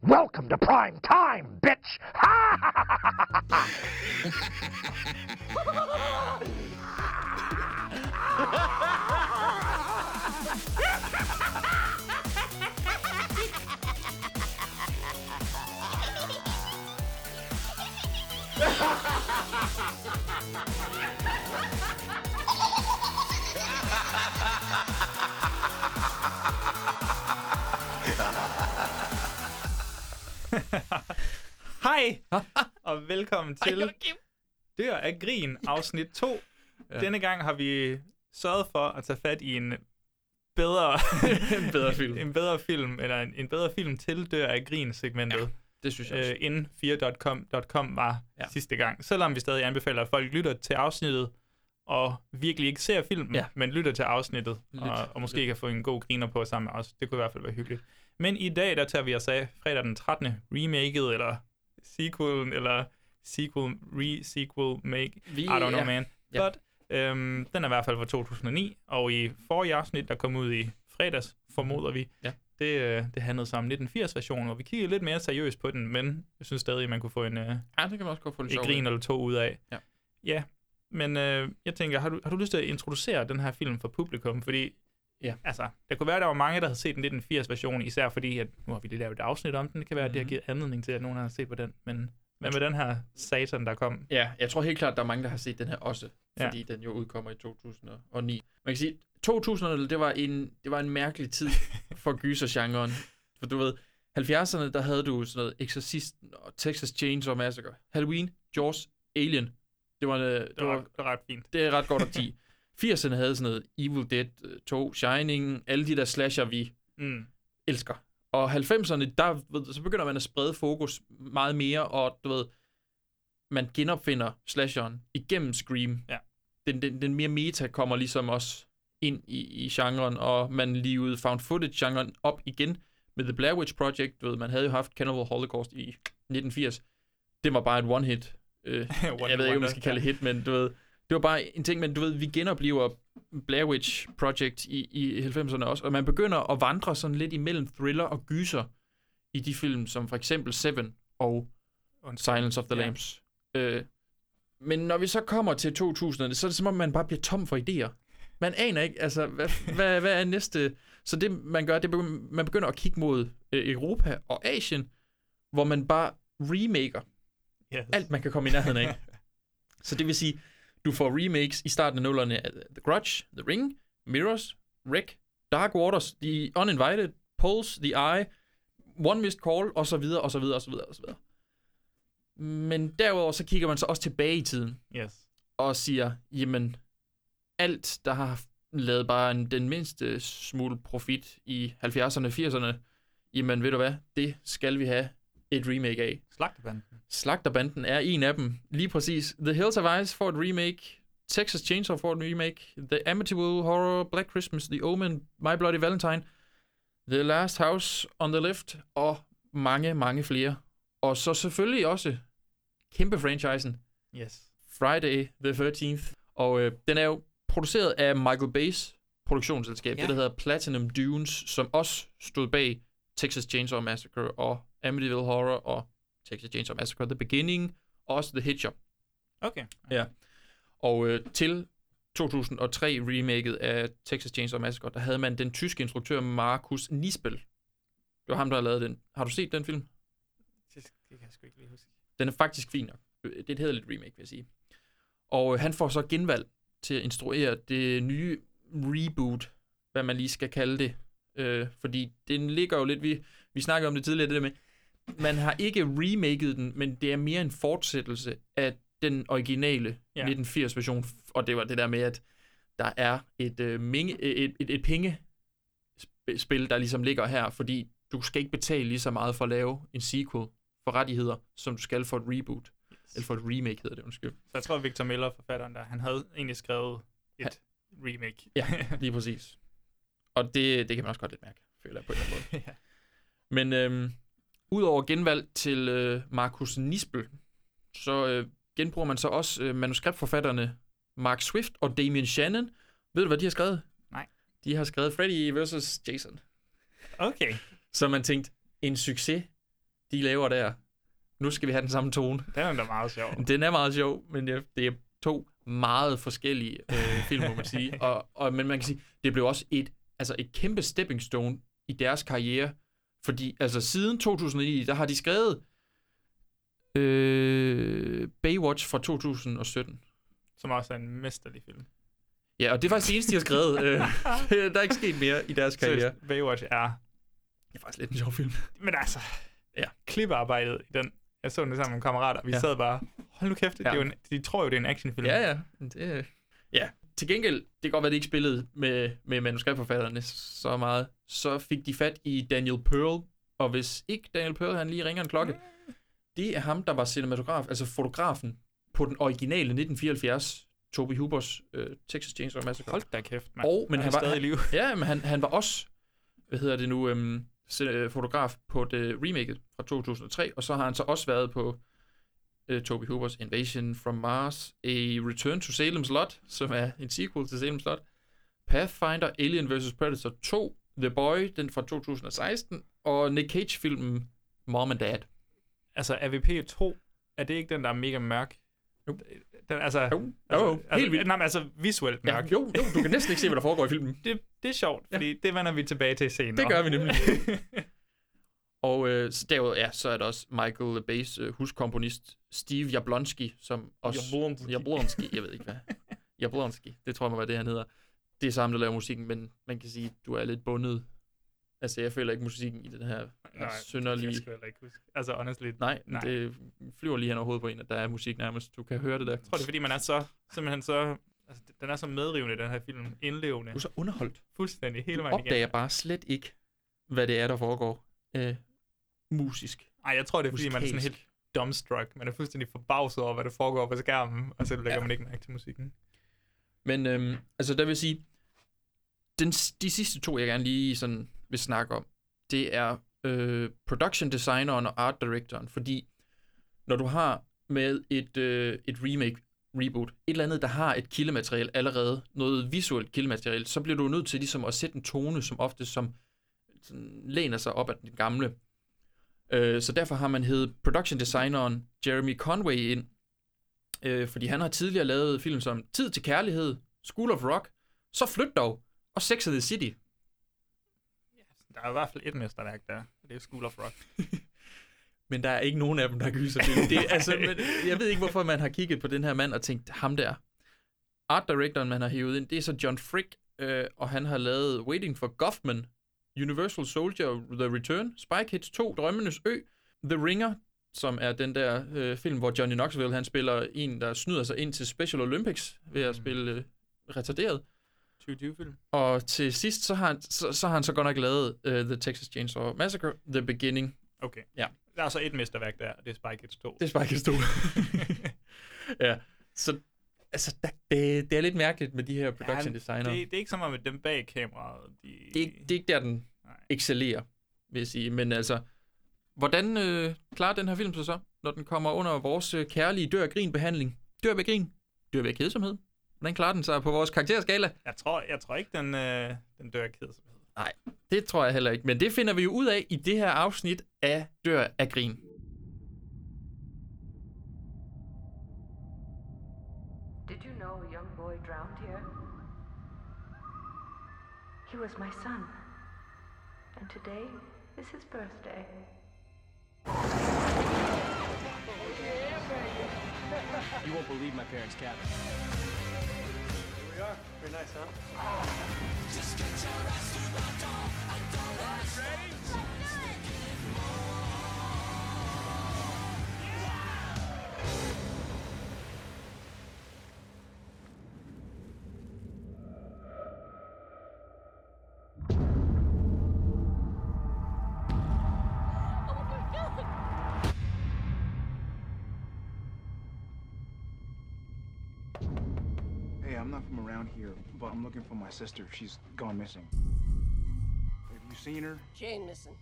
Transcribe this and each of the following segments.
Welcome to prime time, bitch! Ha ha ha ha ha ha! Hej, og velkommen til Dør af Grin, afsnit 2. Ja. Denne gang har vi sørget for at tage fat i en bedre, en bedre film. en bedre film, eller en, en bedre film til Dør af Grin-segmentet, Det synes jeg ja. også. øh, inden 4.com.com var ja. Ja. sidste gang. Selvom vi stadig anbefaler, at folk lytter til afsnittet, og virkelig ikke ser filmen, ja. Ja. men lytter til afsnittet, Lidt. og, og måske kan få en god griner på sammen med os. Det kunne i hvert fald være hyggeligt. Men i dag, der tager vi os af fredag den 13. remaket, eller sequelen, eller sequel, re-sequel, make, Vi, i don't know, ja. man. Ja. But, øhm, den er i hvert fald fra 2009, og i forrige afsnit, der kom ud i fredags, formoder vi, Ja. det, øh, det handlede så om 1980-versionen, hvor vi kiggede lidt mere seriøst på den, men jeg synes stadig, man kunne få en, øh, ja, det kan man også godt få lidt et sjovt. grin eller to ud af. Ja. ja men øh, jeg tænker, har du, har du lyst til at introducere den her film for publikum? Fordi Ja. altså, der kunne være, at der var mange, der havde set den 1980-version, især fordi, at nu har vi lige lavet et afsnit om den. Det kan være, at det har Mhm. givet anledning til, at nogen har set på den. Men hvad med den her satan, der kom? Ja, jeg tror helt klart, der er mange, der har set den her også. Ja. Fordi den jo udkommer i 2009. Man kan sige, 2000'erne, det var en, det var en mærkelig tid for gysergenren. For du ved, 70'erne, der havde du sådan noget Exorcisten og Texas Chainsaw Massacre. Halloween, Jaws, Alien. Det var, øh, det Det var, var, det var ret fint. det er ret godt at 10. 80'erne havde sådan noget Evil Dead øh, 2, Shining, alle de der slasher, vi Mm. elsker. Og 90'erne, der ved, du, så begynder man at sprede fokus meget mere, og du ved, man genopfinder slasheren igennem Scream. Ja. Den, den, den mere meta kommer ligesom også ind i, i genren, og man livede found footage-genren op igen med The Blair Witch Project. Du ved, man havde jo haft Cannibal Holocaust i 1980. Det var bare et one-hit. Øh, jeg ved ikke, om man skal kalde det hit, men du ved, det var bare en ting, men du ved, vi genoplever Blair Witch Project i, i 90'erne også, og man begynder at vandre sådan lidt imellem thriller og gyser i de film, som for eksempel Seven og Silence of the Ja. Lambs. Øh, men når vi så kommer til 2000'erne, så er det som om, man bare bliver tom for idéer. Man aner ikke, altså, hvad, hvad, hvad er næste... Så det, man gør, det er, begy- man begynder at kigge mod øh, Europa og Asien, hvor man bare remaker Yes. alt, man kan komme i nærheden af. så det vil sige, du får remakes i starten af nullerne af The Grudge, The Ring, Mirrors, Wreck, Dark Waters, The Uninvited, Pulse, The Eye, One Missed Call, og så videre, og så videre, og så videre, og så videre. Men derudover så kigger man så også tilbage i tiden Yes. og siger, jamen, alt, der har lavet bare en, den mindste smule profit i 70'erne og 80'erne, jamen ved du hvad, det skal vi have et remake af. Slagtebanden. Slagterbanden er en af dem. Lige præcis. The Hills Have Eyes får et remake. Texas Chainsaw får et remake. The Amityville Horror, Black Christmas, The Omen, My Bloody Valentine, The Last House on the Left og mange, mange flere. Og så selvfølgelig også kæmpe franchisen Yes. Friday the 13th. Og øh, den er jo produceret af Michael Bay's produktionsselskab, Ja. ja. det der hedder Platinum Dunes, som også stod bag Texas Chainsaw Massacre og Amityville Horror og Texas Chainsaw Massacre The Beginning, og også The Hitcher. Okay. Og øh, til 2003 remaket af Texas Chainsaw Massacre, der havde man den tyske instruktør Markus Nispel. Det var ham, der havde lavet den. Har du set den film? Det, det kan jeg sgu ikke lige huske. Den er faktisk fin nok. Øh, Det er et hederligt remake, vil jeg sige. Og øh, han får så genvalg til at instruere det nye reboot, hvad man lige skal kalde det. Øh, fordi den ligger jo lidt, vi, vi snakkede om det tidligere, det der med, man har ikke remaket den, men det er mere en fortsættelse af den originale Ja. ja. 1980-version. Og det var det der med, at der er et, øh, minge, et, et, et penge spil, der ligesom ligger her, fordi du skal ikke betale lige så meget for at lave en sequel for rettigheder, som du skal for et reboot. Eller for et remake hedder det, undskyld. Så jeg tror, Victor Miller, forfatteren der, han havde egentlig skrevet et remake. Ja. Lige præcis. Og det, det kan man også godt lidt mærke, føler jeg på en eller anden måde. ja. Men øhm, udover genvalg til øh, Markus Nispel, så øh, genbruger man så også øh, manuskriptforfatterne Mark Swift og Damien Shannon. Ved du, hvad de har skrevet? Nej. De har skrevet Freddy vs. Jason. Okay. Så man tænkte, en succes de laver der. Nu skal vi have den samme tone. Den er da meget sjov. Den er meget sjov, men jeg, det er to meget forskellige øh, film, må man sige. Og, og, men man kan sige, det blev også et, altså et kæmpe stepping stone i deres karriere. Fordi altså siden 2009, der har de skrevet øh, Baywatch fra 2017. Som også er en mesterlig film. Øh, Ja, og det er faktisk det eneste, de har skrevet. Øh, der er ikke sket mere i deres karriere. Seriøst, Baywatch er... Det er faktisk lidt en sjov film. Men altså... Ja. Klippearbejdet i den... Jeg så den sammen med kammerater. Vi Ja. ja. sad bare... Hold nu kæft, det er Ja. jo en, de tror jo, det er en actionfilm. Ja, ja. Men Det, øh, ja. Til gengæld, det kan godt være, det ikke spillede med, med manuskriptforfatterne så meget. Så fik de fat i Daniel Pearl, og hvis ikke Daniel Pearl, han lige ringer en klokke. Det er ham, der var cinematograf, altså fotografen på den originale 1974, Toby Hubers øh, Texas Chainsaw Massacre. Hold da kæft, mand. og, men er han var, stadig i live. Ja, men han, han var også, hvad hedder det nu, øhm, se- øh, fotograf på det remaket fra 2003, og så har han så også været på øh, Toby Hoopers Invasion from Mars, A Return to Salem's Lot, som er en sequel til Salem's Lot, Pathfinder, Alien vs. Predator 2, The Boy, den fra 2016, og Nick Cage-filmen Mom and Dad. Altså, AVP 2, er det ikke den, der er mega mørk? Jo. Den, altså, Jo, jo, altså, jo, altså, helt vildt. Nej, men altså visuelt Ja, mørk. jo, jo, du kan næsten ikke se, hvad der foregår i filmen. Det, det er sjovt, fordi det vender vi tilbage til senere. Det gør vi nemlig. Og øh, så derudover, ja, så er der også Michael Bay's øh, huskomponist Steve Jablonski, som også... Jablonski. Jablonski, jeg ved ikke hvad. Jablonski, det tror jeg må være det, han hedder. Det er sammen, der laver musikken, men man kan sige, du er lidt bundet. Altså, jeg føler ikke musikken i den her Nej, Nej, Det synderlige... skal jeg heller ikke huske. Altså, honestly. Jeg Nej, Nej. Nej, det flyver lige hen over hovedet på en, at der er musik nærmest. Du kan høre det der. Jeg tror, det er, fordi man er så, simpelthen så, altså, den er så medrivende, den her film. Indlevende. Du er så underholdt. Fuldstændig, hele Du vejen opdager igennem. bare slet ikke, hvad det er, der foregår øh, musisk. Ej, jeg tror, det er, fordi man er sådan musikalsk. helt dumbstruck. Man er fuldstændig forbavset over, hvad der foregår på skærmen, og så lægger Ja. ja. man ikke mærke til musikken. Men øhm, altså, der vil jeg sige, den, s- de sidste to, jeg gerne lige sådan vil snakke om, det er øh, production designeren og art directoren, fordi når du har med et, øh, et remake, reboot, et eller andet, der har et kildemateriale allerede, noget visuelt kildemateriale, så bliver du nødt til ligesom at sætte en tone, som ofte som sådan, læner sig op af den gamle. Øh, så derfor har man heddet production designeren Jeremy Conway ind, øh, fordi han har tidligere lavet film som Tid til Kærlighed, School of Rock, Så Flyt Dog og Sex and the City. Der er i hvert fald et mesterværk der. og Det er School of Rock. Men der er ikke nogen af dem, der gyser til. Det, er altså, men, jeg ved ikke, hvorfor man har kigget på den her mand og tænkt, ham der. Art directoren, man har hævet ind, det er så John Frick, øh, og han har lavet Waiting for Goffman, Universal Soldier, The Return, Spy Kids 2, Drømmenes Ø, The Ringer, som er den der øh, film, hvor Johnny Knoxville, han spiller en, der snyder sig ind til Special Olympics ved at Mm. spille øh, retarderet. 2020-film. Og til sidst, så har han så, så, har han så godt nok lavet uh, The Texas Chainsaw Massacre, The Beginning. Okay. Ja. Der er så et mesterværk der, og det er Spy Kids 2. Det er Spike Lee 2. ja, så altså, der, det, det er lidt mærkeligt med de her production ja, designer. Det, Det, det er ikke så meget med dem bag kameraet. De... det, er ikke, det er ikke der, den Nej. excellerer, vil jeg sige. Men altså, hvordan øh, klarer den her film sig så, når den kommer under vores øh, kærlige dør grin behandling? Dør ved grin? Dør ved kedsomhed? Hvordan klarer den sig på vores karakterskala? Jeg tror, jeg tror ikke, den, øh, den dør af kedsomhed. Det tror jeg heller ikke, men det finder vi jo ud af i det her afsnit af Dør af Grin. Did you know a young boy drowned here? He was my son. And today is his birthday. You won't believe my parents' cabin. We are. Very nice, huh? Hey, I'm not from around here, but I'm looking for my sister. She's gone missing. Have you seen her? Jane missing.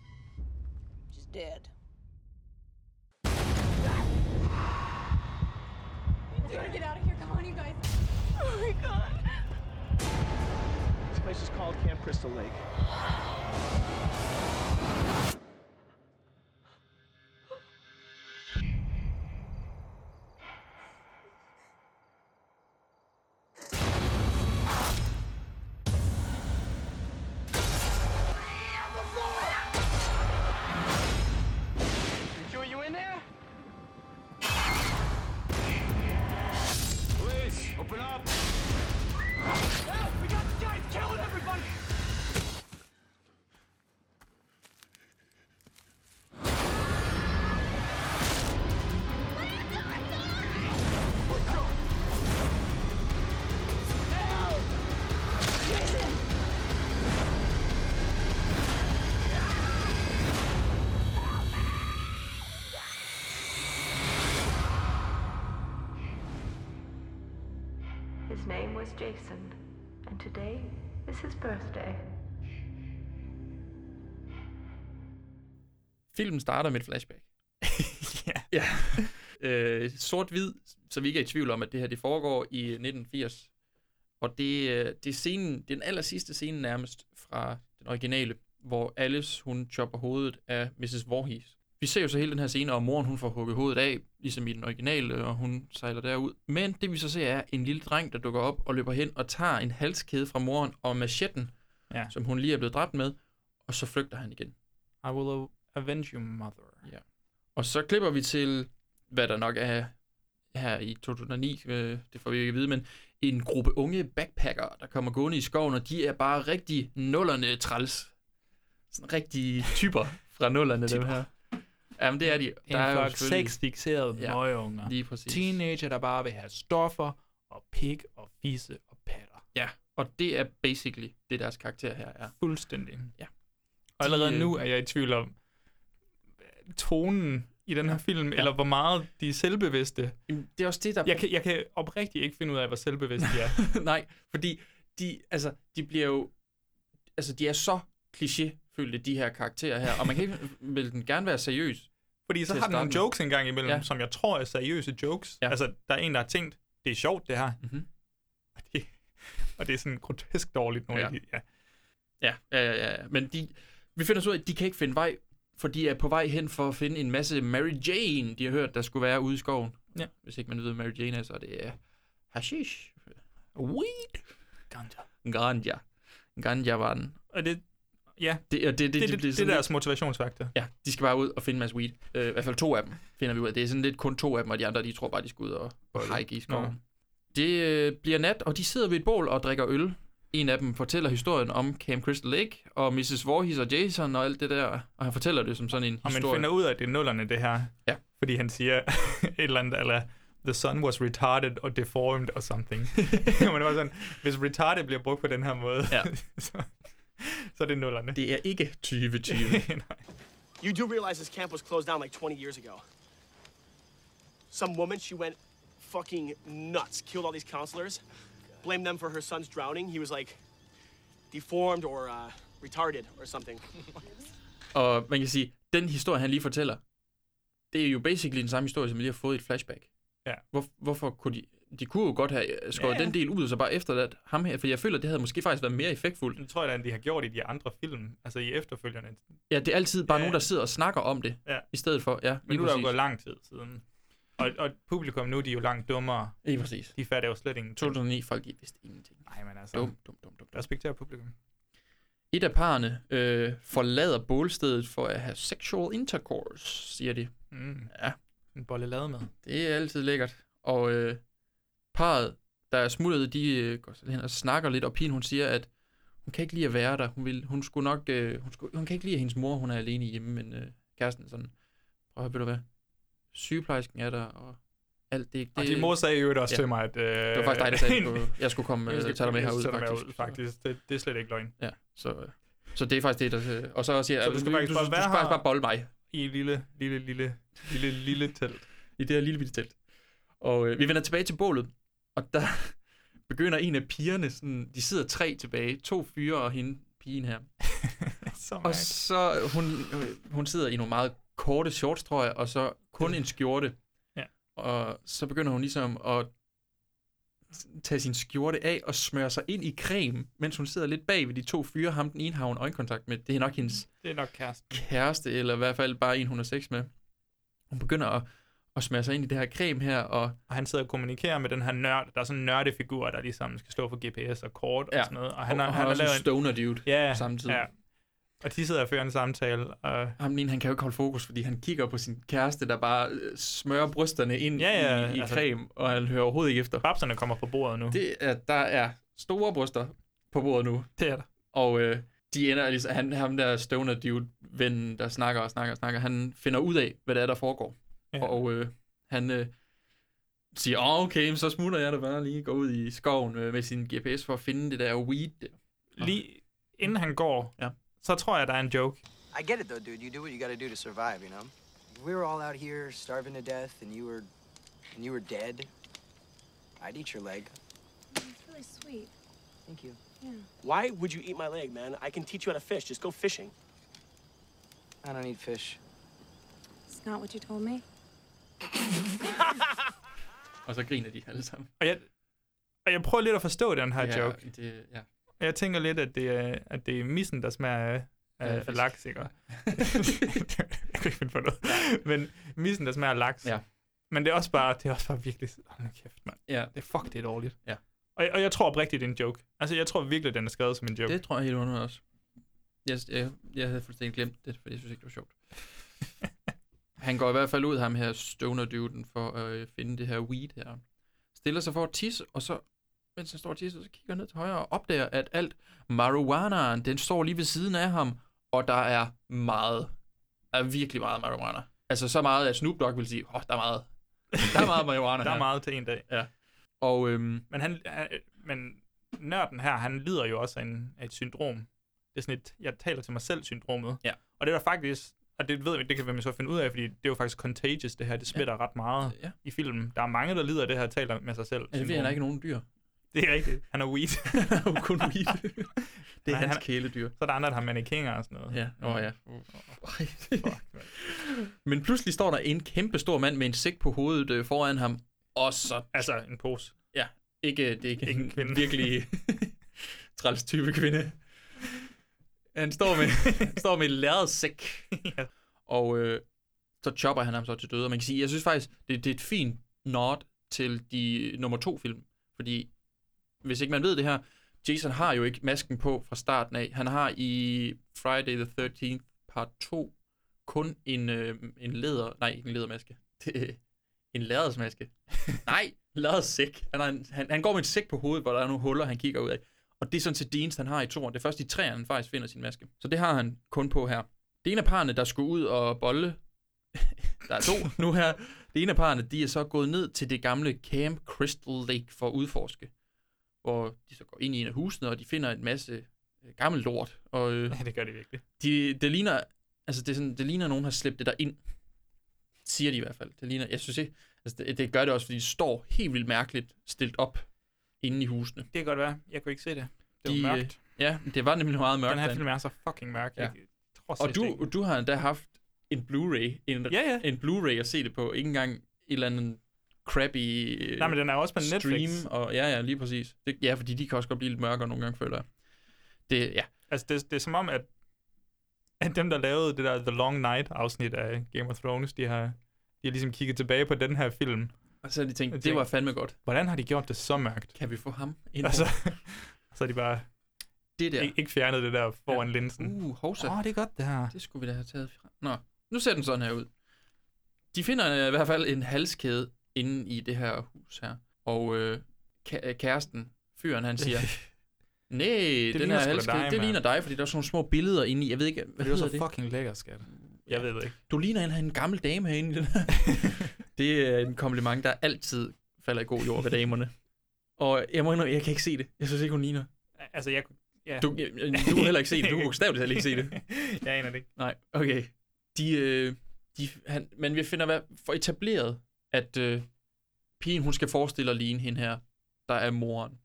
She's dead. We gotta get out of here. Come on, you guys. Oh my god. This place is called Camp Crystal Lake. His name was Jason, and today is his birthday. Filmen starter med et flashback. ja. Ja. øh, Sort-hvid, så vi ikke er i tvivl om, at det her det foregår i 1980. Og det, øh, det er scenen, det er den aller sidste scene nærmest fra den originale, hvor Alice, hun chopper hovedet af Mrs. Voorhees. Vi ser jo så hele den her scene, og moren hun får hugget hovedet af, ligesom i den originale, og hun sejler derud. Men det vi så ser er en lille dreng, der dukker op og løber hen og tager en halskæde fra moren og machetten, Ja. som hun lige er blevet dræbt med, og så flygter han igen. I will avenge your mother. Og så klipper vi til, hvad der nok er her i 2009, øh, det får vi ikke at vide, men en gruppe unge backpacker, der kommer gående i skoven, og de er bare rigtig nullerne træls. Sådan rigtige typer fra nullerne, dem her. Jamen, det er de. En flok seks dikserede Ja, møgeunger. lige præcis. Teenager, der bare vil have stoffer og pik og fisse og patter. Ja, og det er basically det, deres karakter her er. Fuldstændig. Ja. Og allerede De, øh, nu er jeg i tvivl om øh, tonen i den her film, ja. eller hvor meget de er selvbevidste. Jamen, det er også det, der... Jeg kan, jeg kan oprigtigt ikke finde ud af, hvor selvbevidste de er. Nej, fordi de, altså, de bliver jo... Altså, de er så klichéfyldte, de her karakterer her, og man kan ikke vil den gerne være seriøs. Fordi så til at har den nogle starte med. jokes engang imellem, Ja. ja. som jeg tror er seriøse jokes. Ja. Ja. Altså, der er en, der har tænkt, det er sjovt, det her. Mhm. Og, det, og det er sådan grotesk dårligt. Nogle ja. Ja. Af de, ja. Ja, ja, ja, ja. ja. Men de, vi finder så ud af, at de kan ikke finde vej, for de er på vej hen for at finde en masse Mary Jane, de har hørt, der skulle være ude i skoven. Ja. Hvis ikke man ved, hvad Mary Jane er, så er det er hashish. Weed. Ganja. Ganja. Ganja var den. Og det, ja, Det, og det, det, det, det, det, det, bliver det, sådan det er deres motivationsfaktor. Ja, de skal bare ud og finde en masse weed. Øh, I hvert fald to af dem finder vi ud af. Det er sådan lidt kun to af dem, og de andre, de tror bare, de skal ud og, og hike i skoven. Nå. Det øh, bliver nat, og de sidder ved et bål og drikker øl. En af dem fortæller historien om Camp Crystal Lake, og Mrs. Voorhees og Jason og alt det der. Og han fortæller det som sådan en Og man historie. finder ud af, at det er nullerne, det her. Ja. Fordi han siger et eller andet, eller the sun was retarded or deformed or something. Men det var sådan, hvis retarded bliver brugt på den her måde, Ja. så, så er det nullerne. Det er ikke 2020. You do realize this camp was closed down like 20 years ago. Some woman, she went fucking nuts, killed all these counselors, blamed them for her son's drowning. He was like deformed or uh, retarded or something. og man kan sige, den historie, han lige fortæller, det er jo basically den samme historie, som vi lige har fået i et flashback. Ja. Hvor, hvorfor kunne de... De kunne jo godt have øh, skåret ja, Ja, ja. ja. den del ud, og så bare efterladt ham her, for jeg føler, det havde måske faktisk været mere effektfuldt, Det tror jeg da, at de har gjort i de andre film, altså i efterfølgende. Ja, det er altid bare ja. Ja. nogen, der sidder og snakker om det, Ja. i stedet for, ja, Men nu er der jo gået lang tid siden. Og, og publikum nu, de er jo langt dummere. Lige præcis. De fatter jo slet ingen. 2009, folk de vidste ingenting. Nej, men altså, Dum, dum, dum, dum. dum. respekter publikum. Et af parerne øh, forlader bålstedet for at have sexual intercourse, siger de. Mm. Ja. En bolle lavet med. Det er altid lækkert. Og øh, parret, der er smuttet, de øh, går sådan hen og snakker lidt, og pigen hun siger, at hun kan ikke lide at være der. Hun, vil, hun skulle nok, øh, hun, skulle, hun kan ikke lide, at hendes mor hun er alene hjemme, men øh, kæresten er sådan, prøv at høre, ved du hvad, sygeplejersken er der, og alt det. Og det din mor sagde jo også ja. ja. til mig, at... Øh, Det var faktisk dig, der sagde, at du- jeg skulle komme og Jeg skal tage dig med jeg herud, skal tage dig faktisk. med ud, faktisk. Det, det er slet ikke løgn. Ja, så, øh, så det er faktisk det, der... øh, Og så siger jeg, Så at du, skal faktisk, du, bare, du være skal faktisk her. bare bolle mig I et lille, lille, lille, lille, lille telt. i det her lille bitte telt. Og øh, vi vender tilbage til bålet, og der begynder en af pigerne, sådan, de sidder tre tilbage, to fyre og hende, pigen her. Så Og mærkeligt. så, øh, hun, øh, hun sidder i nogle meget korte shorts, tror jeg, og så kun en skjorte. Ja. Og så begynder hun ligesom at tage sin skjorte af og smøre sig ind i creme, mens hun sidder lidt bag ved de to fyre. Ham, den ene har hun øjenkontakt med. Det er nok hendes Det er nok kæresten. kæreste, eller i hvert fald bare en, hun har sex med. Hun begynder at, at smøre sig ind i det her creme her, og Og han sidder og kommunikerer med den her nørd. Der er sådan en nørdefigur, der ligesom skal stå for GPS og kort Ja. og sådan noget. Og han, har, og han har har også en lavet en... stoner dude. Ja, samtidig. Ja. Og de sidder og fører en samtale. Og Ham den ene, han kan jo ikke holde fokus, fordi han kigger på sin kæreste, der bare øh, smører brysterne ind Ja, ja, i, i altså- creme, og han hører overhovedet ikke efter. babserne kommer på bordet nu. Det er, der er store bryster på bordet nu, det er der. og øh, de ender ligesom, han, ham der stoner dude, ven, der snakker og snakker og snakker, han finder ud af, hvad det er, der foregår. Ja. Ja. Og øh, han øh, siger, åh okay, men så smutter jeg da bare lige, går ud i skoven øh, med sin GPS for at finde det der weed. Der. Lige inden han går, Ja. så tror jeg, der er en joke. I get it though, dude. You do what you gotta do to survive, you know? We were all out here starving to death and you were and you were dead. I'd eat your leg. Mm, really sweet. Thank you. Yeah. Why would you eat my leg, man? I can teach you how to fish. Just go fishing. I don't eat fish. It's not what you told me. Og så griner de alle sammen. Og jeg, og jeg prøver lidt at forstå den her ja, joke. Det, ja. Og Jeg tænker lidt, at det er, at det er missen, der smager af, Ja, af, fisk. af laks, ikke? jeg kan ikke finde på noget. Men missen, der smager af laks. Ja. Men det er også bare, det er også bare virkelig... Hold nu kæft, mand. ja. Det er fuck, det er dårligt. Ja. Og, og jeg tror oprigtigt, det er en joke. Altså, jeg tror virkelig, den er skrevet som en joke. Det tror jeg helt under også. Jeg, jeg, jeg havde fuldstændig glemt det, fordi jeg synes ikke, det var sjovt. Han går i hvert fald ud, ham her stoner-duden, for at øh, finde det her weed her. Stiller sig for at tisse, og så, mens han står og tisser, så kigger han ned til højre og opdager, at alt marihuanaen, den står lige ved siden af ham, og der er meget, der er virkelig meget marihuana. Altså så meget, at Snoop Dogg vil sige, åh, oh, der er meget, der er meget marihuana Der er her." meget til en dag. Og øhm, Men, han, han- men nørden her, han lider jo også af, en, af et syndrom. Det er sådan et, jeg taler til mig selv-syndromet. Ja. Og det er der faktisk, og det ved vi, det kan man så finde ud af, fordi det er jo faktisk contagious, det her. Det smitter ja. ret meget Ja. i filmen. Der er mange, der lider af det her, taler med sig selv. ja, det ved han er ikke nogen dyr. Det er rigtigt. Han er weed. Han er jo kun weed. det er Nej, hans han- kæledyr. så er der andre, der har mannequiner og sådan noget. Ja, åh oh, ja. Fuck, mand. Men pludselig står der en kæmpe stor mand med en sæk på hovedet øh, foran ham, og så altså, en pose. ikke, det er ikke, Ikke en en kvinde. virkelig træls type kvinde. Han står med, han står med en lærred sæk, Ja. og øh, så chopper han ham så til døde. Og man kan sige, jeg synes faktisk, det, det er et fint nod til de nummer to film, fordi hvis ikke man ved det her, Jason har jo ikke masken på fra starten af. Han har i Friday the 13th part 2 kun en, øh, en leder, nej ikke en ledermaske, Det- en lærredsmaske. Nej, lærredssæk. Han, har en, han, han går med en sæk på hovedet, hvor der er nogle huller, han kigger ud af. Og det er sådan set det eneste, han har i toeren. Det er først i træerne, han faktisk finder sin maske. Så det har han kun på her. Det ene af parerne, der skulle ud og bolle, der er to nu her. Det ene af parerne, de er så gået ned til det gamle Camp Crystal Lake for at udforske. Hvor de så går ind i en af husene, og de finder en masse øh, gammel lort. Og øh, Ja, det gør det virkelig. de, det ligner, altså det, er sådan, det ligner, at nogen har slæbt det der ind. Siger de i hvert fald. Det ligner, jeg synes ikke, altså det, det gør det også, fordi de står helt vildt mærkeligt stillet op inde i husene. Det kan godt være. Jeg kunne ikke se det. Det var De, de, øh, mørkt. Ja, det var nemlig meget mørkt. Den her derinde. film er så fucking mørk. Ja. Ja. Jeg tror og slet du, ikke- du har endda haft en Blu-ray, en, Ja, ja. en Blu-ray at se det på, ikke engang et eller andet crappy øh, Nej, men den er jo også på Netflix. stream. Og, ja, ja, lige præcis. Det, ja, fordi de kan også godt blive lidt mørkere nogle gange, føler jeg. Det, ja, Altså, det, det er som om, at, at dem, der lavede det der The Long Night-afsnit af Game of Thrones, de har, de har ligesom kigget tilbage på den her film. og så har de tænkt, Jeg det var tænkte- fandme godt. Hvordan har de gjort det så mørkt? Kan vi få ham ind? Og så, Altså, så har de bare det der. ja. ikke fjernet det der foran ja. linsen. Åh, Uh, hovsa. oh, det er godt, det her. Det skulle vi da have taget fra. Nå, nu ser den sådan her ud. De finder øh, i hvert fald en halskæde inde i det her hus her. Og øh, ka- øh, kæresten, fyren, han siger, nej, den ligner her sgu da halskæde, dig, det mand." ligner dig, fordi der er sådan nogle små billeder inde i. Jeg ved ikke, hvad Det er hedder så det? fucking lækker, skat. Jeg ved det ikke. Du ligner en, en gammel dame herinde. i den her." det er en kompliment, der altid falder i god jord ved damerne. Og jeg må indrømme, jeg kan ikke se det. Jeg synes ikke, hun ligner. Altså, jeg kunne... Ja. Du, jeg- jeg- du kan heller ikke se det. Du kan bogstaveligt heller ikke se det. jeg aner det ikke. Nej, okay. De, øh, de, han, men vi finder hvad, for etableret, at øh, pigen, hun skal forestille at ligne hende her, der er moren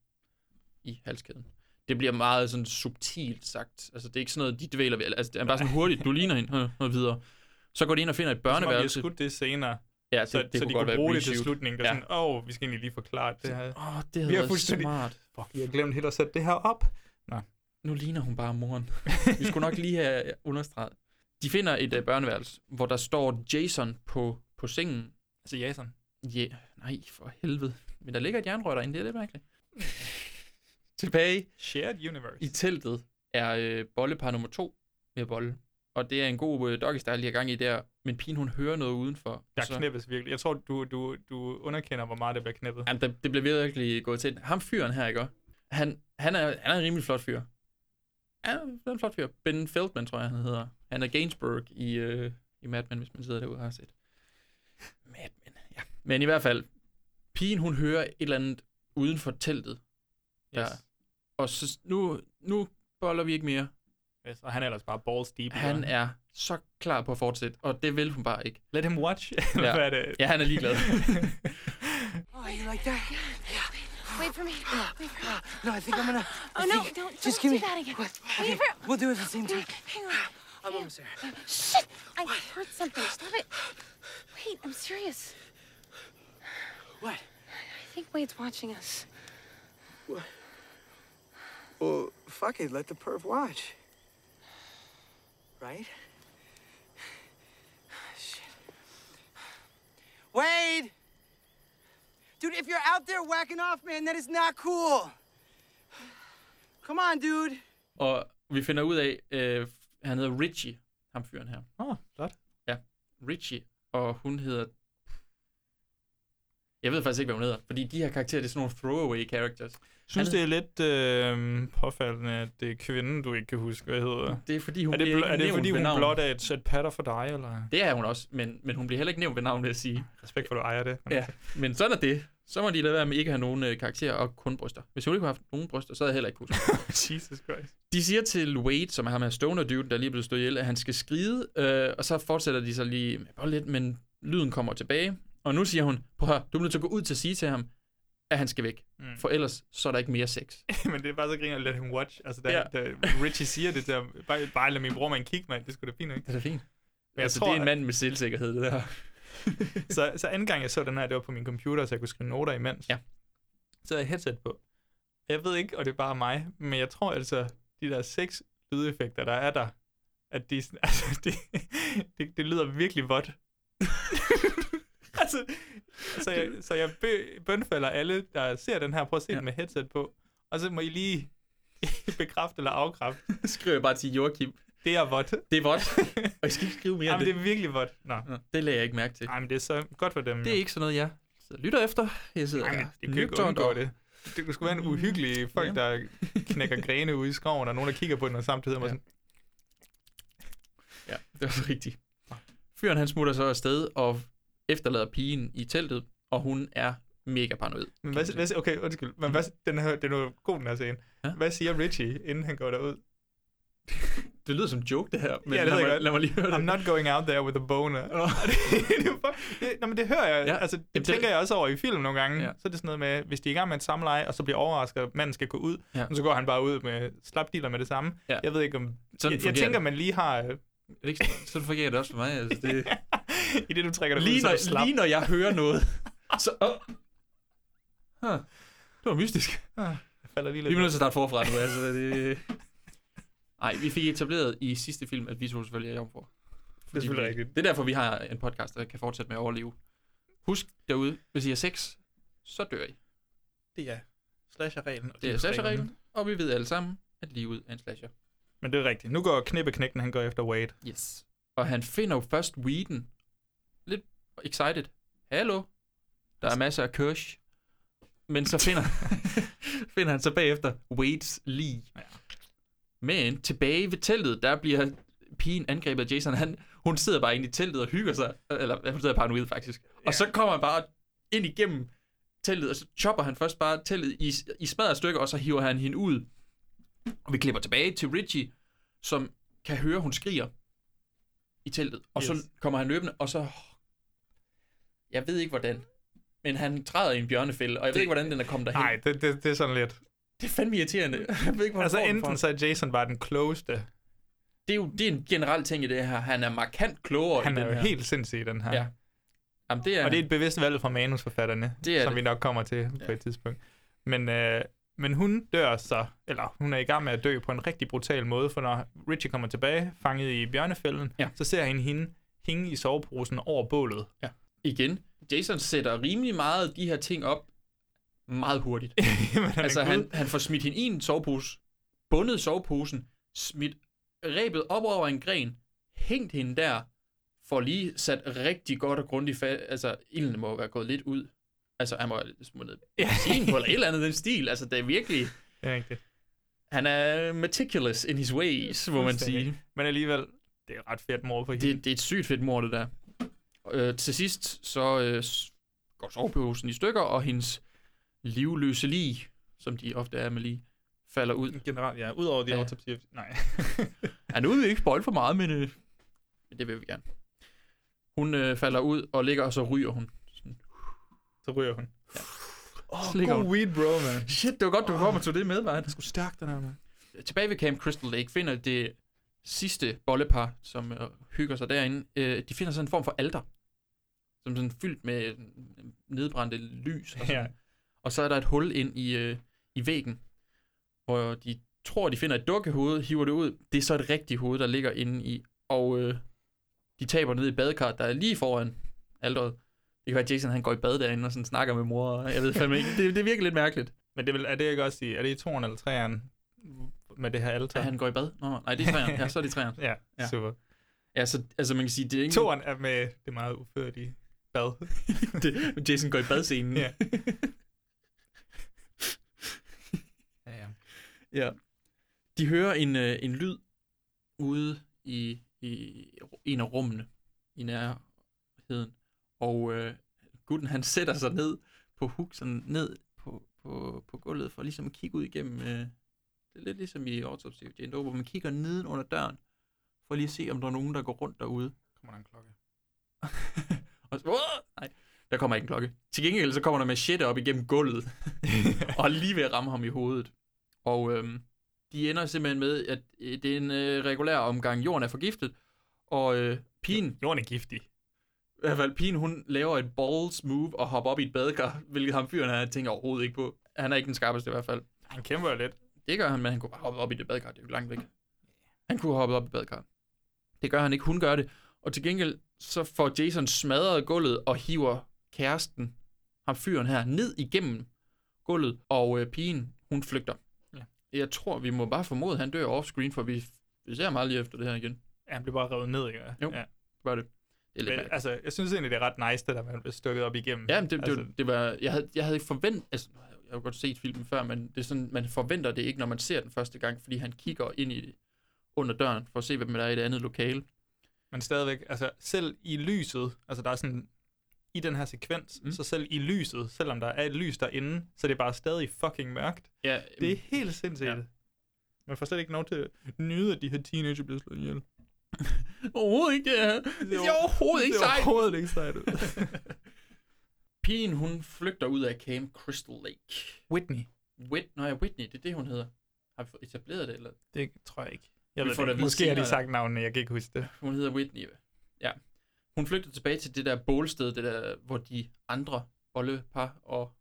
i halskæden. Det bliver meget sådan subtilt sagt. Altså, det er ikke sådan noget, de dvæler ved. Altså, det er bare sådan hurtigt, du ligner hende, øh, og videre. Så går de ind og finder et Som om vi har børneværelse. skudt det senere, Ja, Altså, det, så, det, det så kunne de godt kunne være bruge det til reshoot. slutningen. Der Ja. ja. sådan, åh, oh, vi skal egentlig lige forklare det her. Åh, oh, det havde har været fuldstændig- smart. Fuck, jeg glemte helt at sætte det her op. Nu ligner hun bare moren. Vi skulle nok lige have understreget. De finder et uh, børneværelse, hvor der står Jason på, på sengen, Altså, Jason. Ja, yeah. nej, for helvede. Men der ligger et jernrør derinde, det er lidt mærkeligt. Tilbage Shared universe. i teltet er øh, bollepar nummer to med bolle. Og det er en god øh, doggy style, de har gang i der. Men pigen, hun hører noget udenfor. og Der så, knippes virkelig. Jeg tror, du, du, du underkender, hvor meget der bliver knippet. jamen, der, det bliver virkelig gået til. Ham fyren her, ikke? også? Han, han, er, han er en rimelig flot fyr. Ja, han er en flot fyr. Ben Feldman, tror jeg, han hedder. Han er Gainsbourg i, øh, i Mad Men, hvis man sidder derude og har set. Mad Men, ja. Men i hvert fald, pigen, hun hører et eller andet uden for teltet. Ja. Og så nu, nu boller vi ikke mere. Yes, og han er ellers bare balls deep. Han ikke? er så klar på at fortsætte, og det vil hun bare ikke. Let him watch. Ja. Hvad er det? Ja, han er ligeglad. Oh, you like that? Yeah. Wait for me. Wait for me. No, I think I'm gonna. Oh, I no, think- don't- Ah, Just don't give do me. that again. What? Wait Okay, for- We'll do it at the same time. Hang on. I'm almost there. Shit! I heard something. Stop it. Wait, I'm serious. What? I think Wade's watching us. What? Well, fuck it. Let the perv watch. Right? Shit. Wade! Dude, if you're out there whacking off, man, that is not cool. Come on, dude. Og vi finder ud af, øh, han hedder Richie, ham fyren her. Åh, oh, flot. Ja, Richie, og hun hedder... Jeg ved faktisk ikke, hvad hun hedder, fordi de her karakterer, det er sådan nogle throwaway characters. synes, Han- det er lidt øh, påfaldende, at det er kvinden, du ikke kan huske, hvad hedder. Det er fordi, hun er det, bliver bl- ikke er det nævnt fordi, ved hun navn. blot er et sæt patter for dig, eller? Det er hun også, men, men hun bliver heller ikke nævnt ved navn, vil jeg sige. Respekt for, at du ejer det. men Ja, altså. men sådan er det. Så må de lade være med ikke at have nogen øh, karakterer og kun bryster. Hvis hun ikke havde haft nogen bryster, så havde jeg heller ikke kunnet. Jesus Christ. De siger til Wade, som er ham her stoner dude, der lige er blevet stået ihjel, at han skal skride, øh, og så fortsætter de så lige med bare lidt, men lyden kommer tilbage. Og nu siger hun, prøv at høre, du er nødt til at gå ud til at sige til ham, at han skal væk. Mm. Mm. For ellers, så er der ikke mere sex. Men det er bare så griner, let him watch. Altså, da, Ja. da Richie siger det til ham, bare, bare lad min bror med en kig, mand. Det skulle da fint, ikke? Det er da fint. Men jeg altså, tror, det er en at- mand med selvsikkerhed, det der. så, så anden gang, jeg så den her, det var på min computer, så jeg kunne skrive noter imens. Ja. Så havde jeg headset på. Jeg ved ikke, og det er bare mig, men jeg tror altså, de der seks lydeffekter, der er der, at de, sådan- altså, det, det, det lyder virkelig vådt. altså, så jeg, så jeg bø, bønfalder alle, der ser den her, prøv at se ja. den med headset på, og så må I lige bekræfte eller afkræfte. Skriver jeg bare til Joachim, Det er vådt. det er vådt, og I skal ikke skrive mere Jamen, det end er virkelig vådt. Nå, det. Det lagde jeg ikke mærke til. Ej, men det er så godt for dem. Det er ikke sådan noget, jeg sidder og lytter efter. Jeg sidder Ej, Ej, men det kan jo ikke undgå det. Det skulle Mm. være en uhyggelig folk, der knækker grene ude i skoven, og nogen, der kigger på den, og samtidig ja. Ja. sådan, Ja, det var så rigtigt. Fyren han smutter så afsted og efterlader pigen i teltet, og hun er mega paranoid. men hvad, hvad, okay, undskyld, men hvad, den her, den er jo god, den her scene. Mm. Ja. Hvad siger Richie, inden han går derud? Det lyder som en joke, det her, men Ja, ja, det det ved jeg lad, mig, godt. lad mig lige høre det. I'm not going out there with a boner. Åh. det, er bare- det, nå, men det hører jeg, ja. Ja. altså, det Jamen, det- tænker jeg også over i film nogle gange. Ja. Ja. Så er det sådan noget med, hvis de er i gang med et samleje, og så bliver overrasket, at manden skal gå ud, Ja. ja. så går han bare ud med slapdealer med det samme. Ja. Jeg ved ikke om... Sådan jeg, jeg fungerer tænker, det. man lige har... øh, Er det ikke, sådan fungerer det også for mig. Altså, det... I det, du trækker dig ud, lige, så er du slap. når, lige når jeg hører noget, så... Oh. Huh. Det var mystisk. Ah, falder lige Vi lidt. bliver nødt til at starte forfra nu. Altså, det... Ej, vi fik etableret i sidste film, at vi to selvfølgelig er jomfruer. Det er selvfølgelig rigtigt. Det er derfor, vi har en podcast, der kan fortsætte med at overleve. Husk derude, hvis I har sex, så dør I. Det er slasher-reglen. Det er slasher-reglen, og vi ved alle sammen, at livet er en slasher. Men det er rigtigt. Nu går knippeknægten, han går efter Wade. Yes. Og han finder jo først weeden. Lidt excited. Hallo? Der er masser af kirsch. Men så finder, finder han så bagefter Wades lige. Ja. Men tilbage ved teltet, der bliver pigen angrebet af Jason. Han, hun sidder bare inde i teltet og hygger sig. Eller hun sidder paranoid faktisk. Ja. Og så kommer han bare ind igennem teltet, og så chopper han først bare teltet i, i smadret stykker, og så hiver han hende ud. Og vi klipper tilbage til Richie, som kan høre, hun skriger i teltet. Og yes. Yes. så kommer han løbende, og så... Jeg ved ikke, hvordan. Men han træder i en bjørnefælde, og jeg det... ved ikke, hvordan den er kommet derhen. Nej, det, det, det er sådan lidt. Det er fandme irriterende. Jeg ved ikke, hvor Altså han får den fra. enten så er Jason bare den klogeste. Det er jo det er en generel ting i det her. Han er markant klogere Han i er den jo her. helt sindssyg i den her. Ja. Jamen, det er, Og det er et bevidst valg fra manusforfatterne, Det er som det. vi nok kommer til på Ja. et tidspunkt. Men, øh, men hun dør så, eller hun er i gang med at dø på en rigtig brutal måde, for når Richie kommer tilbage, fanget i bjørnefælden, Ja. så ser han hende hænge i soveposen over bålet. igen, Jason sætter rimelig meget af de her ting op meget hurtigt. Jamen, han er altså, gud. han, han får smidt hende i en sovepose, bundet soveposen, smidt rebet op over en gren, hængt hende der, for lige sat rigtig godt og grundigt fast. Altså, ilden må være gået lidt ud. Altså, han må have smuttet Ja. benzin på, eller et eller andet i den stil. Altså, det er virkelig... Det er rigtigt. Han er meticulous in his ways, må man sige. Men alligevel, det er et ret fedt mor på hende. Det, det er et sygt fedt mord, det der. Øh, til sidst, så øh, s- går soveposen i stykker, og hendes livløse lig, som de ofte er med lige, falder ud. generelt, ja. Udover de Ja. autopsier. Nej. Ja, nu vil vi ikke spoil for meget, men øh, men det vil vi gerne. Hun øh, falder ud og ligger, og så ryger hun. så ryger hun. Åh, Slik god on. weed bro, man. Shit, det var godt, du kom og tog det med, man. Det skulle stærkt, den her, man. Tilbage ved Camp Crystal Lake finder det sidste bollepar, som øh, hygger sig derinde. Øh, de finder sådan en form for alter, som sådan fyldt med øh, nedbrændte lys. Og, sådan. Ja. og så er der et hul ind i, øh, i væggen, hvor de tror, de finder et dukkehoved, hiver det ud. Det er så et rigtigt hoved, der ligger inde i. Og øh, de taber ned i badekarret, der er lige foran alderet. Det kan være, at Jason han går i bad derinde og sådan snakker med mor. og Jeg ved fandme ikke. Det, det virker lidt mærkeligt. Men det er, vel- er det ikke også i, er det i toren eller træeren med det her alter? At han går i bad? Nå, nej, det er træerne. Ja, så er det træerne. ja, Ja. ja, super. Ja, så, altså man kan sige, det er ikke... Toren er med det meget uførdige bad. det, Jason går i badscenen. ja. ja, ja. ja. De hører en, øh, en lyd ude i, i en af rummene i nærheden. Og øh, gutten, han sætter sig ned på huk, sådan ned på, på, på gulvet, for ligesom at kigge ud igennem... Øh, det er lidt ligesom i Autopsy of Jane Doe, hvor man kigger neden under døren, for lige at se, om der er nogen, der går rundt derude. Kommer der en klokke? Og så, Åh! nej, der kommer ikke en klokke. Til gengæld så kommer der machete op igennem gulvet, og er lige ved at ramme ham i hovedet. Og øhm, de ender simpelthen med, at øh, det er en øh, regulær omgang. Jorden er forgiftet, og øh, pigen, Jorden er giftig. i hvert fald pigen, hun laver et balls move og hopper op i et badekar, hvilket ham fyren her tænker overhovedet ikke på. Han er ikke den skarpeste i hvert fald. Han kæmper jo lidt. Det gør han, men han kunne bare hoppe op i det badekar. Det er jo langt væk. Han kunne hoppe op i badekar. Det gør han ikke. Hun gør det. Og til gengæld, så får Jason smadret gulvet og hiver kæresten, ham fyren her, ned igennem gulvet. Og øh, pigen, hun flygter. Ja. Jeg tror, vi må bare formode, at han dør offscreen, for vi, vi ser meget lige efter det her igen. Ja, han bliver bare revet ned, ikke? Jo. Ja. Gør det. Det er lidt Men, mærkeligt. altså, jeg synes egentlig, det er ret nice, det der, man bliver stukket op igennem. Ja, men det, altså, det, det var, jeg havde, jeg havde ikke forventet, altså, jeg har jo godt set filmen før, men det er sådan, man forventer det ikke, når man ser den første gang, fordi han kigger ind i under døren, for at se, hvem der er i det andet lokale. Men stadigvæk, altså, selv i lyset, altså, der er sådan, i den her sekvens, Mm. mm. så selv i lyset, selvom der er et lys derinde, så det er bare stadig fucking mørkt. Ja, Det er helt sindssygt. Ja. Ja. Man får slet ikke lov til at nyde, at de her teenager bliver slået ihjel. overhovedet ikke det her. Det er er overhovedet ikke Det er sejt. overhovedet ikke sejt. ud. Pigen, hun flygter ud af Camp Crystal Lake. Whitney. Whit, nej, Whitney, det er det, hun hedder. Har vi fået etableret det, eller? Det tror jeg ikke. Jeg Vi ved får det det at ikke. vide Måske har de senere. sagt navnene, jeg kan ikke huske det. Hun hedder Whitney. Ja. Hun flygter tilbage til det der bålsted, det der, hvor de andre bollepar og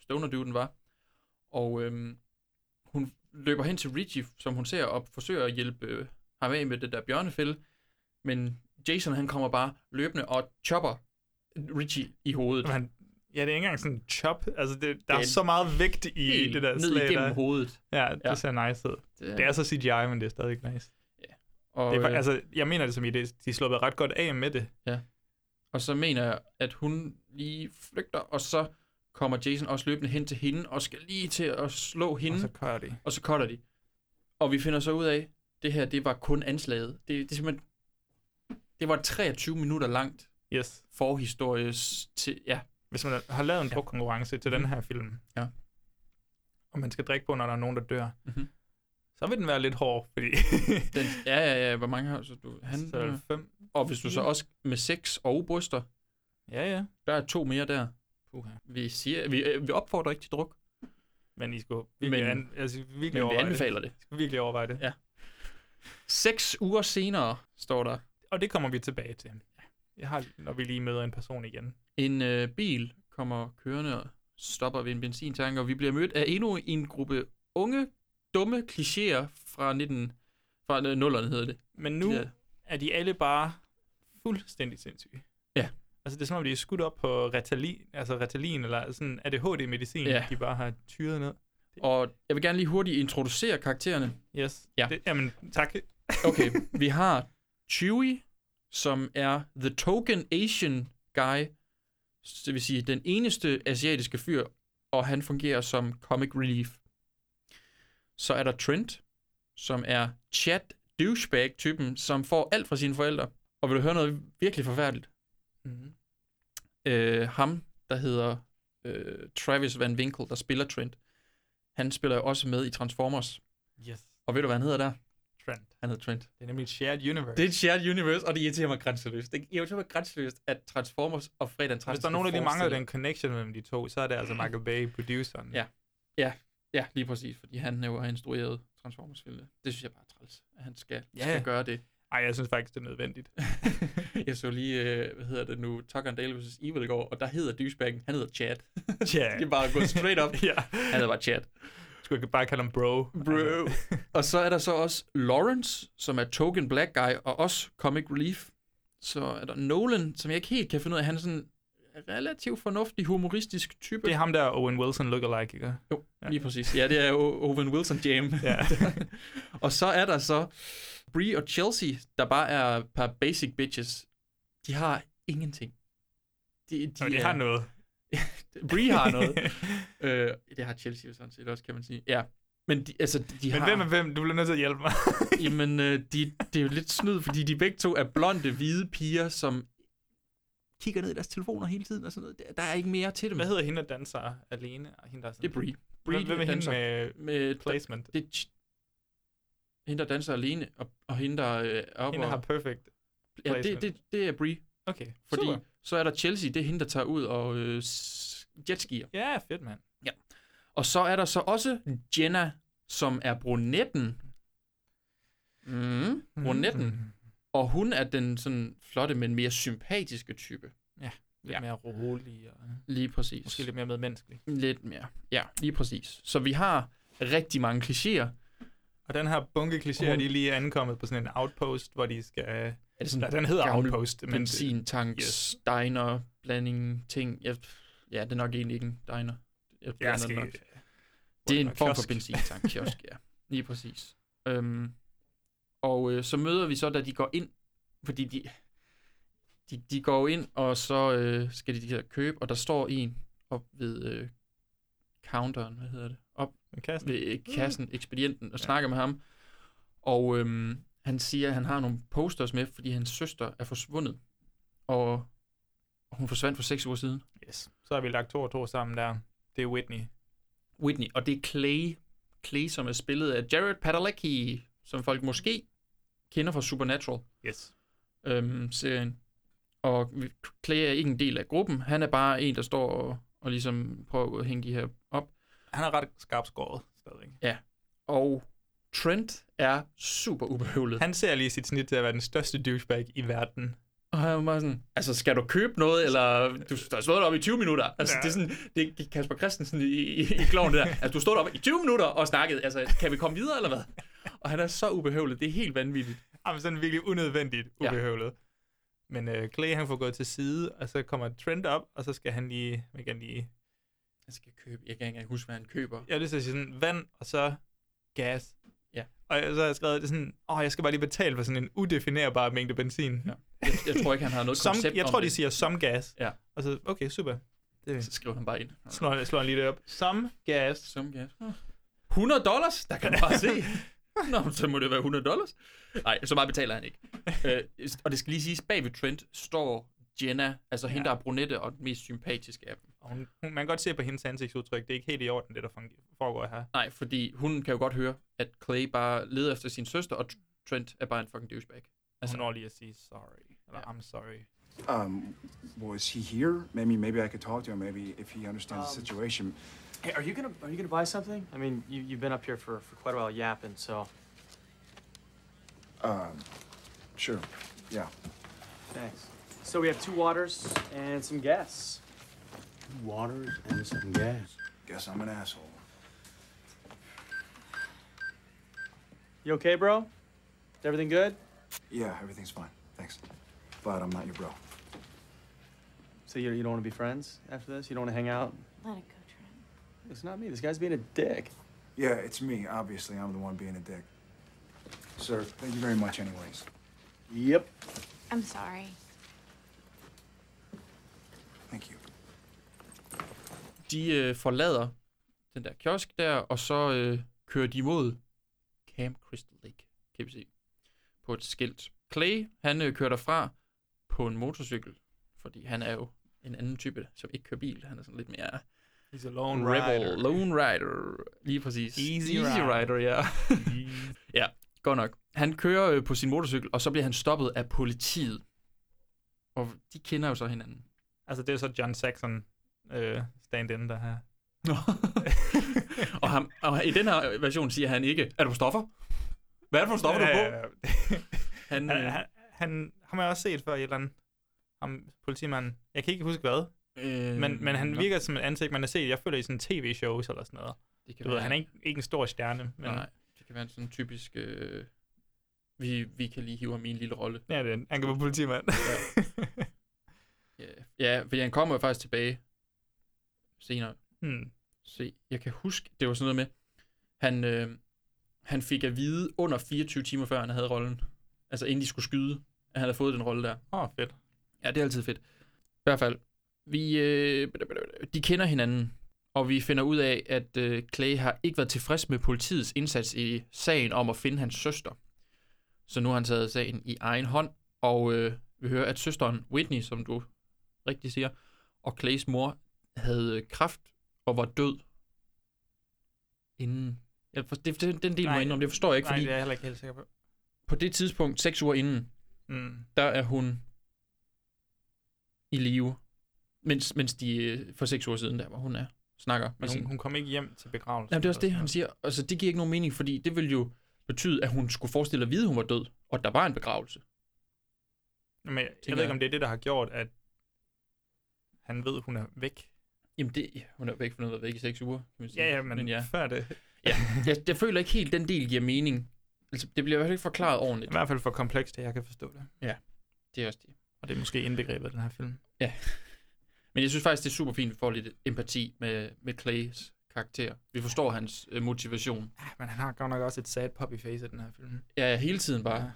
stonerdyven var. Og øhm, hun løber hen til Richie, som hun ser, og forsøger at hjælpe øh, ham af med det der bjørnefælde. Men Jason, han kommer bare løbende og chopper Richie i hovedet. Men, han- ja, det er ikke engang sådan en chop. Altså, det, der Det er, er så meget vægt i Helt det der ned slag. igennem Der. hovedet. Ja, det Ja. ja. ser nice ud. Det er så CGI, men det er stadig ikke nice. og, Det er, fa- øh, altså, jeg mener det som i det, de sluppede ret godt af med det. Og så mener jeg, at hun lige flygter, og så kommer Jason også løbende hen til hende, og skal lige til at slå hende, Og så kører de. og så cutter de. Og vi finder så ud af, det her, det var kun anslaget. Det, det er simpelthen, det var et 23 minutter langt Yes. forhistorie til, ja, Hvis man har lavet en drukkonkurrence til den her film, Mhm. Ja. og man skal drikke på, når der er nogen, der dør, Mhm. så vil den være lidt hård, fordi... den, ja, ja, ja, hvor mange har så du, han, øh, så fem. og hvis du så også med seks og bryster, Ja, ja. der er to mere der. Puha. Vi, siger, vi, øh, vi opfordrer ikke til druk, Men I skulle virkelig, Men- an, altså, virkelig men vi overveje anbefaler det. det. I skulle virkelig overveje det. Ja. Seks uger senere, står der, Og det kommer vi tilbage til. Jeg har, når vi lige møder en person igen. En øh, bil kommer kørende og stopper ved en benzintank, og vi bliver mødt af endnu en gruppe unge, dumme klichéer fra 19 fra øh, nullerne hedder det. Men nu Ja. ja. er de alle bare fuldstændig sindssyge. Ja. Altså det er som om, de er skudt op på retalin, altså retalin eller sådan ADHD-medicin, Ja. ja. de bare har tyret ned. Og jeg vil gerne lige hurtigt introducere karaktererne. Yes. Ja. Det, jamen, tak. Okay, vi har Chewie, som er the token Asian guy, så det vil sige den eneste asiatiske fyr, og han fungerer som comic relief. Så er der Trent, som er chat douchebag-typen, som får alt fra sine forældre. Og vil du høre noget virkelig forfærdeligt? Mm-hmm. øh, ham, der hedder øh, Travis Van Winkle, der spiller Trent, han spiller jo også med i Transformers. Yes. Og ved du, hvad han hedder der? Trent. Han hedder Trent. Det er nemlig et shared universe. Det er et shared universe, og det irriterer mig grænseløst. Det irriterer mig grænseløst, at Transformers og Fredag Trans. Hvis der er nogen, der lige mangler den connection mellem de to, så er det altså Michael Bay, produceren. Ja. Ja, ja, lige præcis, fordi han jo har instrueret transformers filmene Det synes jeg bare er træls, at han skal, Ja. yeah. skal gøre det. Ej, jeg synes faktisk, det er nødvendigt. jeg så lige, øh, hvad hedder det nu, Tucker and Dale vs. Evil i går, og der hedder douchebagen, han hedder Chad. Chad. det er bare gået straight up. ja. Han hedder bare Chad. Skulle jeg bare kalde ham bro. Altså, Bro. og så er der så også Lawrence, som er token black guy, og også comic relief. Så er der Nolan, som jeg ikke helt kan finde ud af, han er sådan en relativt fornuftig, humoristisk type. Det er ham der, Owen Wilson lookalike, ikke? Jo, Ja. ja. lige præcis. Ja, det er jo Owen Wilson jam. Ja. og så er der så Brie og Chelsea, der bare er et par basic bitches. De har ingenting. De, de, Nå, de har noget. Brie har noget. øh, det har Chelsea jo sådan set også, kan man sige. Ja. Men de, altså, de Men har... hvem er hvem? Du bliver nødt til at hjælpe mig. Jamen, øh, de, det er jo lidt snyd, fordi de begge to er blonde, hvide piger, som kigger ned i deres telefoner hele tiden og sådan noget. Der- Der er ikke mere til dem. Hvad hedder hende, der danser alene? Og hende, der er Det sådan... er Brie. Hvem, Brie hvem er hende danser med med placement? Det er ch- hende, der danser alene, og, og hende, der øh, er oppe Hende og- har perfect. ja, det, placement. det, det er Brie. Okay, Fordi super. så er der Chelsea, det er hende, der tager ud og øh, s- jetskier. Ja, fedt, mand. Og så er der så også Jenna, som er brunetten. Mm, brunetten. Mm. Og hun er den sådan flotte, men mere sympatiske type. Lidt Ja. mere rolig og Lige præcis. måske lidt mere medmenneskelig. lidt mere. Ja, lige præcis. Så vi har rigtig mange klichéer. Og den her bunke klichéer, Hun- de er lige ankommet på sådan en outpost, hvor de skal... Er det Ja, den hedder gammel Outpost, men- Benzintanks, Yes. yes. diner, blanding, ting. Ja, pff, ja, det er nok egentlig ikke en diner. Jeg blander Jeg den skal... nok. Det er en Eller form for kiosk. benzintank, kiosk, ja. Lige præcis. Øhm, og øh, så møder vi så, da de går ind, fordi de, de, de går jo ind, og så øh, skal de, de her købe, og der står en op ved øh, counteren, hvad hedder det, op En kasse. ved øh, kassen, ekspedienten, og snakker med ham. Og øhm, han siger, at han har nogle posters med, fordi hans søster er forsvundet. Og og hun forsvandt for seks uger siden. Yes. Så har vi lagt to og to sammen der. Det er Whitney. Whitney, og det er Clay. Clay, som er spillet af Jared Padalecki, som folk måske kender fra Supernatural. Yes. øhm, serien. Og vi- Clay er ikke en del af gruppen. Han er bare en, der står og, og ligesom prøver at hænge de her op. Han er ret skarpt skåret stadigvæk. Og Trent er super ubehøvlet. Han, Han ser lige sit snit til at være den største douchebag i verden. og han er bare sådan, altså skal du købe noget, eller du der stod deroppe i 20 minutter. Altså Ja. ja. det er sådan, det er Kasper Christensen i, i, i kloven det der. Altså du stod deroppe i 20 minutter og snakkede, altså kan vi komme videre eller hvad? Og han er så ubehøvlet, det er helt vanvittigt. Jamen Ah, sådan virkelig unødvendigt Ja. ubehøvlet. Ja. Men øh, Clay han får gået til side, og så kommer Trent op, og så skal han lige, man kan lige, Jeg skal købe, jeg kan ikke engang huske, hvad han køber. jeg har lyst til at sige sådan, vand, og så gas. Ja. Og så har jeg skrevet det er sådan, åh, jeg skal bare lige betale for sådan en udefinerbar mængde benzin. Ja. Jeg, jeg tror ikke, han har noget Som, koncept jeg om tror, de det. siger som gas. Ja. Og så, okay, super. Så skriver han bare ind. Slår, slår han lige det op. Som gas. Som gas. 100 dollars? Der kan man bare se. Nå, men så må det være 100 dollars. Nej, så meget betaler han ikke. Øh, og det skal lige siges, bag ved Trent står Jenna, altså ja. hende, der er brunette og den mest sympatiske af dem. Og hun, hun, man kan godt se på hendes ansigtsudtryk, det er ikke helt i orden, det der fungerer- foregår her. Nej, fordi hun kan jo godt høre, at Clay bare leder efter sin søster, og Trent er bare en fucking douchebag. Altså, Altså- hun når lige at sige sorry. Eller I'm sorry. Um, was he here? Maybe, maybe I could talk to him. Maybe if he understands the Um, situation. Hey, are you gonna are you gonna buy something? I mean, you you've been up here for for quite a while yapping, so Um, sure. Yeah. thanks. So we have two waters and some gas. Water and some gas. Guess I'm an asshole. You okay, bro? Is everything good? Yeah, everything's fine. Thanks. But I'm not your bro. So you you don't want to be friends after this? You don't want to hang out? Let it go, Trent. It's not me. This guy's being a dick. Yeah, it's me. Obviously, I'm the one being a dick. Sir, thank you very much, anyways. Yep. I'm sorry. Thank you. De øh, forlader den der kiosk der, og så øh, kører de mod Camp Crystal Lake, kan vi se, på et skilt. Clay, han øh, kører derfra på en motorcykel, fordi han er jo en anden type, som ikke kører bil. Han er sådan lidt mere He's a lone lone rider. rebel, lone rider, lige præcis. Easy rider. rider. ja. ja, Godt nok. Han kører øh, på sin motorcykel, og så bliver han stoppet af politiet. Og de kender jo så hinanden. Altså, det er så John Saxon øh, stand-in, der her. og, ham, og i den her version siger han ikke, er du på stoffer? Hvad er det for stoffer, du er på? øh, han, han, han, han, ham har jeg også set før i et eller andet. Ham, politimanden. Jeg kan ikke huske hvad. Øh, men, men han nå. virker som et ansigt, man har set. Jeg føler i sådan tv-shows eller sådan noget. Det kan Du ved, være. han er ikke, ikke en stor stjerne. Men, Men... Nej, det kan være en sådan typisk... Øh, vi, vi kan lige hive ham i en lille rolle. Ja, det er, han kan være politimand. Ja. ja. ja, fordi han kommer jo faktisk tilbage senere. Hmm. Se, jeg kan huske, det var sådan noget med, han, øh, han fik at vide under 24 timer før, han havde rollen. Altså inden de skulle skyde, at han havde fået den rolle der. Åh, oh, fedt. Ja, det er altid fedt. I hvert fald, vi, øh, de kender hinanden, og vi finder ud af, at øh, Clay har ikke været tilfreds med politiets indsats i sagen om at finde hans søster. Så nu har han taget sagen i egen hånd, og øh, vi hører, at søsteren Whitney, som du rigtig siger, og Clays mor havde øh, kræft og var død inden. Jeg for, det, det, den del må jeg indrømme, det forstår jeg ikke, nej, fordi det er jeg heller ikke helt sikker på. på det tidspunkt, seks uger inden, Mm. der er hun i live. Mens, mens de øh, for seks uger siden, der hvor hun er, snakker med Men sin... hun, hun kom ikke hjem til begravelsen. Jamen, det er også det, eller han siger. Altså, det giver ikke nogen mening, fordi det ville jo betyde, at hun skulle forestille at vide, at hun var død, og at der var en begravelse. sådan noget. Men jeg, jeg ved tænker jeg. ikke, om det er det, der har gjort, at han ved, hun er væk. Jamen, det, ja, hun er væk, for hun har været væk i seks uger, kan man sige. Ja, ja, men, men ja. ja. før det. ja jeg, jeg, føler ikke helt, den del giver mening. Altså, det bliver i hvert fald ikke forklaret I ordentligt. hvert fald for komplekst, at jeg kan forstå det. Det er også det. Og det er måske indbegrebet af den her film. Men jeg synes faktisk, det er super fint, at vi får lidt empati med, med Clays karakter. Vi forstår hans øh, motivation. Ja, men han har godt nok også et sad puppy face i den her film. Ja, hele tiden bare. Ja. Ja.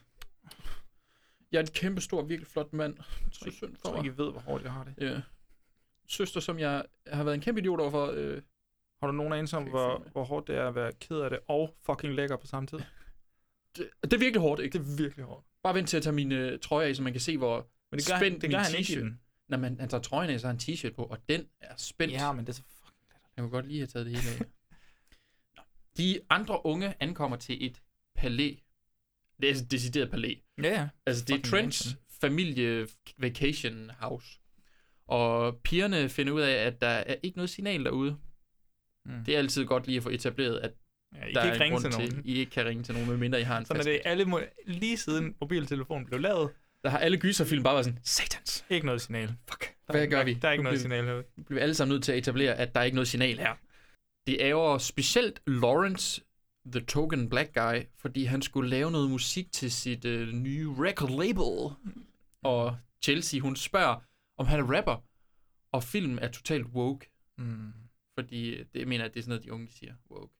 Jeg er en kæmpe stor, virkelig flot mand. Så synd Jeg for tror mig. ikke, I ved, hvor hårdt jeg har det. Ja. Søster, som jeg har været en kæmpe idiot overfor. Øh, Har du nogen anelse om, Jeg kan ikke hvor, finde det. hvor hårdt det er at være ked af det og fucking lækker på samme tid? det, det er virkelig hårdt, ikke? Det er virkelig hårdt. Bare vent til at tage min øh, trøje af, så man kan se, hvor Men det gør, spændt han, det min gør han ikke i t-shirt. den. Når man, han tager trøjen af, så har han en t-shirt på, og den er spændt. Ja, men det er så fucking lækkert. Jeg kunne godt lige have taget det hele af. Nå. De andre unge ankommer til et palæ. Det er altså et decideret palæ. Ja, ja. Altså, det er Fucking Trents awesome. familie vacation house. Og pigerne finder ud af, at der er ikke noget signal derude. Mm. Det er altid godt lige at få etableret, at ja I der kan er ikke en ringe grund til nogen. I ikke kan ringe til nogen, medmindre I har en Sådan er fast- det i alle mo- lige siden mobiltelefonen blev lavet. Der har alle gyserfilm bare været sådan, satans, Ikke noget signal. fuck, Der hvad er, gør der, vi? Der er ikke Nu noget bliver- signal herude. Nu bliver vi alle sammen nødt til at etablere, at der er ikke noget signal her. Det ærger specielt Lawrence, the token black guy, fordi han skulle lave noget musik til sit øh, nye record label. Og Chelsea, hun spørger, om han er rapper. Og filmen er totalt woke, Mm. fordi øh, det jeg mener jeg, det er sådan noget, de unge siger, woke.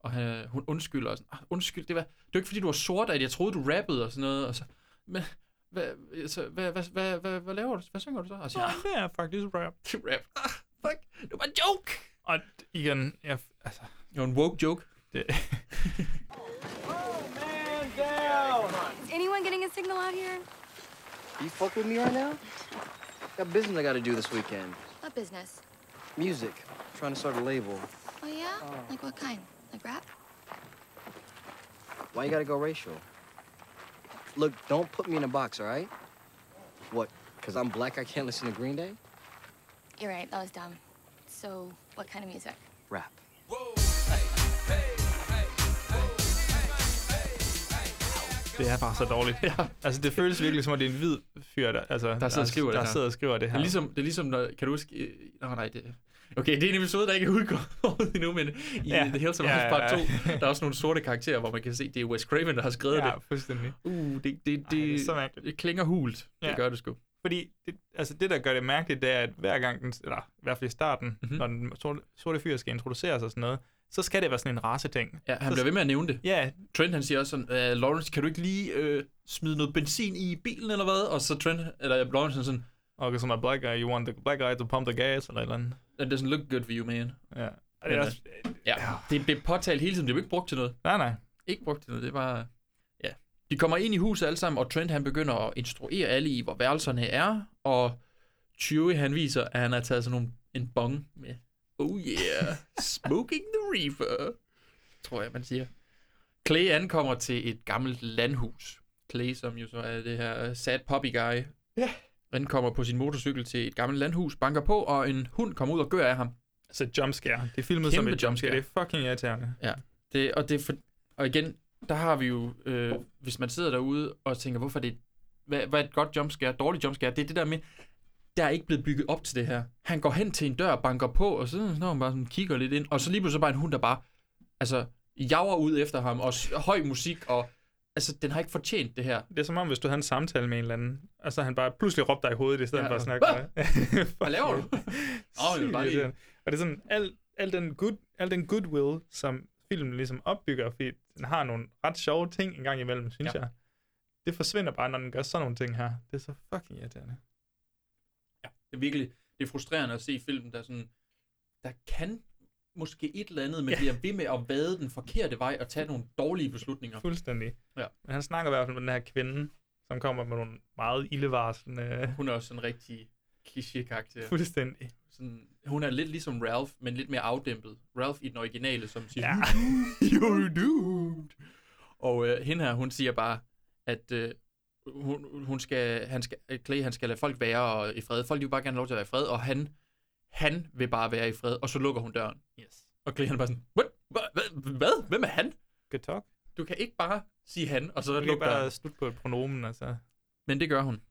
Og han, øh, hun undskylder og sådan, "Ah, undskyld, det var, det var ikke fordi, du var sort, at jeg troede, du rappede og sådan noget. Og så, men, hvad, så, hvad, hvad, hvad, hvad, hvad laver du? Hvad synger du så? Og jeg siger, Ja, det er faktisk rap. rap. Ah, fuck, det var en joke. Og d- igen, jeg, f- altså, Det var en woke joke. det, Is anyone getting a signal out here? You fuck with me right now? Got business I gotta do this weekend. What business? Music. Trying to start a label. Oh yeah? Like what kind? Like rap? Why you gotta go racial? Look, don't put me in a box, all right? What? Cause I'm black, I can't listen to Green Day? You're right, that was dumb. So, what kind of music? Rap. det er bare så dårligt. Altså, det føles virkelig som, at det er en hvid fyr, der, altså, der, sidder og skriver der, det der her. sidder og skriver det Det her. er ligesom, det er ligesom når, kan du huske... øh, Nå, nej, det, okay, det er en episode, der ikke er udkommet endnu, men i Ja. ja. The Hills of Ja, ja, ja, Part 2, ja. der er også nogle sorte karakterer, hvor man kan se, det er Wes Craven, der har skrevet ja. ja, det. fuldstændig. Uh, det, det, det, Ej, det er så mærkeligt. det klinger hult. Ja. Ja. Det gør det sgu. Fordi det, altså det, der gør det mærkeligt, det er, at hver gang, den, eller i hvert fald i starten, Mhm. mm-hmm. når den sorte, sorte fyr skal introduceres og sådan noget, så skal det være sådan en raceting. Ja, han Så- bliver ved med at nævne det. Ja, Trent, han siger også sådan, "Øh, Lawrence, kan du ikke lige øh, smide noget benzin i bilen eller hvad? Og så Trent, eller Lawrence, han er sådan, okay, so my black guy, you want the black guy to pump the gas, eller et eller andet. that doesn't look good for you, man. Ja. Og det Men, er også, Ja, det bliver påtalt hele tiden, det bliver ikke brugt til noget. nej, nej. ikke brugt til noget. Det var... Ja. De kommer ind i huset alle sammen, og Trent han begynder at instruere alle i, hvor værelserne er, og Chewie han viser, at han har taget sådan nogle, en bong med. Oh yeah, smoking the reefer, tror jeg, man siger. Clay ankommer til et gammelt landhus. Clay, som jo så er det her sad puppy guy, Ja. ankommer på sin motorcykel til et gammelt landhus, banker på, og en hund kommer ud og gør af ham. Så et jumpscare. Det er filmet som et jumpscare. Det er fucking irriterende. Ja, det, og, det er for, og igen, der har vi jo, øh, hvis man sidder derude og tænker, hvorfor er det, hvad, hvad er et godt jumpscare, dårligt jumpscare, det er det der med, der er ikke blevet bygget op til det her. Han går hen til en dør, banker på, og så når han bare sådan, kigger lidt ind, og så lige pludselig bare en hund, der bare, altså, jager ud efter ham, og s- høj musik, og altså, den har ikke fortjent det her. Det er som om, hvis du havde en samtale med en eller anden, og så han bare pludselig råbte dig i hovedet, i stedet Ja, for at og- snakke med dig. Hvad laver du? Åh, det er Sygt bare lige- irriterende. Og det er sådan, al, al, den good, al den goodwill, som filmen ligesom opbygger, fordi den har nogle ret sjove ting en gang imellem, synes Ja. ja. jeg. Det forsvinder bare, når den gør sådan nogle ting her. Det er så fucking irriterende. Det er virkelig det er frustrerende at se filmen, der sådan, der kan måske et eller andet, men Ja. bliver ved med at vade den forkerte vej og tage nogle dårlige beslutninger. Fuldstændig. Ja. Men han snakker i hvert fald med den her kvinde, som kommer med nogle meget ildevarslende... Hun er også en rigtig kliché-karakter. Fuldstændig. Sådan, hun er lidt ligesom Ralph, men lidt mere afdæmpet. Ralph i den originale, som siger, Ja. You're doomed. Og øh, hende her, hun siger bare, at øh, hun, hun skal, han skal, øh, Clay, han skal lade folk være og i fred. Folk de vil bare gerne have lov til at være i fred, og han, han vil bare være i fred. Og så lukker hun døren. Yes. Og Clay han er bare sådan, What? Hva? Hva? Hvad? Hvem er han? Good talk. Du kan ikke bare sige han, og så Du kan ikke lukke døren. bare slutte på et pronomen, altså. Men det gør hun.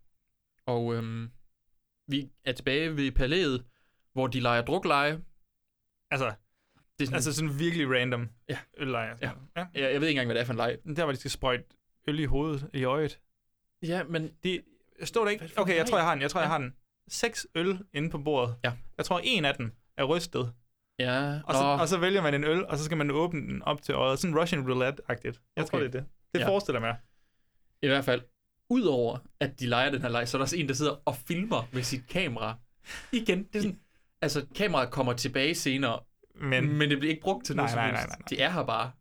Og øhm, vi er tilbage ved palæet, hvor de leger drukleje. Altså, Det er sådan, altså sådan virkelig random Mm. Ja. øllejr. Ja. ja. jeg, jeg ved ikke engang, hvad det er for en leg. Der, hvor de skal sprøjte øl i hovedet, i øjet. Ja, men Det står der ikke. for Okay, jeg nej? tror, jeg har den. Jeg tror, jeg Ja. har den. Seks øl inde på bordet. Ja. Jeg tror, en af dem er rystet. Ja, Og så, og så vælger man en øl, og så skal man åbne den op til øjet. Sådan Russian roulette-agtigt. Jeg Okay. tror, det er det. Det Ja. forestiller jeg mig. i hvert fald, udover at de leger den her leg, så er der også en, der sidder og filmer med sit kamera. Igen, det er sådan, altså kameraet kommer tilbage senere, Men, men, men det bliver ikke brugt til noget Nej, nej, som nej, helst. nej, nej. Det er her bare.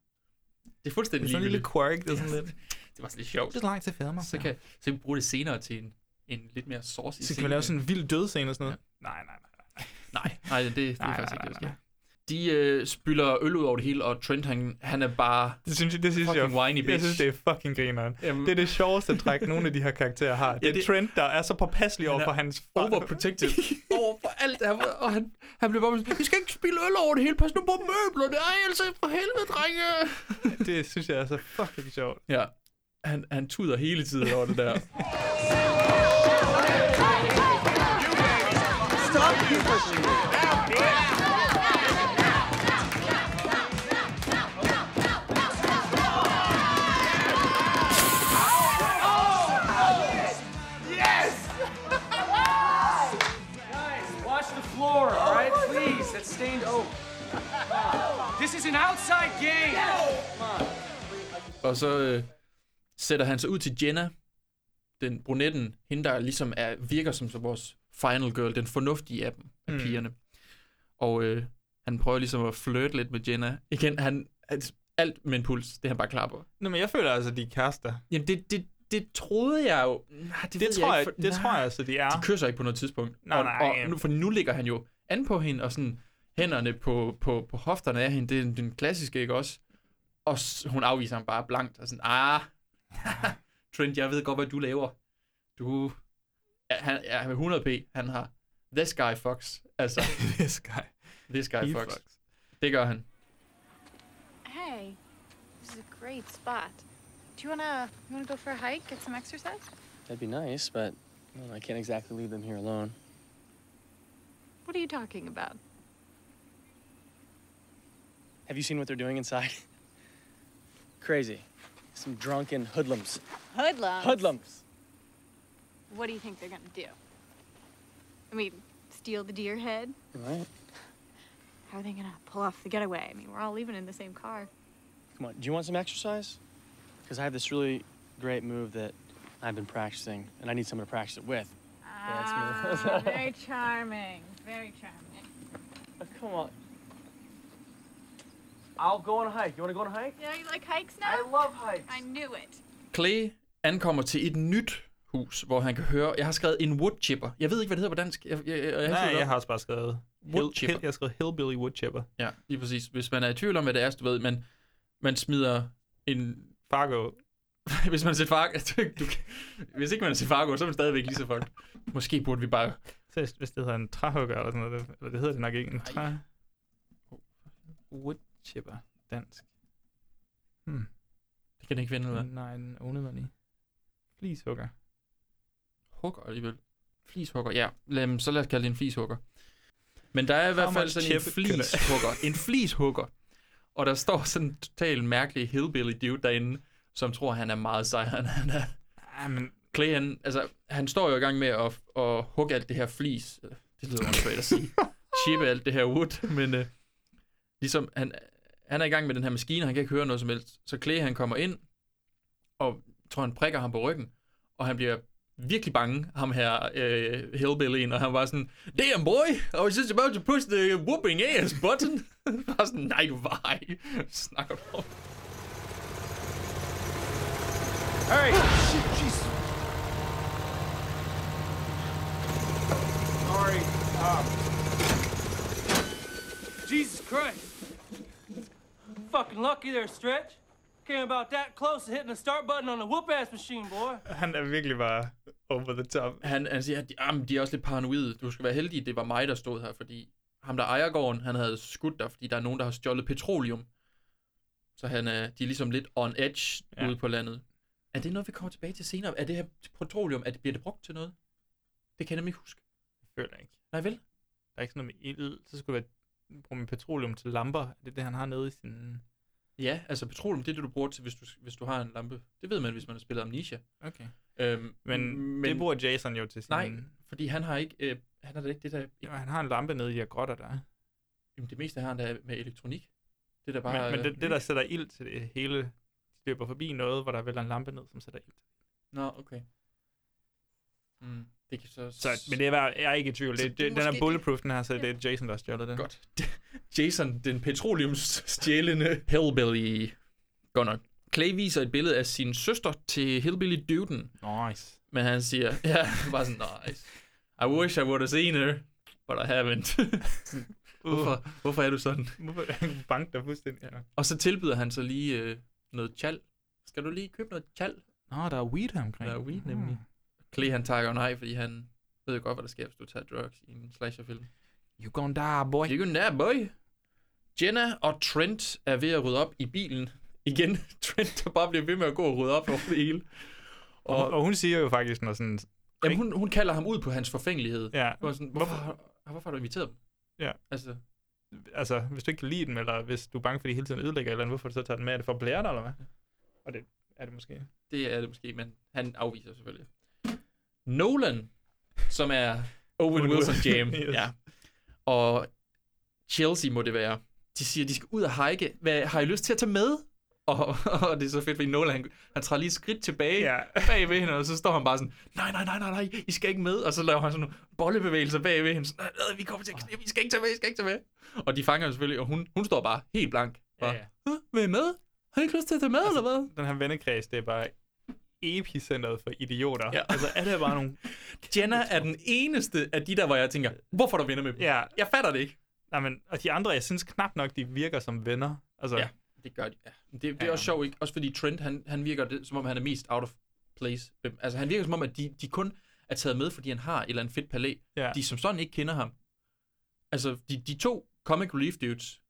Det er det er fuldstændig sådan en lille quirk. ligegyldigt. Det er sådan lidt... Det var sådan lidt sjovt. Det er langt til fædre mig. Så kan, så kan vi bruge det senere til en, en lidt mere saucy Så kan man lave sådan en vild dødscene og sådan noget. Nej, nej, nej. Nej, nej, det, det er Nej, faktisk nej, ikke det, der nej, sker. De øh, spyller øl ud over det hele, og Trent, han, han er bare... Det synes jeg, det synes Fucking jeg, whiny bitch. jeg synes, det er fucking grineren. Jamen. Det er det sjoveste træk, nogle af de her karakterer har. Det er det- det... Trent, der er så påpasselig over er for hans... overprotective over for alt det her, og han, han bliver bare sådan, vi skal ikke spille øl over det hele, pas nu på møblerne, ej, altså for helvede, drenge. det synes jeg er så fucking sjovt. Ja, han, han tuder hele tiden over det der. Stop you pushing me. Guys, wash the floor, all right? Please, that's stained oak. This is an outside game. Og så øh, sætter han sig ud til Jenna, den brunetten, hende der ligesom er, virker som så vores final girl, den fornuftige af dem, af mm. Mm. pigerne. Og øh, han prøver ligesom at flirte lidt med Jenna. Igen, han, altså, alt med en puls, det er han bare klar på. Nå, men jeg føler altså, de er kærester. Jamen, det, det, det troede jeg jo. Nej, Det, ved det, tror, jeg, ikke, for- det nej. tror jeg altså, de er. De kysser ikke på noget tidspunkt. Nej, og, nej, og ja. nu, for nu ligger han jo an på hende, og sådan hænderne på, på, på hofterne af hende. Det er den- den klassiske, ikke også? Og s- hun afviser ham bare blankt, og sådan, ah, Trent, jeg ved godt, hvad du laver. Du, ja, han er ja, 100p, han har this guy fucks. Altså, This guy. this guy He fucks. fucks. Det gør han. Hey, this is a great spot. Do you wanna you wanna go for a hike, get some exercise? That'd be nice, but well, I can't exactly leave them here alone. What are you talking about? Have you seen what they're doing inside? Crazy. Some drunken hoodlums. Hoodlums. Hoodlums. What do you think they're gonna do? I mean, steal the deer head? Right? How are they gonna pull off the getaway? I mean, we're all leaving in the same car. Come on, do you want some exercise? Because I have this really great move that I've been practicing, and I need someone to practice it with. That's me. very charming. Very charming. Uh, Come on. I'll go on a hike. You want to go on a hike? Yeah, you like hikes now? I love hikes. I knew it. Clay ankommer til et nyt hus, hvor han kan høre, jeg har skrevet en woodchipper. Jeg ved ikke, hvad det hedder på dansk. Jeg, jeg, jeg, jeg, Nej, jeg har også bare skrevet... Hill, Woodchipper. hill, jeg har skrevet Hillbilly Woodchipper. Ja, lige præcis. Hvis man er i tvivl om, hvad det er, så du ved, man, man smider en Fargo. hvis man ser Fargo, du, hvis ikke man ser Fargo, så er man stadigvæk lige så fucked. Måske burde vi bare... Så hvis det hedder en træhugger eller sådan noget, det- eller det hedder det nok ikke, en træ... Woodchipper, dansk. Hmm. Det kan det ikke vinde ud af. Nej, en onedvandig. Flishugger. Hugger alligevel. Flishugger, ja. Lad, dem- så lad os kalde det en flishugger. Men der er i hvert fald much sådan en chip can I- flishugger. en flishugger. Og der står sådan en totalt mærkelig hillbilly dude derinde, som tror, han er meget sejere, end han er. Ja, men... Clay, han, altså, han står jo i gang med at, at hugge alt det her flis. Øh, Det lyder åndssvagt at sige. Chippe alt det her wood, men øh, ligesom han, han er i gang med den her maskine, og han kan ikke høre noget som helst. Så Clay, han kommer ind, og tror, han prikker ham på ryggen, og han bliver virkelig bange, ham her øh, hillbillyen, og han var sådan, damn boy, I was just about to push the whooping ass button. bare sådan, nej du var ej. Hvad Snakker du om. Hey! Oh, Sorry. um. Jesus Christ. Fucking lucky there, Stretch. Came about that close to hitting the start button on the whoop-ass machine, boy. Han er virkelig bare over the top. Han, han siger, at de, jamen, de er også lidt paranoide. Du skal være heldig, det var mig, der stod her, fordi ham, der ejer gården, han havde skudt dig, fordi der er nogen, der har stjålet petroleum. Så han er, de er ligesom lidt on edge ja. Ja. ude på landet. Er det noget, vi kommer tilbage til senere? Er det her petroleum, er det, bliver det brugt til noget? Det kan jeg nemlig ikke huske. Føler ikke. Nej vel? Der er ikke sådan noget med ild. Så skulle det være bruge med petroleum til lamper. Er Det er det, han har nede i sin... Ja, altså petroleum, det er det, du bruger til, hvis du, hvis du har en lampe. Det ved man, hvis man har spillet Amnesia. Okay. Øhm, Men, men det bruger Jason jo til sin... Nej, fordi han har ikke, øh, han har da ikke det der... Jo, han har en lampe nede i de her grotter, der er. Jamen, det meste har han da med elektronik. Det er da bare... Bare, men, men øh, det, det, der sætter ild til det hele, de løber forbi noget, hvor der vælger en lampe ned, som sætter ild. Nå, okay. Mm, det kan så... Så, men det er, jeg er ikke i tvivl. Så Det, det, det er den er måske- bulletproof, den her, så det er Jason, der har stjålet den. Godt. Jason, den petroleumsstjælende hellbilly gunner. Clay viser et billede af sin søster til hillbilly duden, Nice. men han siger, ja, bare sådan, nice. I wish I would have seen her, but I haven't. hvorfor, hvorfor er du sådan? Hvorfor han kunne banke dig fuldstændig? Ja. Og så tilbyder han så lige øh, noget chal. Skal du lige købe noget chal? Nå, der er weed her omkring. Mm. Der er weed nemlig. Clay han takker jo nej, fordi han ved jo godt, hvad der sker, hvis du tager drugs i en slasherfilm. You gonna die, boy. You gonna die, boy. Jenna og Trent er ved at rydde op i bilen. Igen, Trent der bare bliver ved med at gå og rydde op over det hele. Og, og, og hun siger jo faktisk noget sådan... Jamen, hun, hun kalder ham ud på hans forfængelighed. Ja. Hun er sådan, hvorfor, hvorfor har du inviteret dem? Ja. Altså, Altså, hvis du ikke kan lide dem, eller hvis du er bange for, at de hele tiden ødelægger et eller andet, hvorfor du så tager den med? Er det for at blære dig, eller hvad? Og det er det måske. det er det måske, men han afviser selvfølgelig. Nolan, som er Owen Owen Wilson Jam. Wilson, yes. ja. Og Chelsea må det være. De siger, de skal ud og hike. Hvad har I lyst til at tage med? Og, og det er så fedt, fordi Nolan, han, han træder lige et skridt tilbage Ja. bag ved hende, og så står han bare sådan, nej, nej, nej, nej, nej, I skal ikke med. Og så laver han sådan nogle bollebevægelser bag ved hende. Sådan, nej, nej, vi kommer til at knibe, I skal ikke tage med, I skal ikke tage med. Og de fanger hende selvfølgelig, og hun, hun står bare helt blank. Bare, Ja, ja. "Hå, Vil I med? Har I ikke lyst til at tage med, altså, eller hvad? Den her vennekreds, det er bare epicentret for idioter. Ja. Altså, er det bare nogle... Jenna er den eneste af de der, hvor jeg tænker, hvorfor er der venner med dem? Ja. Jeg fatter det ikke. Nej, men, og de andre, jeg synes knap nok, de virker som venner. Altså, Ja, det gør de. Ja. Det, det er Ja. også sjovt, ikke? Også fordi Trent, han, han virker det, som om, han er mest out of place. Øhm, Altså, han virker som om, at de, de kun er taget med, fordi han har et eller andet fedt palæ. Ja. De som sådan ikke kender ham. Altså, de, de to comic relief dudes,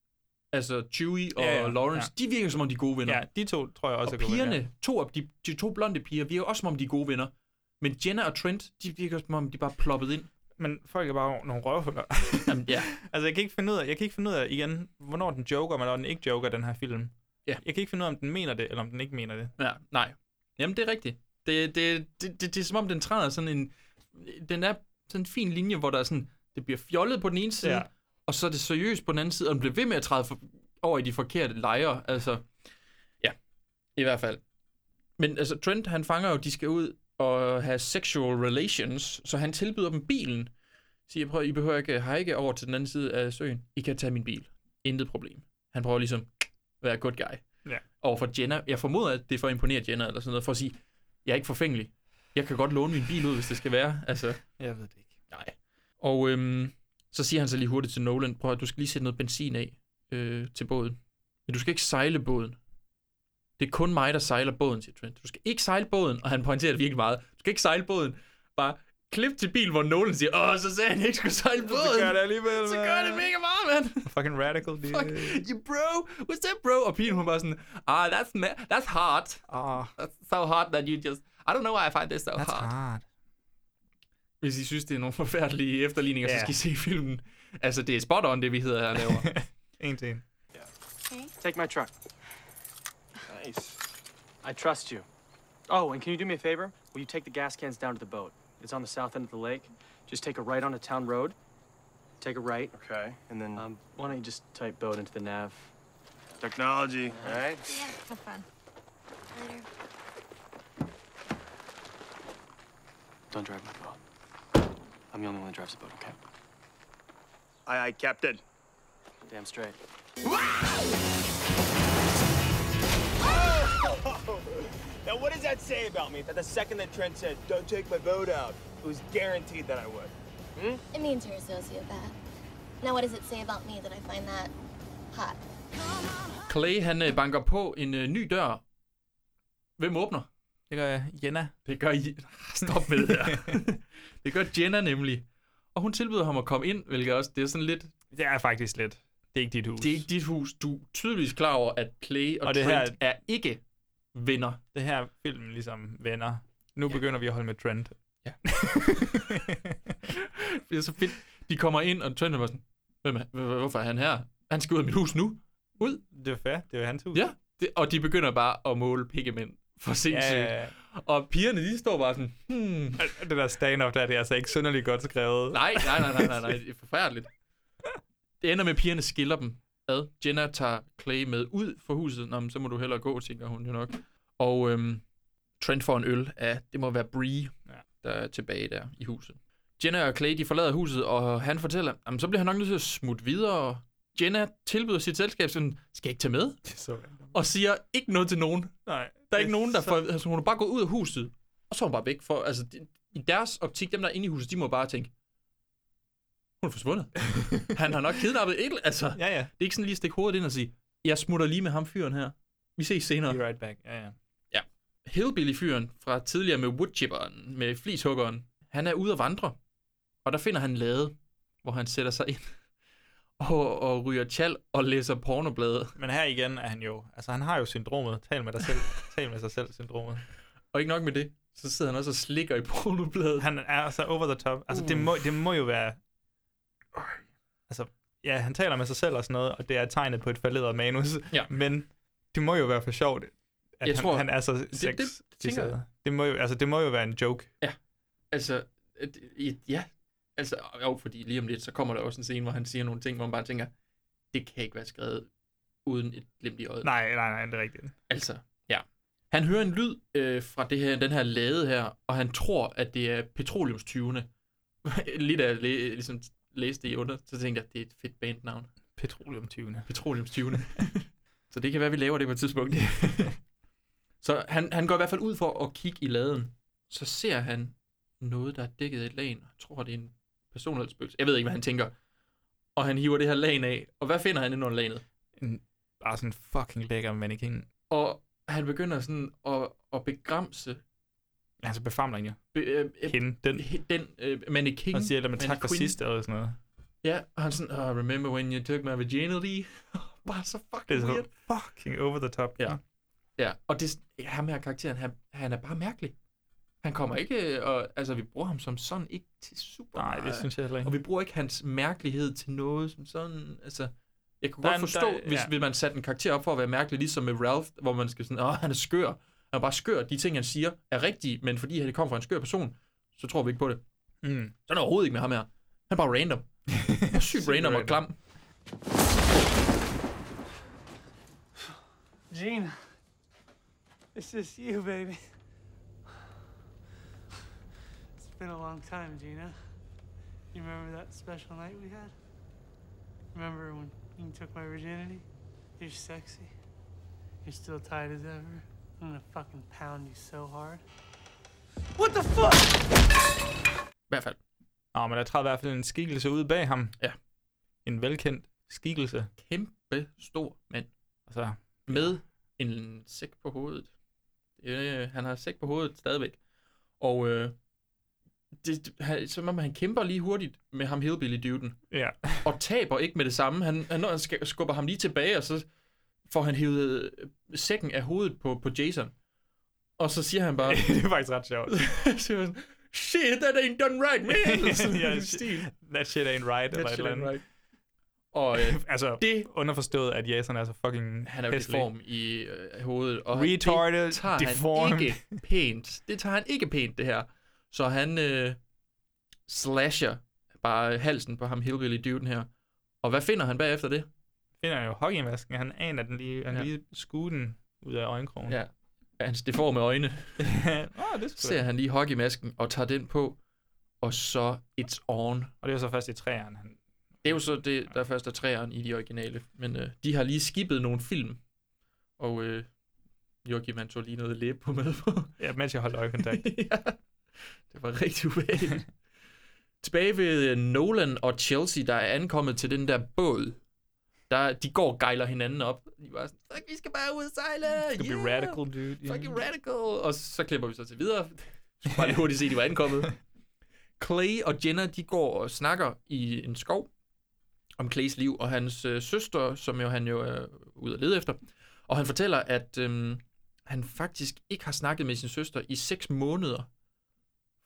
altså Chewie og Ja, ja, Lawrence, de virker som om, de er gode venner. ja, de to tror jeg også og er gode venner. pigerne, to af de, de to blonde piger, virker også som om, de er gode venner. Men Jenna og Trent, de virker som om, de bare er ploppet ind. Men folk er bare nogle røvhuller. Jamen, ja. altså, jeg kan ikke finde ud af, jeg kan ikke finde ud af igen, hvornår den joker, men når den ikke joker, den her film. Ja. Jeg kan ikke finde ud af, om den mener det, eller om den ikke mener det. Ja, nej. Jamen, det er rigtigt. Det, det, det, det, det er som om, den træder sådan en... Den er sådan en fin linje, hvor der er sådan... Det bliver fjollet på den ene side, ja. Ja. og så er det seriøst på den anden side, og den bliver ved med at træde for, over i de forkerte lejre. Altså, ja, i hvert fald. Men altså, Trent, han fanger jo, de skal ud og have sexual relations, så han tilbyder dem bilen. Siger, prøv, I behøver ikke hike over til den anden side af søen. I kan tage min bil. Intet problem. Han prøver ligesom at være good guy Ja. over for Jenna. Jeg formoder, at det er for at imponere Jenna eller sådan noget, for at sige, jeg er ikke forfængelig. Jeg kan godt låne min bil ud, hvis det skal være. Altså, Jeg ved det ikke. nej. Og øhm, så siger han så lige hurtigt til Nolan, prøv at du skal lige sætte noget benzin af øh, til båden. Men du skal ikke sejle båden. Det er kun mig, der sejler båden, siger Trent. Du skal ikke sejle båden, og han pointerer det virkelig meget. Du skal ikke sejle båden. Bare klip til bil, hvor Nolan siger, åh, så sagde han, jeg ikke skulle sejle båden. Så gør det alligevel, Så gør det mand. mega meget, mand. Fucking radical, dude. Fuck, you bro, what's that bro? Og pigen, hun var sådan, ah, that's, ma- that's hot. Ah. That's so hot that you just, I don't know why I find this so That's hard. hard. Hvis I synes, det er nogle forfærdelige efterligninger, yeah. Ja. så skal I se filmen. Altså, det er spot on, det vi hedder her og laver. En til en. Take my truck. Nice. I trust you. Oh, and can you do me a favor? Will you take the gas cans down to the boat? It's on the south end of the lake. Just take a right on a town road. Take a right. Okay. And then. Uh. Um, why don't you just type boat into the nav? Technology, right? Yeah, have fun. Later. Don't drive my boat. I'm the only one that drives the boat, okay? Aye, aye, Captain. Damn straight. Now, what does that say about me? That the second that Trent said, don't take my boat out, it was guaranteed that I would. Hmm? It means you're a sociopath. Now, what does it say about me that I find that hot? Clay, han øh, banker på en øh, ny dør. Hvem åbner? Det gør Jenna. Det gør I... Stop med det her. det gør Jenna nemlig. Og hun tilbyder ham at komme ind, hvilket også, det er sådan lidt... Det er faktisk lidt. Det er ikke dit hus. Det er ikke dit hus. Du er tydeligvis klar over, at Clay og, Og det Trent her- er ikke venner. Det her film ligesom venner. Nu begynder vi at holde med Trent. Det er så fedt. De kommer ind, og Trent er bare sådan, Hvem er, h- h- hvorfor er han her? Han skal ud af mit hus nu. Ud. Det er fair. Det er hans hus. Ja, det, og de begynder bare at måle pikkemænd for sindssygt. Ja, ja, ja. Og pigerne, de står bare sådan, hmm. Det der stand-up der, det er altså ikke synderligt godt skrevet. Nej, nej, nej, nej, nej, nej. Det er forfærdeligt. Det ender med, at pigerne skiller dem ad. Jenna tager Clay med ud for huset. Nå, men så må du hellere gå, tænker hun jo nok. Og øhm, Trent får en øl af, det må være Bree, ja. der er tilbage der i huset. Jenna og Clay, de forlader huset, og han fortæller, jamen så bliver han nok nødt til at smutte videre. Jenna tilbyder sit selskab sådan, skal jeg ikke tage med? Så, Og siger ikke noget til nogen. nej. Der er ikke nogen, der får... Altså, hun er bare gået ud af huset, og så er hun bare væk. For, altså, de, I deres optik, dem der er inde i huset, de må bare tænke, hun er forsvundet. Han har nok kidnappet et eller Altså, Ja, ja. det er ikke sådan lige at stikke hovedet ind og sige, jeg smutter lige med ham fyren her. Vi ses senere. Be right back. Ja, ja. Ja. Hillbilly-fyren fra tidligere med woodchipperen, med flishuggeren, han er ude at vandre. Og der finder han en lade, hvor han sætter sig ind og, og ryger tjal og læser pornoblade. Men her igen er han jo... Altså, han har jo syndromet. Tal med dig selv. Tal med sig selv, syndromet. Og ikke nok med det, så sidder han også og slikker i pornobladet. Han er så over the top. Altså, det, må, det må jo være... Altså, ja, han taler med sig selv og sådan noget, og det er tegnet på et falderet manus. Ja. Men det må jo være for sjovt, at Jeg han, tror- han er så det- det- sex. Det, det det, tænker jeg. det, det, må jo, altså, det må jo være en joke. Altså, at- i- ja. Altså, jo, fordi lige om lidt, så kommer der også en scene, hvor han siger nogle ting, hvor man bare tænker, det kan ikke være skrevet uden et glimt i øjet. Nej, nej, nej, det er rigtigt. Altså, ja. Han hører en lyd øh, fra det her, den her lade her, og han tror, at det er petroleumstyvene. Lidt af læ- ligesom læste det i under, så tænkte jeg, det er et fedt bandnavn. Petroleumtyvene. Petroleumstyvene. så det kan være, vi laver det på et tidspunkt. så han, han går i hvert fald ud for at kigge i laden. Så ser han noget, der er dækket af et lagen. Jeg tror, det er en person eller et spøgelse. Jeg ved ikke, hvad han tænker. Og han hiver det her lagen af. Og hvad finder han inde under lagenet? En, bare sådan en fucking lækker mannequin. Og han begynder sådan at, at begramse Altså, befamler hende jo. be, øh, øh, Hende, den. den øh, mannequin. Og siger, at man tak for mannequin." sidst, eller sådan noget. Ja, og han sådan, oh, remember when you took my virginity? Bare så fucking Det er weird. så fucking over the top. Ja. Ja, og det, er sådan- ja, ham her karakteren, han, han er bare mærkelig. Han kommer ikke, øh, og, altså vi bruger ham som sådan ikke til super Nej, det meget. synes jeg heller ikke. Og vi bruger ikke hans mærkelighed til noget som sådan, altså... Jeg kunne Der er godt en- forstå, der- hvis, ja. hvis man satte en karakter op for at være mærkelig, ligesom med Ralph, hvor man skal sådan, åh, han er skør. Han er bare skør. De ting, han siger, er rigtige, men fordi han kommer fra en skør person, så tror vi ikke på det. Mm. Så er det overhovedet ikke med ham her. Han er bare random. Han er sygt random og random. klam. Gina, it's just you, baby. It's been a long time, Gina. You remember that special night we had? Remember when you took my virginity? You're sexy. You're still tight as ever. I'm gonna fucking pound you so hard. What the fuck? I hvert fald. Nå, men der træder i hvert fald en skikkelse ud bag ham. Ja. En velkendt skikkelse. Altså, Kæmpe stor mand. Og så Med en sæk på hovedet. Øh, han har sæk på hovedet stadigvæk. Og øh, det, det- han, som om han kæmper lige hurtigt med ham hillbilly-duden. Ja. Og taber ikke med det samme. Han, han, når han sk- skubber ham lige tilbage, og så får han hævet øh, sækken af hovedet på, på Jason. Og så siger han bare... det er faktisk ret sjovt. siger han, shit, that ain't done right, man! Sådan Ja, en shit- stil. That shit ain't right. That eller et shit eller ain't andet. right. Og øh, altså, det, underforstået, at Jason er så fucking Han er jo hæslig. deform i øh, hovedet, og Retarded, det tager deformed. han ikke pænt. Det tager han ikke pænt, det her. Så han øh, slasher bare halsen på ham hillbilly duden her. Og hvad finder han bagefter det? Finder han jo hockeymasken, og han aner den lige, han Ja. lige skue den ud af øjenkrogen. Ja. Hans deforme øjne. Åh, det er sgu da- Ser han lige hockeymasken og tager den på, og så it's on. Og det er jo så først i træerne. Han... Det er jo så det, der først er træeren i de originale. Men øh, de har lige skippet nogle film, og øh, Joachim han tog lige noget læbe på med på. Ja, mens jeg holdt øjekontakt. ja, det var rigtig ubehageligt. Tilbage ved øh, Nolan og Chelsea, der er ankommet til den der båd. Der, de går og gejler hinanden op. De er bare sådan, fuck, vi skal bare ud og sejle! Det skal blive radical, dude. Ja. Fucking radical! Og så klipper vi så til videre. Vi skulle bare lige hurtigt se, de var ankommet. Clay og Jenna, de går og snakker i en skov om Clays liv og hans øh, søster, som jo han jo er ude at lede efter. Og han fortæller, at øhm, han faktisk ikke har snakket med sin søster i 6 måneder,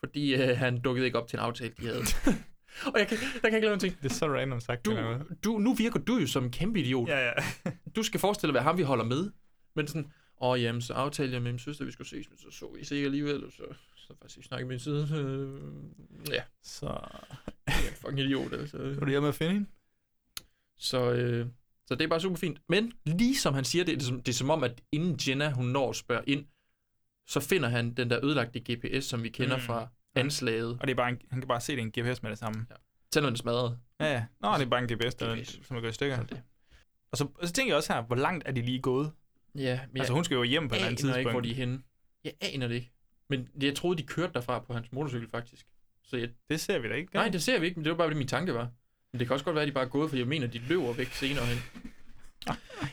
fordi øh, han dukkede ikke op til en aftale, de havde. og jeg kan, der kan ikke lave en ting. Det er så random sagt. Du, du, nu virker du jo som en kæmpe idiot. Ja, ja. du skal forestille dig, hvad ham vi holder med. Men sådan, åh jamen, så aftalte jeg med min søster, at vi skulle ses, men så så I sig ikke alligevel, og så, så faktisk ikke snakket med min side. Øh, ja, Så... jeg er en fucking idiot, altså. Var du hjemme at finde hende? Så, øh, så det er bare super fint. Men lige som han siger det, det er, som, det er som om, at inden Jenna, hun når at spørge ind, så finder han den der ødelagte GPS, som vi kender Mm. mm. fra anslaget. Og det er bare en, han kan bare se, det er en GPS med det samme. Ja. Selvom den er smadret. Ja, ja. Nå, det er bare en GPS, der, som er gået i stykker. Og så, og så tænker jeg også her, hvor langt er de lige gået? Ja, men Altså, hun skal jo hjem på et eller andet Jeg aner ikke, hvor tidspunkt. de er henne. Jeg aner det ikke. Men jeg troede, de kørte derfra på hans motorcykel, faktisk. Så jeg... Det ser vi da ikke. Nej, det ser vi ikke, men det var bare, det min tanke var. Men det kan også godt være, at de bare er gået, for jeg mener, de løber væk senere hen.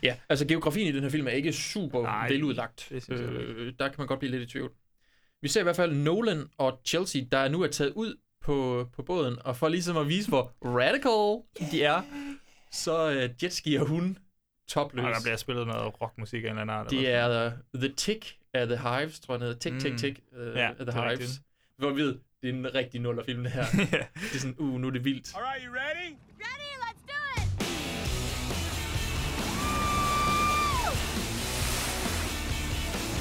Ja, altså geografien i den her film er ikke super Ah. Nej, Nej, veludlagt. det synes jeg Øh, der kan man godt blive lidt i tvivl. Vi ser i hvert fald Nolan og Chelsea, der nu er taget ud på, på båden, og for ligesom at vise, hvor radical de er, så øh, jetskier hun topløs. Og der bliver spillet noget rockmusik af en eller anden Det er uh, The Tick af The Hives, tror jeg, den hedder. Tick, Mm. tick, tick uh, Ja, af The det er Hives. rigtigt. Hvor vi ved, det er en rigtig nullerfilm, det her. det er sådan, uh, nu er det vildt. All right, you ready? Ready? Let's do it!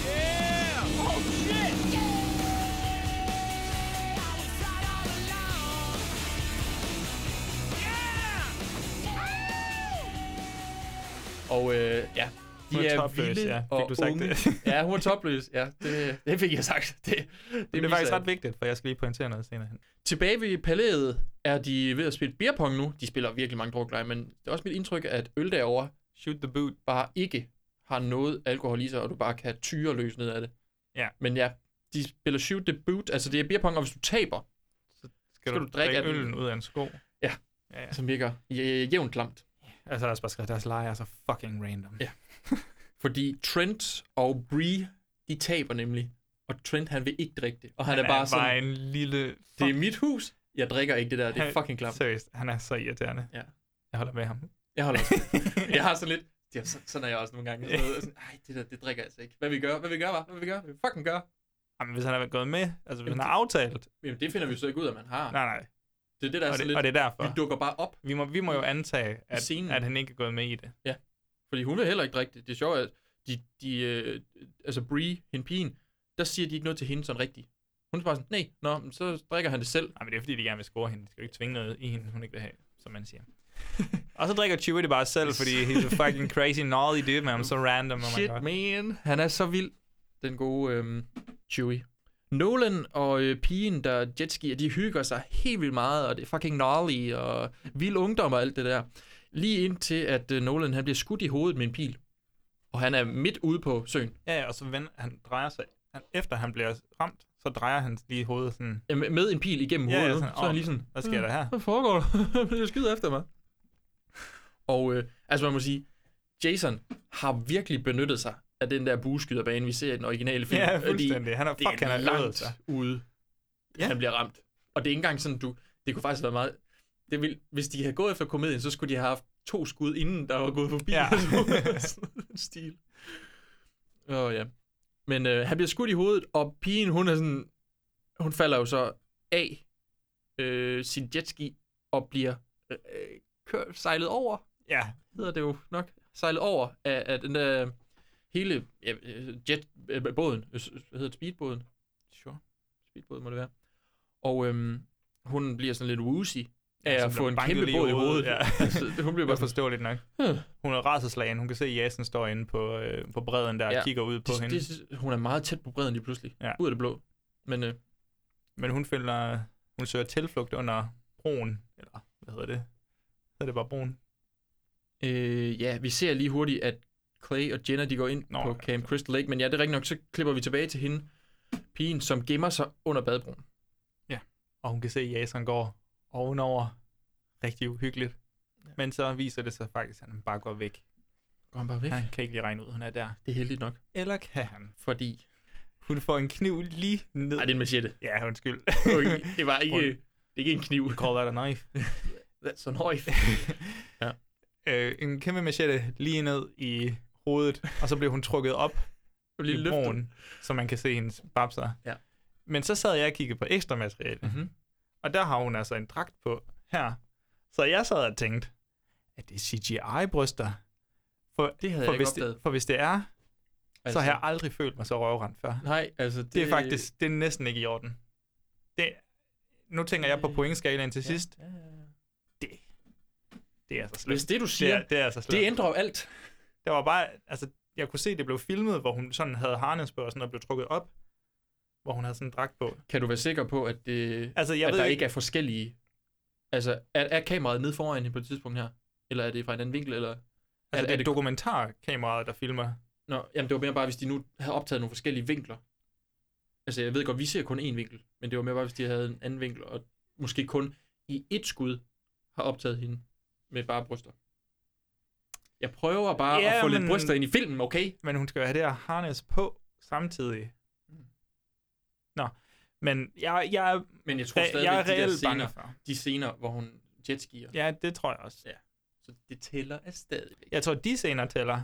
Yeah! Oh, shit! Og øh, ja, de Hun er er, topløs, vilde ja. Fik og du sagt unge. det? ja, hun er topløs. Ja, det, det fik jeg sagt. Det, det, Det, det er viser faktisk jeg. ret vigtigt, for jeg skal lige pointere noget senere hen. Tilbage ved palæet er de ved at spille beerpong nu. De spiller virkelig mange drukleje, men det er også mit indtryk, at øl derovre Shoot the boot. bare ikke har noget alkohol i sig, og du bare kan tyre løs ned af det. Ja. Men ja, de spiller shoot the boot, altså det er beerpong, og hvis du taber, Skal, skal du, drikke, af den? øllen ud af en sko? Ja. Ja, ja. som virker øh, jævnt klamt. Altså, der er bare skrevet, deres leje er så fucking random. Ja. Fordi Trent og Bree, de taber nemlig. Og Trent, han vil ikke drikke det. Og han, er bare sådan, en lille... det er mit hus, jeg drikker ikke det der, det er Han- fucking klamt. Seriøst, han er så irriterende. Ja. Jeg holder med ham. Jeg holder også. jeg har sådan lidt, ja, så, sådan er jeg også nogle gange. Så, sådan, Ej, det der, det drikker jeg altså ikke. Hvad vi gør, hvad vi gør, hva? hvad vi gør, hvad vi fucking gør. Jamen, hvis han har været gået med, altså hvis Jamen, han har aftalt. Jamen, det finder vi så ikke ud af, man har. Nej, nej. Det er det, der er og, sådan det, lidt, og det er derfor. vi dukker bare op. Vi må, vi må jo antage, at, scenen. at han ikke er gået med i det. Ja, fordi hun vil heller ikke drikke det. Det sjove er, at de, de, øh, altså Bree, hende pigen, der siger de ikke noget til hende sådan rigtigt. Hun er bare sådan, nej, nå, men så drikker han det selv. Nej, men det er fordi, de gerne vil score hende. De skal jo ikke tvinge noget i hende, hun ikke vil have, som man siger. og så drikker Chewie det bare selv, fordi he's a fucking crazy gnarly dude, man. I'm so random. Oh my Shit, God. man. Han er så vild, den gode øhm, Chewie. Nolan og øh, pigen, der er jetskier, de hygger sig helt vildt meget, og det er fucking gnarly, og vild ungdom og alt det der. Lige indtil, at øh, Nolan han bliver skudt i hovedet med en pil. Og han er midt ude på søen. Ja, ja, og så vend, han drejer sig. Han, efter han bliver ramt, så drejer han lige hovedet sådan. Ja, Øh, Med med en pil igennem Ja, ja, hovedet. sådan, så er "Åh, han lige sådan, hmm. "Mm." hvad sker der her?" Hvad foregår der? Jeg skyder efter mig. Og øh, altså man må sige, Jason har virkelig benyttet sig af den der bueskyderbane, vi ser i den originale film. Ja, fordi fuldstændig. Han er- fuck, det er han har øvet langt sig. ude, ja. han bliver ramt. Og det er ikke engang sådan, du... Det kunne faktisk have været meget... Det ville, hvis de havde gået efter komedien, så skulle de have haft to skud, inden der var gået forbi. Ja. Sådan en stil. Åh, oh, ja. Men øh, han bliver skudt i hovedet, og pigen, hun er sådan... Hun falder jo så af øh, sin jetski og bliver øh, øh, kør, sejlet over. Ja. Hedder det jo nok. Sejlet over af, af den der øh, hele ja, øh, jet, øh, båden. Øh, s- Hvad hedder det? Speedbåden? Sure. Speedbåden må det være. Og øhm, hun bliver sådan lidt woozy af Ja, ja, så at hun få bliver en banket kæmpe altså, lige båd i hovedet. Ja. Så hun bliver bare bare forståeligt nok. Hmm. Hun er raserslagen. Hun kan se, at Jason står inde på, øh, på bredden der ja. og kigger ud på det, hende. Det, hun er meget tæt på bredden lige pludselig. Ja. Ud af det blå. Men, øh, Men hun finder, hun søger tilflugt under broen. Eller hvad hedder det? Hedder det bare broen? Øh, ja, vi ser lige hurtigt, at Clay og Jenna, de går ind Nå, på Camp Crystal Lake, men ja, det er rigtigt nok, så klipper vi tilbage til hende, pigen, som gemmer sig under badebroen. Ja. Og hun kan se, at Jason går ovenover. Rigtig uhyggeligt. Ja. Men så viser det sig faktisk, at han bare går væk. Går han bare væk? Han kan ikke lige regne ud, hun er der. Det er heldigt nok. Eller kan han? Fordi? Hun får en kniv lige ned. Nej, det er en machete. Ja, undskyld. det var ikke, det er ikke en kniv. Call that a knife. That's a knife. ja. øh, en kæmpe machete lige ned i hovedet, og så blev hun trukket op lige i løftet. broen, så man kan se hendes babser. Ja. Men så sad jeg og kiggede på ekstra materiale, mm-hmm. og der har hun altså en dragt på her. Så jeg sad og tænkte, at det er CGI-bryster. For, Det havde for jeg ikke hvis det, opdaget. for hvis det er, altså. Altså. så har jeg aldrig følt mig så røvrendt før. Nej, altså det... Det er faktisk, det er næsten ikke i orden. Det, nu tænker Øh, jeg på pointskalaen til sidst. Det, det er altså slemt. Hvis det, du det siger, er, det er altså slemt. det ændrer jo alt. Der var bare, altså, jeg kunne se, det blev filmet, hvor hun sådan havde harnes på og sådan, og blev trukket op, hvor hun havde sådan en dragt på. Kan du være sikker på, at, det, Altså, jeg at ved der ikke- ikke er forskellige... Altså, er, er kameraet nede foran hende på et tidspunkt her? Eller er det fra en anden vinkel, eller... Altså, det er dokumentarkameraet, der filmer. Nå, jamen det var mere bare, hvis de nu havde optaget nogle forskellige vinkler. Altså, jeg ved godt, vi ser kun én vinkel, men det var mere bare, hvis de havde en anden vinkel, og måske kun i ét skud har optaget hende med bare bryster. Jeg prøver bare ja, at få men... lidt bryster ind i filmen, okay? Men hun skal jo have det her harnes på samtidig. Nå, men jeg, jeg, er- Men jeg tror jeg, stadigvæk, jeg er de der reelt bange scener, for. de scener, hvor hun jetskier, Ja, det tror jeg også. Ja. så det tæller af stadigvæk. Jeg tror, de scener tæller.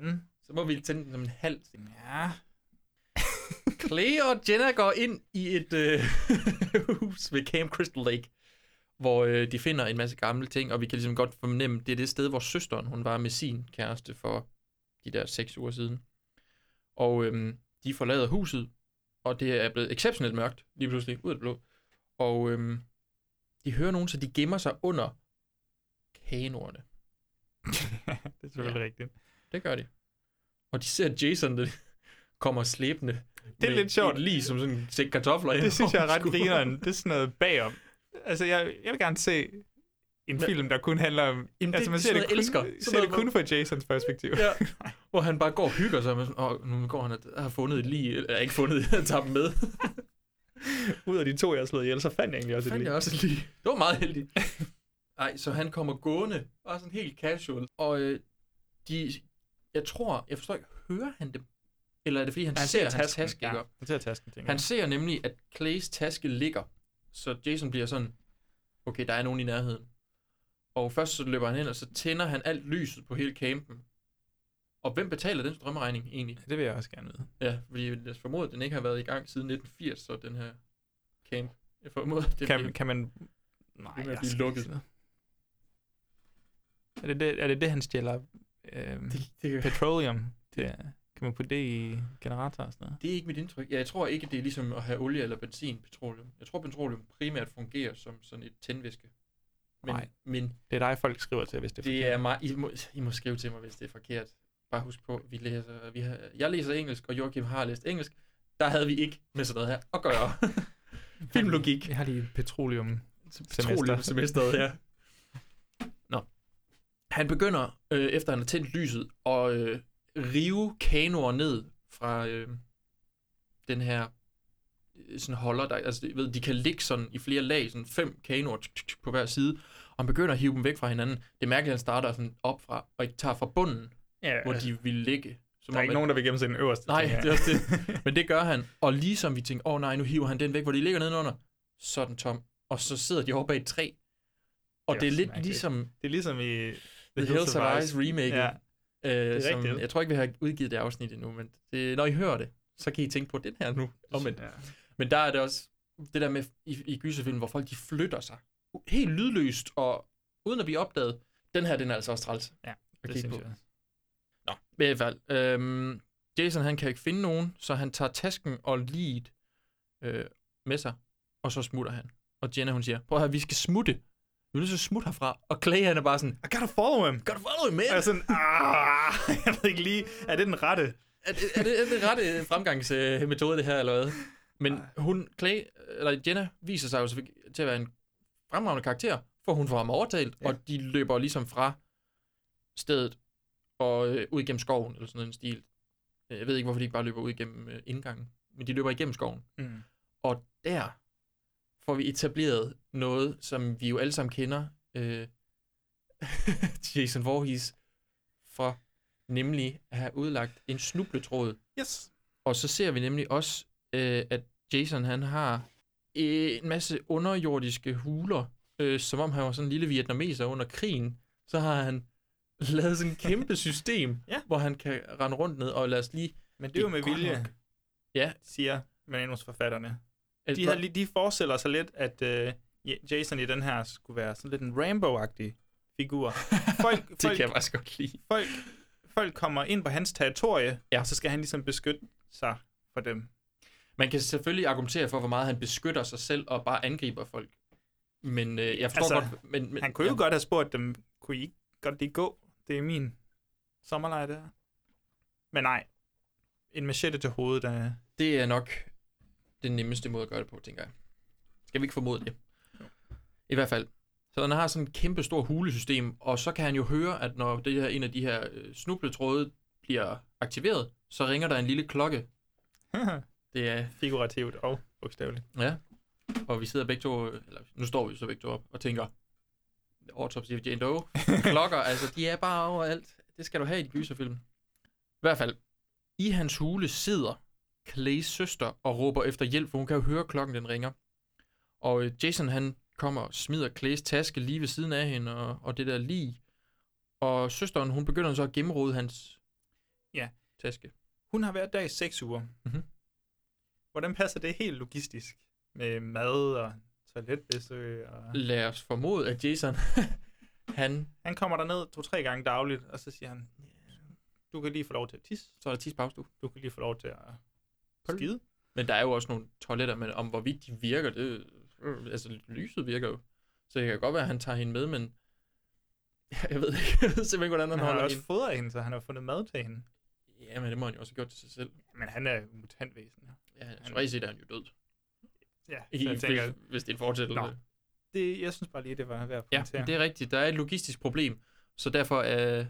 Men, Så må vi tænde den som en halv scene. ja, Clay og Jenna går ind i et øh, hus ved Camp Crystal Lake, hvor øh, de finder en masse gamle ting, og vi kan ligesom godt fornemme, det er det sted, hvor søsteren hun var med sin kæreste for de der seks uger siden. Og øhm, de forlader huset, og det er blevet exceptionelt mørkt, lige pludselig, ud af det blå. Og øhm, de hører nogen, så de gemmer sig under kanoerne. det er selvfølgelig ja. rigtigt. Det gør de. Og de ser Jason, der kommer slæbende. Det er med lidt sjovt. et Lige som sådan en sæk kartofler. ind Det synes jeg er over ret skulderen. grineren. Det er sådan noget bagom. Altså, jeg, jeg vil gerne se en Men- film, der kun handler om... Jamen, altså, det- man det ser er det, sådan kun, noget, jeg elsker. ser Sådan det kun noget, fra Jasons perspektiv. Ja. Hvor han bare går og hygger sig. Med sådan, Åh, nu går han og har fundet et lige. Eller ikke fundet, jeg tager dem med. Ud af de to, jeg har slået ihjel, så fandt jeg egentlig også Det fandt jeg også lige. Det var meget heldigt. Ej, så han kommer gående. Bare sådan helt casual. Og øh, de... Jeg tror, jeg forstår ikke, hører han dem? Eller er det fordi, han, han ser, ser hans taske? ja. ikke? Han ser tasken, tænker Han jeg. ser nemlig, at Clays taske ligger, så Jason bliver sådan, okay, der er nogen i nærheden. Og først så løber han hen, og så tænder han alt lyset på hele campen. Og hvem betaler den strømregning egentlig? Det vil jeg også gerne vide. Ja, fordi jeg formoder, at den ikke har været i gang siden 1980, så den her camp. Jeg formoder, at den Kan, bliver- kan man... bliver Nej, med at jeg blive skal lukket. ikke sidde. Er det det, er det, det han stjæler? Øhm, Det, det, petroleum? Det, er- kan man putte det i generatorer og sådan noget? det er ikke mit indtryk. Ja, jeg tror ikke, det er ligesom at have olie eller benzin, petroleum. Jeg tror, petroleum primært fungerer som sådan et tændvæske. Men, Nej. men Det er dig, folk skriver til, hvis det er Det forkert. er mig. I må, I må skrive til mig, hvis det er forkert. Bare husk på, vi læser, vi har, jeg læser engelsk, og Joachim har læst engelsk. Der havde vi ikke med sådan noget her at gøre. Filmlogik. Jeg har lige petroleum. Petroleumsemesteret, ja. Nå. Han begynder, øh, efter han har tændt lyset, at øh, rive kanoer ned fra øh, den her øh, sådan holder, der, altså du ved, de kan ligge sådan i flere lag, sådan fem kanoer tuk, tuk, tuk, på hver side, og han begynder at hive dem væk fra hinanden. Det er mærkeligt, at han starter sådan op fra, og ikke tager fra bunden, Ja, hvor altså- de ville ligge. Som der er ikke nogen, der vil gemme sig i den øverste. Nej, tænker jeg. det er også det. Men det gør han. Og ligesom vi tænker, åh oh, nej, nu hiver han den væk, hvor de ligger nedenunder. Så er den tom. Og så sidder de over bag et træ. Og Det er det, det er også lidt mærkeligt. ligesom Det er ligesom i The Hills Have Eyes remake. Ja. Øh, Det er som, rigtigt. jeg tror ikke, vi har udgivet det afsnit endnu, men det, når I hører det, så kan I tænke på den her nu. Omvendt. Ja. Men der er det også det der med i, i gyserfilm, hvor folk de flytter sig u- helt lydløst og uden at blive opdaget. Den her, den er altså også træls. Ja, at det kigge synes på. jeg. Nå, i hvert fald. Øhm, Jason, han kan ikke finde nogen, så han tager tasken og lead øh, med sig, og så smutter han. Og Jenna, hun siger, prøv at høre, vi skal smutte. Vi er nødt til at smutte herfra. Og Clay, han er bare sådan, I gotta follow him. Gotta follow him, man. Og jeg er sådan, ah, jeg ved ikke lige, er det den rette? er, det- er, det, er det rette fremgangsmetode, det her, eller hvad? Men hun, Clay, eller Jenna, viser sig jo selvfølgelig til at være en fremragende karakter, for hun får ham overtalt, ja. og de løber ligesom fra stedet og øh, ud igennem skoven, eller sådan noget i den stil. Jeg ved ikke, hvorfor de ikke bare løber ud igennem øh, indgangen, men de løber igennem skoven. Mm. Og der får vi etableret noget, som vi jo alle sammen kender, øh, Jason Voorhees, for nemlig at have udlagt en snubletråd. Yes. Og så ser vi nemlig også, øh, at Jason han har øh, en masse underjordiske huler, øh, som om han var sådan en lille vietnameser under krigen. Så har han lavet sådan et kæmpe system, Ja. hvor han kan rende rundt ned, og lad os lige... Men det er jo med godt vilje. nok- Ja. Siger manusforfatterne. Et De, har, bra- lige- de forestiller sig lidt, at øh, Ja- Jason i den her skulle være sådan lidt en Rambo-agtig figur. Folk, Det kan jeg faktisk godt lide. Folk, folk kommer ind på hans territorie, Ja. og så skal han ligesom beskytte sig for dem. Man kan selvfølgelig argumentere for, hvor meget han beskytter sig selv og bare angriber folk. Men øh, jeg forstår altså, godt... Men, men, han kunne jo ja. godt have spurgt dem, kunne I ikke godt lige gå? Det er min sommerlejr der. Men nej, en machete til hovedet, der... Det er nok den nemmeste måde at gøre det på, tænker jeg. Skal vi ikke formode det? I hvert fald. Så han har sådan et kæmpe stor hulesystem, og så kan han jo høre, at når det her, en af de her øh, snubletråde bliver aktiveret, så ringer der en lille klokke. Det er... Figurativt og bogstaveligt. Ja. Og vi sidder begge to, øh, eller nu står vi jo så begge to op og tænker, autopsy of Jane Doe, klokker, altså de er bare overalt. Det skal du have i et gyserfilm. I hvert fald, i hans hule sidder Clays søster og råber efter hjælp, for hun kan jo høre klokken, den ringer. Og øh, Jason han kommer og smider Clays taske lige ved siden af hende og, og det der lige. Og søsteren, hun begynder så at gennemrode hans Ja. taske. Hun har været der i seks uger. Mhm. Hvordan passer det helt logistisk med mad og toiletbesøg? Og... Lad os formode, at Jason, han, Han kommer derned to-tre gange dagligt, og så siger han, du kan lige få lov til at tisse, så er der tidsbagstue. du kan lige få lov til at Pøl. skide. Men der er jo også nogle toiletter, men om hvorvidt de virker, det, øh, altså lyset virker jo. Så det kan godt være, at han tager hende med, men jeg ved det ikke, jeg ved simpelthen ikke, hvordan Men han han har holder også hende. fodret hende, så han har fundet mad til hende. Jamen, det må han jo også have gjort til sig selv. Men han er jo mutantvæsen. ja. Ja, han, så set er han jo død, Ja, så I, jeg tænker, hvis, hvis det er en fortsættelse. Nå. det, jeg synes bare lige, det var værd at Ja, pointere. men det er rigtigt. Der er et logistisk problem, så derfor er,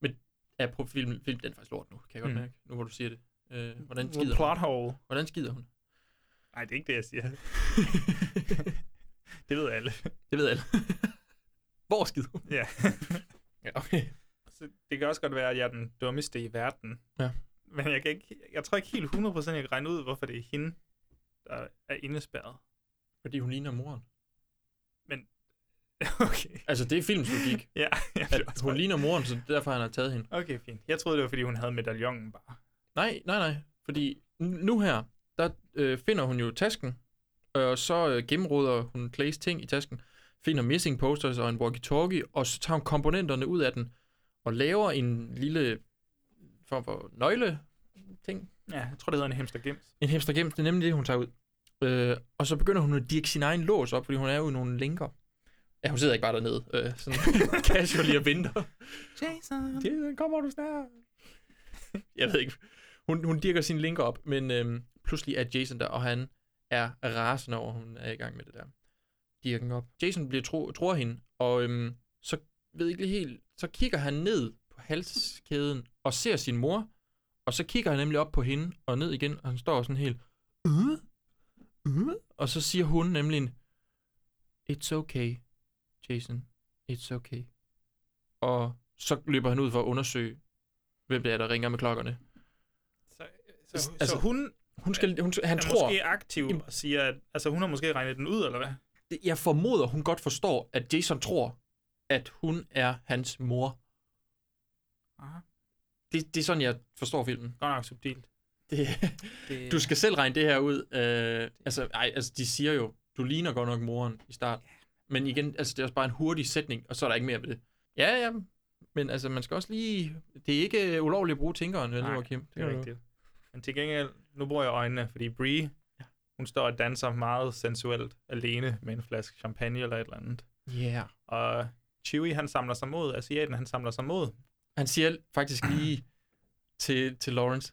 men er pro- film, film, den er faktisk lort nu, kan jeg godt Mm. mærke, nu hvor du siger det. Øh, hvordan Well, skider hun? plot hole. Hvordan skider hun? Nej, det er ikke det, jeg siger. det ved alle. Det ved alle. hvor skider hun? Ja. Ja, okay. Så det kan også godt være, at jeg er den dummeste i verden. Ja. Men jeg, kan ikke, jeg tror ikke helt 100% jeg kan regne ud, hvorfor det er hende, der er indespærret. Fordi hun ligner moren. Okay. Altså, det er films logik. Ja, jeg blev at også hun bare- ligner moren, så det er derfor, han har taget hende. Okay, fint. Jeg troede, det var, fordi hun havde medaljongen bare. Nej, nej, nej. Fordi n- nu her, der øh, finder hun jo tasken, og så øh, gennemråder hun Clays ting i tasken, finder missing posters og en walkie-talkie, og så tager hun komponenterne ud af den, og laver en lille form for nøgle ting. Ja, jeg tror, det hedder en hamster gems. En hamster gems, det er nemlig det, hun tager ud. Øh, og så begynder hun at dirke sin egen lås op, fordi hun er jo i nogle linker. Ja, hun sidder ikke bare dernede, øh, sådan casually og venter. Jason! Jason, kommer du snart? Jeg ved ikke. Hun, hun dirker sine linker op, men øhm, pludselig er Jason der, og han er rasende over, at hun er i gang med det der. Dirken op. Jason bliver tro, tror hende, og øhm, så ved jeg ikke lige helt, så kigger han ned på halskæden og ser sin mor, og så kigger han nemlig op på hende og ned igen, og han står sådan helt, øh, øh, og så siger hun nemlig, en, it's okay, Jason, it's okay. Og så løber han ud for at undersøge, hvem det er, der ringer med klokkerne. Så, så altså, hun, hun skal, hun, han er tror, måske aktiv og siger, at altså, hun har måske regnet den ud, eller hvad? det- jeg formoder, hun godt forstår, at Jason tror, at hun er hans mor. Aha. Det, det er sådan, jeg forstår filmen. Godt nok subtilt. Det, Det- du skal selv regne det her ud. Øh, altså, ej, altså, de siger jo, du ligner godt nok moren i starten. Men igen, altså, det er også bare en hurtig sætning, og så er der ikke mere ved det. Ja, ja, men altså, man skal også lige... Det er ikke øh, ulovligt at bruge tinkeren, vel, Nej, Joachim? det er rigtigt. Men til gengæld, nu bruger jeg øjnene, fordi Brie, hun står og danser meget sensuelt alene med en flaske champagne eller et eller andet. Ja. Og Chewie, han samler sig mod, asiaten, han samler sig mod. Han siger faktisk lige til, til Lawrence,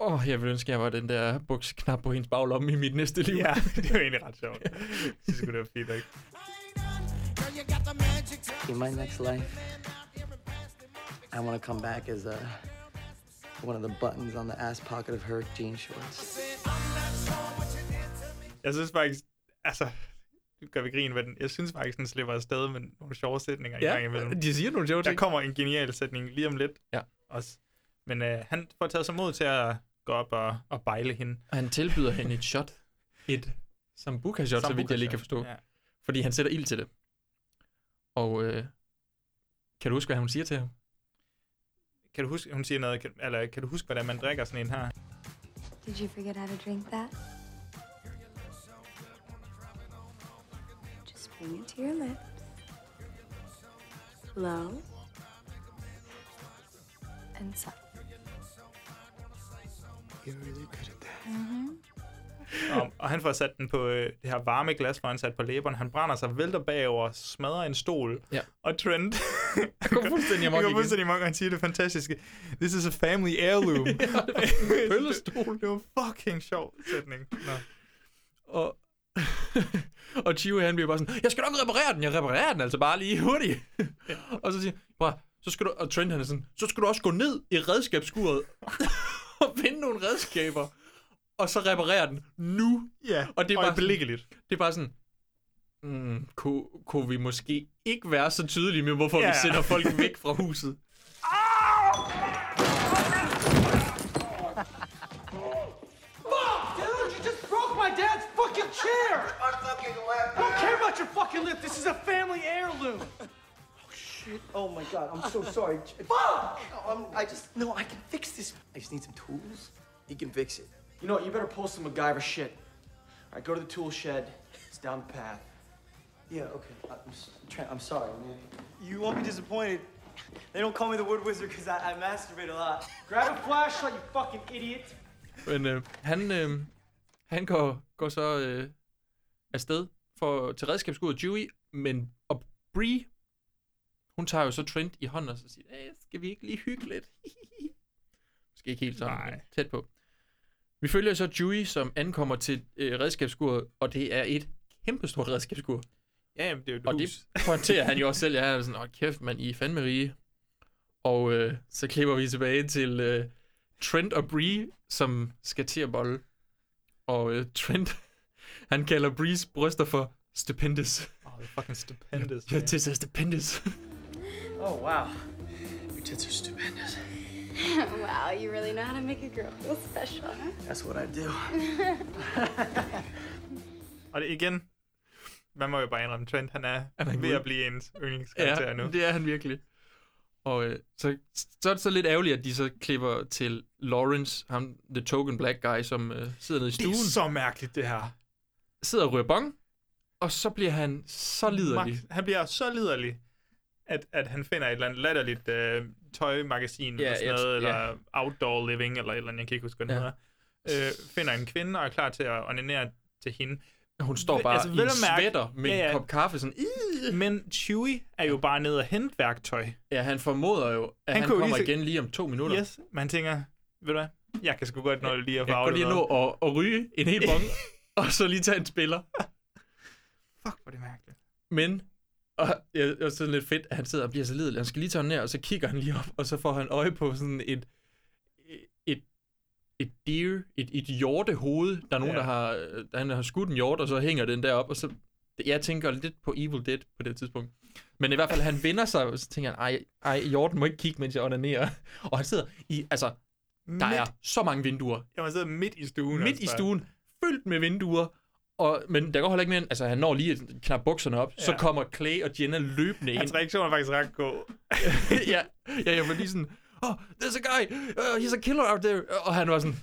åh, oh, jeg vil ønske, jeg var den der buksknap på hendes baglomme i mit næste liv. Ja, det er jo egentlig ret sjovt. Jeg synes sgu, det var fint, ikke? In my next life, I want to come back as a, one of the buttons on the ass pocket of her jean shorts. Jeg synes faktisk, altså, nu gør vi grin med den. Jeg synes faktisk, den slipper afsted med nogle sjove sætninger Ja, i gang imellem. de siger nogle sjove Der ting. kommer en genial sætning lige om lidt. Ja. Også. Men øh, han får taget sig mod til at gå op og, og bejle hende. Og han tilbyder hende et shot. Et sambuca-shot, så vidt jeg lige kan forstå. Sambuca-shot, ja. Fordi han sætter ild til det. Og øh, kan du huske, hvad hun siger til ham? Kan du huske, hun siger noget, kan, eller kan du huske, hvordan man drikker sådan en her? Did you forget how to drink that? Just bring it to your lips. Low. And subtle. You're really good at that. Og, og han får sat den på øh, det her varme glas, hvor han sat på læberne. Han brænder sig, vælter bagover, smadrer en stol. Ja. Og Trent... Han går fuldstændig amok Han igen. går fuldstændig amok, og han siger det fantastiske. This is a family heirloom. Pøllestol. det var fucking sjov sætning. Nå. Og, og Chiu, han bliver bare sådan, jeg skal nok reparere den, jeg reparerer den altså bare lige hurtigt. og så siger han, "Prøv, så skal du, og Trent han er sådan, så skal du også gå ned i redskabsskuret og finde nogle redskaber, og så reparere den nu. Ja, og det er og bare øjeblikkeligt. Sådan, det er bare sådan, mm, kunne, kunne vi måske ikke være så tydelige med, hvorfor Ja, vi ja. sender folk væk fra huset? Mom, dude, you just broke my dad's fucking chair. My fucking lap. I don't care about your fucking lip. This is a family heirloom. Oh shit. Oh my god, I'm so sorry. Fuck! No, I'm, I just, no, I can fix this. I just need some tools. He can fix it. You know what? You better pull some MacGyver shit. All right, go to the tool shed. It's down the path. Yeah, okay. I'm, s- Trent, I'm sorry, man. You won't be disappointed. They don't call me the wood wizard because I, I masturbate a lot. Grab a flashlight, you fucking idiot. Men øh, han, øh, han går, går så øh, afsted for, til redskabsskuddet Dewey, men og Bree, hun tager jo så Trent i hånden og så siger, "Øh, skal vi ikke lige hygge lidt? Måske ikke helt sådan, men tæt på. Vi følger så Dewey, som ankommer til øh, redskabsskuret, og det er et kæmpestort redskabsskur. Ja, jamen, det er jo et Og hus. det pointerer han jo også selv. Jeg er sådan, åh kæft, man, I er fandme rige. Og øh, så klipper vi tilbage til øh, Trent og Bree, som skal til at bolle. Og øh, Trent, han kalder Brees bryster for stupendous. Oh, det er fucking stupendous. Your tits are stupendous. Oh wow. Your tits are stupendous. wow, you really know how to make a girl feel special, huh? That's what I do. Og det igen, man må jo bare indrømme, Trent, han er, Han er ved gud. at blive ens yndlingskarakter ja, nu. det er han virkelig. Og øh, så, så er det så lidt ærgerligt, at de så klipper til Lawrence, ham, the token black guy, som øh, sidder nede i det stuen. er så mærkeligt, det her. Sidder og ryger bong, og så bliver han så liderlig. Max, han bliver så liderlig, at, at han finder et eller andet latterligt øh, tøjmagasin Ja, eller sådan jeg- noget, eller ja. outdoor living, eller et eller andet, jeg kan ikke huske, hvad den Ja. hedder. Øh, finder en kvinde og er klar til at onanere til hende. Hun står bare i en vel at sweater med en kop kaffe, sådan... "Ih." Men Chewie er jo bare nede og hente værktøj. Ja, han formoder jo, at han, han kunne jo kommer lige se- igen lige om to minutter. Yes, man tænker, ved du hvad, jeg kan sgu godt nå lige at Jeg kan farve godt lige nå at, at ryge en hel bong, og så lige tage en spiller. Fuck, hvor er det mærkeligt. Men, og jeg er sådan lidt fedt, at han sidder og bliver så lidelig. Han skal lige tage den ned, og så kigger han lige op, og så får han øje på sådan et, et, et deer, et, et hjortehoved. Der er nogen, Ja. ja. der har, øh, han har skudt en hjort, og så hænger den derop, og så Jeg tænker lidt på Evil Dead på det tidspunkt. Men i hvert fald, han vender sig, og så tænker han, ej, ej, Jordan må ikke kigge, mens jeg onanerer. Og han sidder i, altså, der Midt- er så mange vinduer. Ja, man sidder midt i stuen. altså Midt i stuen, fyldt med vinduer. Og, men der går heller ikke mere end, altså han når lige at knappe bukserne op, ja. så Ja. kommer Clay og Jenna løbende ind. Hans reaktion er faktisk ret god. ja, ja, jeg var lige sådan, oh, there's a guy, uh, he's a killer out there. Og han var sådan,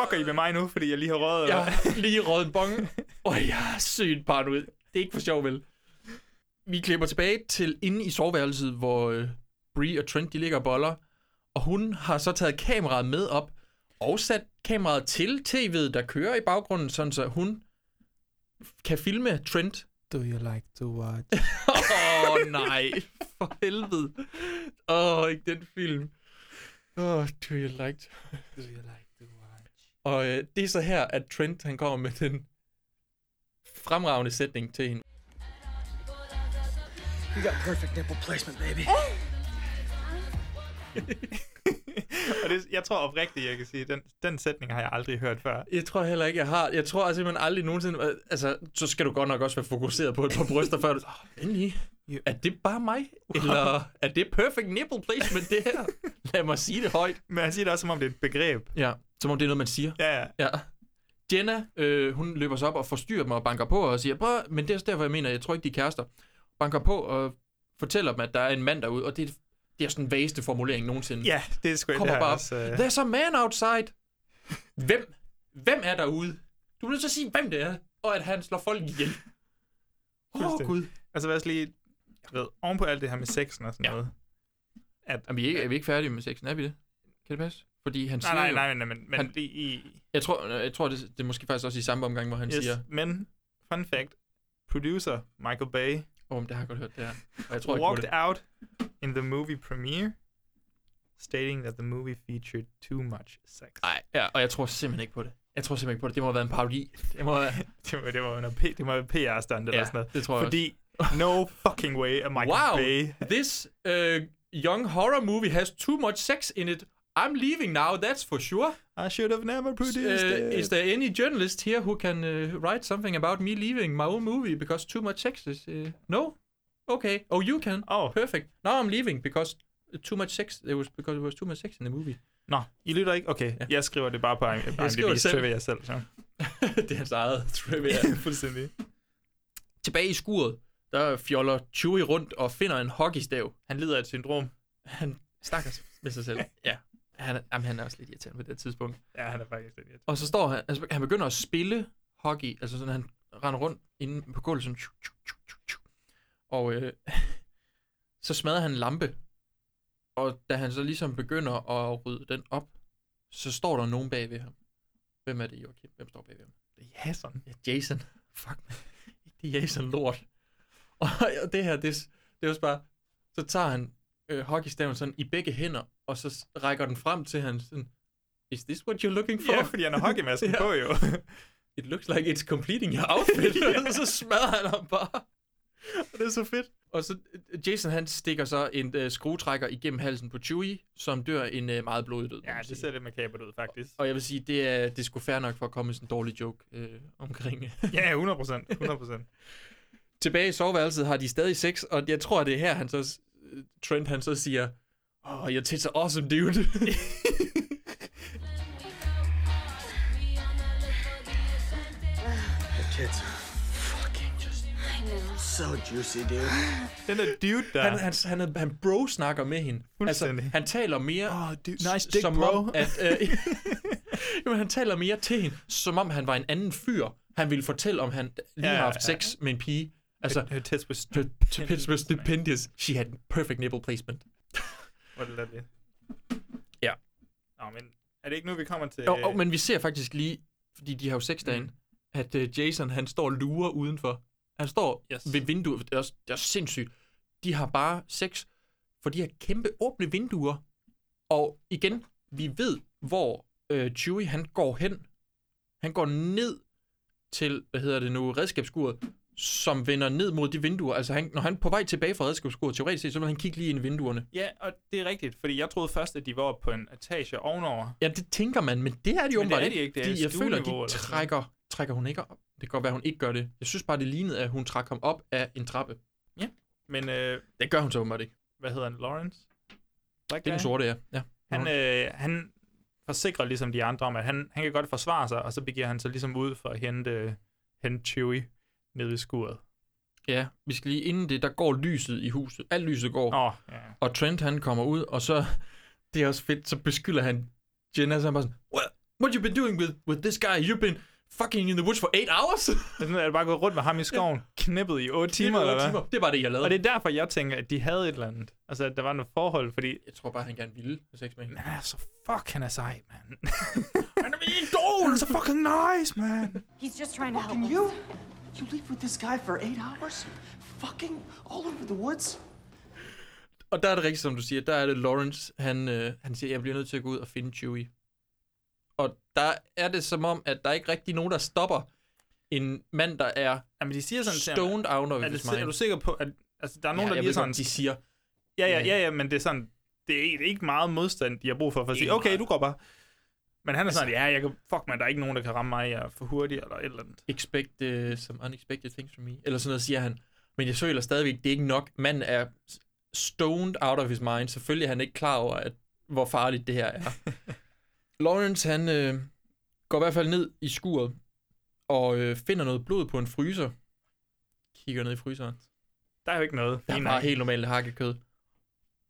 Fucker I med mig nu, fordi jeg lige har røget? jeg eller hvad? har lige røget en bong, og jeg er sygt paranoid. Det er ikke for sjov, vel? Vi klipper tilbage til inde i soveværelset, hvor øh, Bree og Trent de ligger og boller, og hun har så taget kameraet med op og sat kameraet til tv'et, der kører i baggrunden, sådan så hun kan filme Trent. Do you like to watch? Åh oh, nej, for helvede. Åh, oh, ikke den film. Oh, do you like to... Do you like to watch? Og øh, det er så her, at Trent han kommer med den fremragende sætning til hende. You got perfect nipple placement, baby. Og det, jeg tror oprigtigt, jeg kan sige, den, den sætning har jeg aldrig hørt før. Jeg tror heller ikke, jeg har. Jeg tror altså, man aldrig nogensinde... Altså, så skal du godt nok også være fokuseret på et par bryster, før du... Oh, endelig. Er det bare mig? Eller er det perfect nipple placement, det her? Lad mig sige det højt. Men han siger det også, som om det er et begreb. Ja, som om det er noget, man siger. Ja, ja. Ja. Jenna, øh, hun løber sig op og forstyrrer dem og banker på og siger, Prøv, men det er også derfor, jeg mener, jeg tror ikke, de er kærester. Banker på og fortæller dem, at der er en mand derude, og det er, det er sådan den vageste formulering nogensinde. Ja, det er sgu Kommer det bare op. også, øh, There's a man outside. Hvem? Hvem er derude? Du er nødt til at sige, hvem det er, og at han slår folk ihjel. Åh, oh, fuldstændig. Gud. Og så vil Altså, jeg også lige, jeg ved, oven på alt det her med sexen og sådan ja. noget. At, er, vi ikke, er vi ikke færdige med sexen? Er vi det? Kan det passe? Fordi han Nej, siger nej, nej, jo- men- men- men han, det i- Jeg tror, øh, jeg tror det, det er måske faktisk også i samme omgang, hvor han yes. siger... Men, fun fact, producer Michael Bay Åh, oh, det har jeg godt hørt, det her. Og jeg tror ikke på walked det. out in the movie premiere, stating that the movie featured too much sex. Nej, ja, og jeg tror simpelthen ikke på det. Jeg tror simpelthen ikke på det. Det må have været en parodi. Det må være... det, må, det må være noget P- det må være PR-stand eller Ja, sådan noget. det tror jeg Fordi no fucking way er Michael wow, Bay. this uh, young horror movie has too much sex in it. I'm leaving now, that's for sure. I should have never produced Uh, it. is there any journalist here who can uh, write something about me leaving my own movie because too much sex is... Uh, no? Okay. Oh, you can. Oh. Perfect. Now I'm leaving because too much sex... It was because there was too much sex in the movie. Nå, I lytter ikke? Okay, ja. jeg skriver det bare på IMDb. Jeg skriver det selv. Trivia jeg selv. Så. det er hans eget trivia. Fuldstændig. Tilbage i skuret, der fjoller Chewie rundt og finder en hockeystav. Han lider af et syndrom. Han stakkers med sig selv. ja. Han, er- jamen, han er også lidt irriterende på det tidspunkt. Ja, han er faktisk lidt irriterende. Og så står han, altså, han begynder at spille hockey, altså sådan, han render rundt inde på gulvet, sådan, tju, tju, tju, tju, tju. og øh, så smadrer han en lampe, og da han så ligesom begynder at rydde den op, så står der nogen bag ved ham. Hvem er det, Joachim? Hvem står bag ved ham? Det er Jason. Ja, Jason. Fuck, man. Ikke det Jason lort. Og, og det her, det, er s- det er også bare, så tager han øh, hockeystaven sådan i begge hænder, og så s- rækker den frem til han sådan, Is this what you're looking for? Ja, fordi han har hockeymasken på jo. It looks like it's completing your outfit. Ja. ja. Så smadrer han ham bare. Og det er så fedt. Og så øh, Jason han stikker så en øh, skruetrækker igennem halsen på Chewie, som dør en øh, meget blodig død. Ja, det ser lidt makabert ud, faktisk. Og jeg vil sige, det er, det er sgu fair nok for at komme med sådan en dårlig joke øh, omkring. Ja, 100 procent. 100 procent. Tilbage i soveværelset har de stadig sex, og jeg tror, det er her, han så, s- øh, Trent han så siger, Oh, your tits are awesome, dude. The kids are fucking just so juicy, dude. Den der dude der. Han, han, han, han, han bro-snakker med hende. Altså, Fuldstændig. han taler mere... Oh, dude, nice dick, som bro. Om, at, øh, jamen, han taler mere til hende, som om han var en anden fyr. Han ville fortælle, om han Ja, lige har ja. Øh, haft sex med en pige. Altså, her tits were her tits were stupendous. She had perfect nipple placement. Hvordan er det? Ja. Nå, men er det ikke nu, vi kommer til... Jo, oh, men vi ser faktisk lige, fordi de har jo sex derinde, mm. at uh, Jason, han står og lurer udenfor. Han står yes. ved vinduet. Det er, også, det er også sindssygt. De har bare sex, for de har kæmpe åbne vinduer. Og igen, vi ved, hvor øh, Chewie, han går hen. Han går ned til, hvad hedder det nu, redskabsskuret, som vender ned mod de vinduer. Altså, han, når han er på vej tilbage fra redskabsskuret, teoretisk set, så vil han kigge lige ind i vinduerne. Ja, og det er rigtigt, fordi jeg troede først, at de var oppe på en etage ovenover. Ja, det tænker man, men det er de Men det åbenbart er altså. de ikke. Det er fordi jeg føler, stueniveau de eller sådan trækker trækker hun ikke op. Det kan godt være, hun ikke gør det. Jeg synes bare, det lignede, at hun trak ham op af en trappe. Ja, men... Øh, det gør hun så åbenbart ikke. Hvad hedder han? Lawrence? Black det er den sorte, ja. ja. Han, øh, han forsikrer ligesom de andre om, at han, han kan godt forsvare sig, og så begiver han sig ligesom ud for at hente, hente Chewie nede i skuret. Ja, vi skal lige inden det, der går lyset i huset. Alt lyset går. Åh, ja. Og Trent, han kommer ud, og så... Det er også fedt, så beskylder han Jenna, så han bare sådan, What, what you been doing with, with this guy? You've been fucking in the woods for 8 hours? Sådan er det bare gået rundt med ham i skoven, knippet i 8 timer, eller hvad? Det er bare det, jeg lavede. Og det er derfor, jeg tænker, at de havde et eller andet. Altså, at der var noget forhold, fordi... Jeg tror bare, han gerne ville have sex med hende. Men han er så fucking er sej, mand. han er min idol! så fucking nice, man! He's just trying to help Fucking you? You live with this guy for 8 hours? Fucking all over the woods? Og der er det rigtigt, som du siger. Der er det Lawrence, han, øh, han siger, jeg bliver nødt til at gå ud og finde Chewie. Og der er det som om, at der er ikke rigtig nogen, der stopper en mand, der er Jamen, de siger sådan, til ham, stoned out of er, his det, mind. er du sikker på, at altså, der er nogen, ja, der jeg lige ved sådan... godt, de siger, Ja, ja, ja, ja, men det er sådan... Det er ikke- det er ikke meget modstand, de har brug for, for at sige, Ikke okay, meget. du går bare. Men han er sådan, Altså- ja, jeg kan, fuck man, der er ikke nogen, der kan ramme mig, jeg er for hurtig eller et eller andet. expect uh, some unexpected things from me. Eller sådan noget, siger han. Men jeg føler stadigvæk, det er ikke nok. Manden er s- stoned out of his mind. Selvfølgelig er han ikke klar over, at, hvor farligt det her er. Lawrence, han øh, går i hvert fald ned i skuret og øh, finder noget blod på en fryser. Kigger ned i fryseren. Der er jo ikke noget. Der er Fint bare nok. helt normalt hakkekød.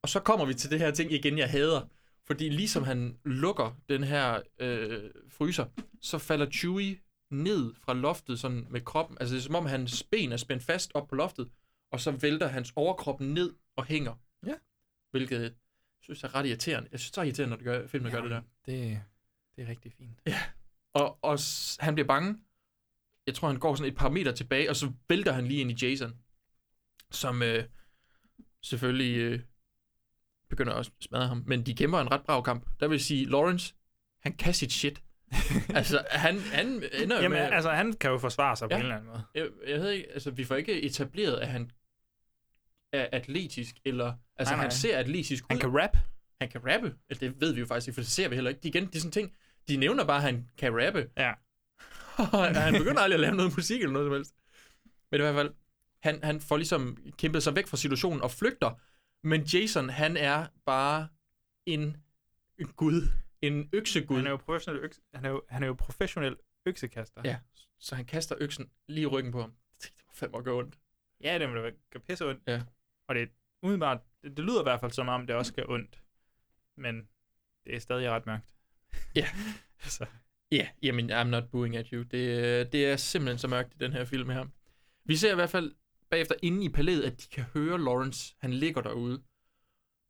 Og så kommer vi til det her ting igen, jeg hader. Fordi ligesom han lukker den her øh, fryser, så falder Chewie ned fra loftet sådan med kroppen. Altså det er som om hans ben er spændt fast op på loftet, og så vælter hans overkrop ned og hænger. Ja. Hvilket jeg synes er ret irriterende. Jeg synes det er irriterende, når det gør, filmen ja. gør det der. Det, det er rigtig fint. Og, og s- han bliver bange. Jeg tror, han går sådan et par meter tilbage, og så vælter han lige ind i Jason. Som øh, selvfølgelig øh, begynder at smadre ham. Men de kæmper en ret brav kamp. Der vil sige, Lawrence, han kan sit shit. altså, han, han ender jo Jamen, med... altså, han kan jo forsvare sig ja. på Ja. en eller anden måde. Jeg, jeg ved ikke, altså, vi får ikke etableret, at han er atletisk, eller... Altså, Nej, nej, nej. han ser atletisk ud. Han kan rap. han kan rappe. Eller Det ved vi jo faktisk ikke, for det ser vi heller ikke. De, igen, det er sådan ting, de nævner bare, at han kan rappe. Ja. Og han begynder aldrig at lave noget musik eller noget som helst. Men i hvert fald, han, han får ligesom kæmpet sig væk fra situationen og flygter. Men Jason, han er bare en en gud. En øksegud. Han er jo professionel, øks, han er jo, han er jo professionel øksekaster. Ja, så han kaster øksen lige i ryggen på ham. Jeg tænkte, Det var fandme at gøre ondt. ja det må da gøre pisse ondt. Ja. Og det er umiddelbart, det, det lyder i hvert fald som om, det også gør ondt. Men det er stadig ret mørkt. Ja. så. Ja, yeah, jamen, I'm not booing at you. Det, øh, det er simpelthen så mørkt i den her film her. Vi ser i hvert fald bagefter inde i palæet, at de kan høre Lawrence. Han ligger derude.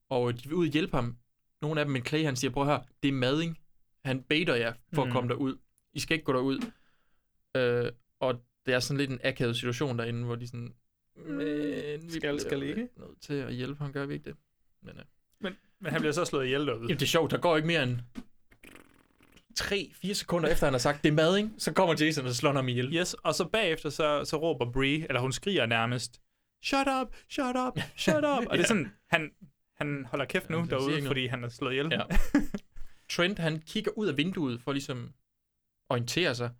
Og de vil ud og hjælpe ham. Nogle af dem, men Clay, han siger, prøv at høre, det er mading. Han baiter jer for mm. Mm. at komme derud. I skal ikke gå derud. Øh, og det er sådan lidt en akavet situation derinde, hvor de sådan... Men vi Skal- skal bliver ikke?" nødt til at hjælpe ham, gør vi ikke det? Men, øh. Men han bliver så slået ihjel derude. Jamen, det er sjovt, der går ikke mere end 3-4 sekunder efter, han har sagt, det er mad, ikke? Så kommer Jason og slår ham ihjel. Yes, og så bagefter, så, så råber Bree, eller hun skriger nærmest, shut up, shut up, shut up. Og det er sådan, han, han holder kæft nu han ja, siger ikke derude, noget. fordi han er slået ihjel. Ja. Trent, han kigger ud af vinduet for ligesom orientere sig.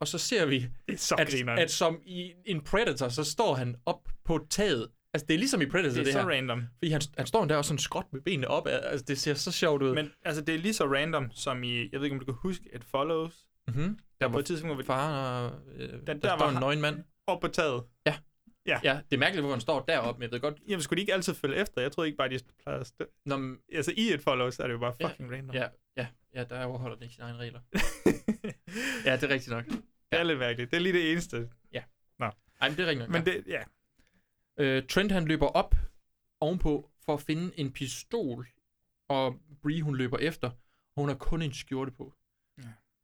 Og så ser vi, Det er så at, grineren. at som i en Predator, så står han op på taget. Altså, det er ligesom i Predator, det det, er så her. random. Fordi han, han står der også sådan skråt med benene op. Altså, det ser så sjovt ud. Men altså, det er lige så random, som i, jeg ved ikke, om du kan huske, et follows. mm-hmm. Der Der på var et tidspunkt, hvor vi far og... Øh, der, der, der der var står en han- nøgen mand. op på taget. Ja, det er mærkeligt, hvorfor han står deroppe, men jeg ved godt... Jamen, skulle de ikke altid følge efter? Jeg troede ikke bare, de plejede at stø- Når, man- Altså, i et follows er det jo bare Ja. fucking random. ja, ja, ja, der overholder den ikke sine egne regler. Ja, det er rigtigt nok. det er lidt mærkeligt. Det er lige det eneste. Ej, men det er rigtigt nok. Men det, ja. Øh, Trent han løber op ovenpå for at finde en pistol, og Bree hun løber efter, og hun har kun en skjorte på. Ja.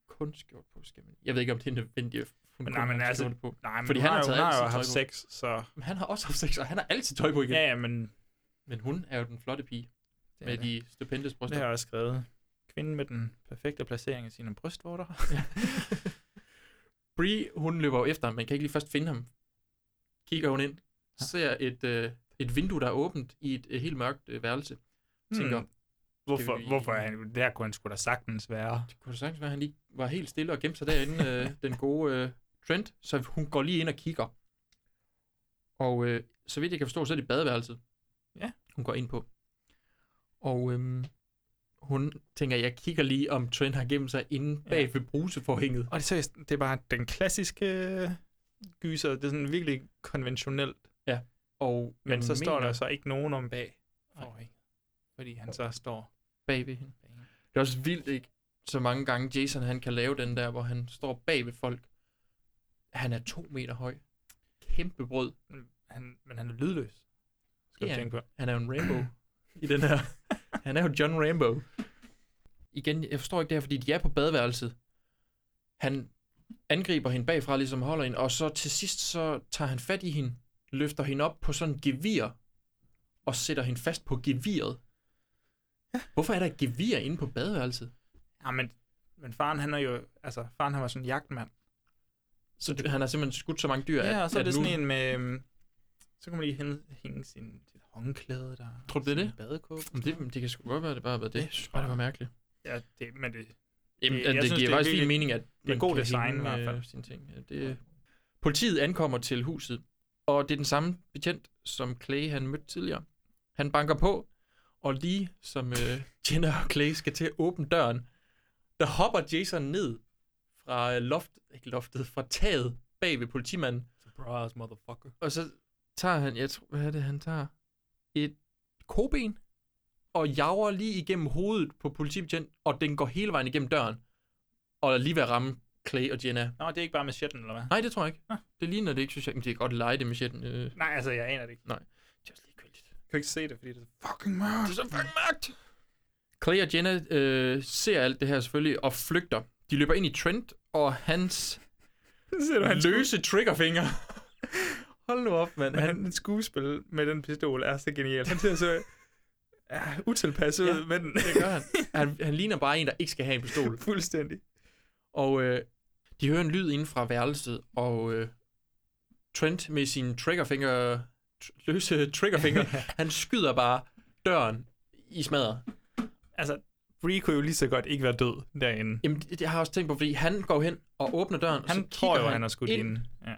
Kun skjorte på, skal man. Jeg ved ikke, om det er nødvendigt, at hun Men kun nej, har men en altså- skjorte på. Nej, men Fordi hun han har har, jo- taget hun alt har jo sit haft tøj sex, så... Men han har også haft sex, og han har altid tøj på igen. Ja, ja, men Men hun er jo den flotte pige Det er med det. de stupendes det bryster. har jeg også skrevet. Kvinden med den perfekte placering af sine brystvorter. Bree, hun løber jo efter ham, men kan ikke lige først finde ham. Kigger hun ind, øh, ser et, øh, et vindue, der er åbent i et, et helt mørkt øh, værelse. Tænker, Hmm. Hvorfor, det, hvorfor er han, der kunne han sgu da sagtens være. Det kunne da sagtens være, at han lige var helt stille og gemte sig derinde, øh, den gode øh, Trent. Så hun går lige ind og kigger. Og øh, så vidt jeg kan forstå, så er det badeværelset, ja. hun går ind på. Og øhm, hun tænker, jeg kigger lige, om Trent har gemt sig inde bag ved bruseforhænget. Og det er, seriøst, det er bare den klassiske øh, gyser. Det er sådan virkelig konventionelt. Ja. Og Men man så står mener- der så ikke nogen om bag forhænget. Fordi han så står... bag ved hende. Det er også vildt, ikke? Så mange gange Jason, han kan lave den der, hvor han står bag ved folk. Han er to meter høj. Kæmpe brød. Han, men han er lydløs. Skal Ja, du tænke på. Han er jo en Rambo i den her. Han er jo John Rambo. Igen, jeg forstår ikke det her, fordi de er på badeværelset. Han angriber hende bagfra, ligesom holder hende, og så til sidst, så tager han fat i hende, løfter hende op på sådan en gevir, og sætter hende fast på geviret. Hvorfor er der et gevir inde på badeværelset? Ja, men, men faren han er jo... Altså, faren han var sådan en jagtmand. Så d- han har simpelthen skudt så mange dyr, Ja, at- og så er at det nu- sådan en med... øhm, Så kan man lige hænge, hænge sin, sit håndklæde der. Tror du, det er det? Badekåbe. Jamen, det, det kan sgu godt være, det bare har været det. Jeg synes bare, det var mærkeligt. Ja, det, men det... Jamen, jeg det, det synes, giver er faktisk fin virkelig- mening, at det er man god kan design hænge, i hvert fald. øh, Sine ting. Ja, Det, politiet ankommer til huset, og det er den samme betjent, som Clay han mødte tidligere. Han banker på, og lige som øh, Jenna og Clay skal til at åbne døren, der hopper Jason ned fra øh, loft, ikke loftet, fra taget bag ved politimanden, Surprise, motherfucker. og så tager han, jeg tror, hvad er det, han tager? Et koben, og jager lige igennem hovedet på politibetjent, og den går hele vejen igennem døren, og er lige ved at ramme Clay og Jenna. Nå, det er ikke bare med shitten, eller hvad? Nej, det tror jeg ikke. Det ligner det ikke, synes jeg. Men det er godt lege det med shitten. Øh, Nej, altså, jeg aner det ikke. nej. Jeg kan ikke se det, fordi det er så Fucking mørkt. Det er så fucking mørkt. Clay og Jenna øh, ser alt det her selvfølgelig, og flygter. De løber ind i Trent, og hans Ser du, hans løse triggerfinger. Hold nu op, mand. Men han, han skuespil med den pistol er så Altså, genial. Han ser så ja, utilpas ud, Ja, ja, men det gør han. han. Han ligner bare en, der ikke skal have en pistol. fuldstændig. Og øh, de hører en lyd inden fra værelset, og øh, Trent med sin triggerfinger, tr- løse triggerfinger, han skyder bare døren i smadret. Altså, Bree kunne jo lige så godt ikke være død derinde. Jamen, det, det har jeg også tænkt på, fordi han går hen og åbner døren, Han og så tror kigger jo, han har skudt ind, hende. Ja.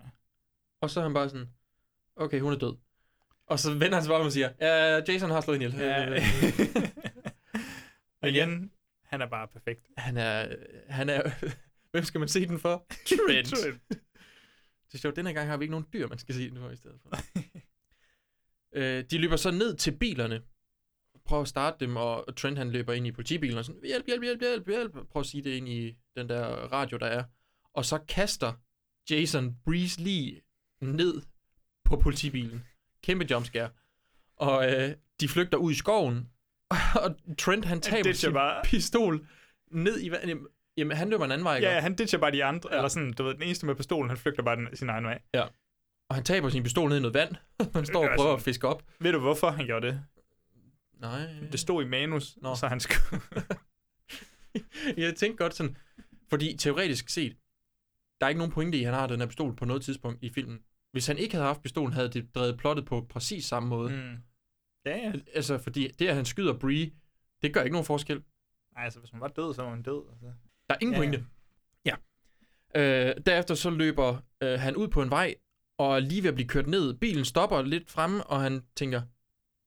Og så er han bare sådan, okay, hun er død. Og så vender han sig bare om og siger, ja, Jason har slået hende ihjel. Ja. Og Men ja, igen, han er bare perfekt. han er, han er, hvem skal man se den for? Trent. Trent. Det er sjovt, den her gang har vi ikke nogen dyr, man skal se den for i stedet for. øh, de løber så ned til bilerne, prøver at starte dem, og og Trent han løber ind i politibilen og sådan, hjælp, hjælp, hjælp, hjælp, hjælp, prøv at sige det ind i den der radio, der er. Og så kaster Jason Breeze lige ned på politibilen. Kæmpe jumpscare. Og øh, de flygter ud i skoven, og Trent han taber ditcher sin bare. pistol ned i vandet. Jamen, han løber en anden vej, ikke? Ja, han ditcher bare de andre, ja. eller sådan, du ved, den eneste med pistolen, han flygter bare den, sin egen vej. Ja. Og han taber sin pistol ned i noget vand. han står og er prøver at sådan- fiske op. Ved du, hvorfor han gjorde det? Nej. Det stod i manus, Nå. Nå. så han skulle... Jeg tænkte godt sådan, fordi teoretisk set, der er ikke nogen pointe i, at han har den her pistol på noget tidspunkt i filmen. Hvis han ikke havde haft pistolen, havde det drevet plottet på præcis samme måde. Mm. Ja, ja. Altså, fordi det, at han skyder Bree, det gør ikke nogen forskel. Ej, altså, hvis hun var død, så var hun død. Altså. Der er ingen Ja, ja. pointe. Ja. Øh, derefter så løber øh, han ud på en vej, og er lige ved at blive kørt ned. Bilen stopper lidt fremme, og han tænker,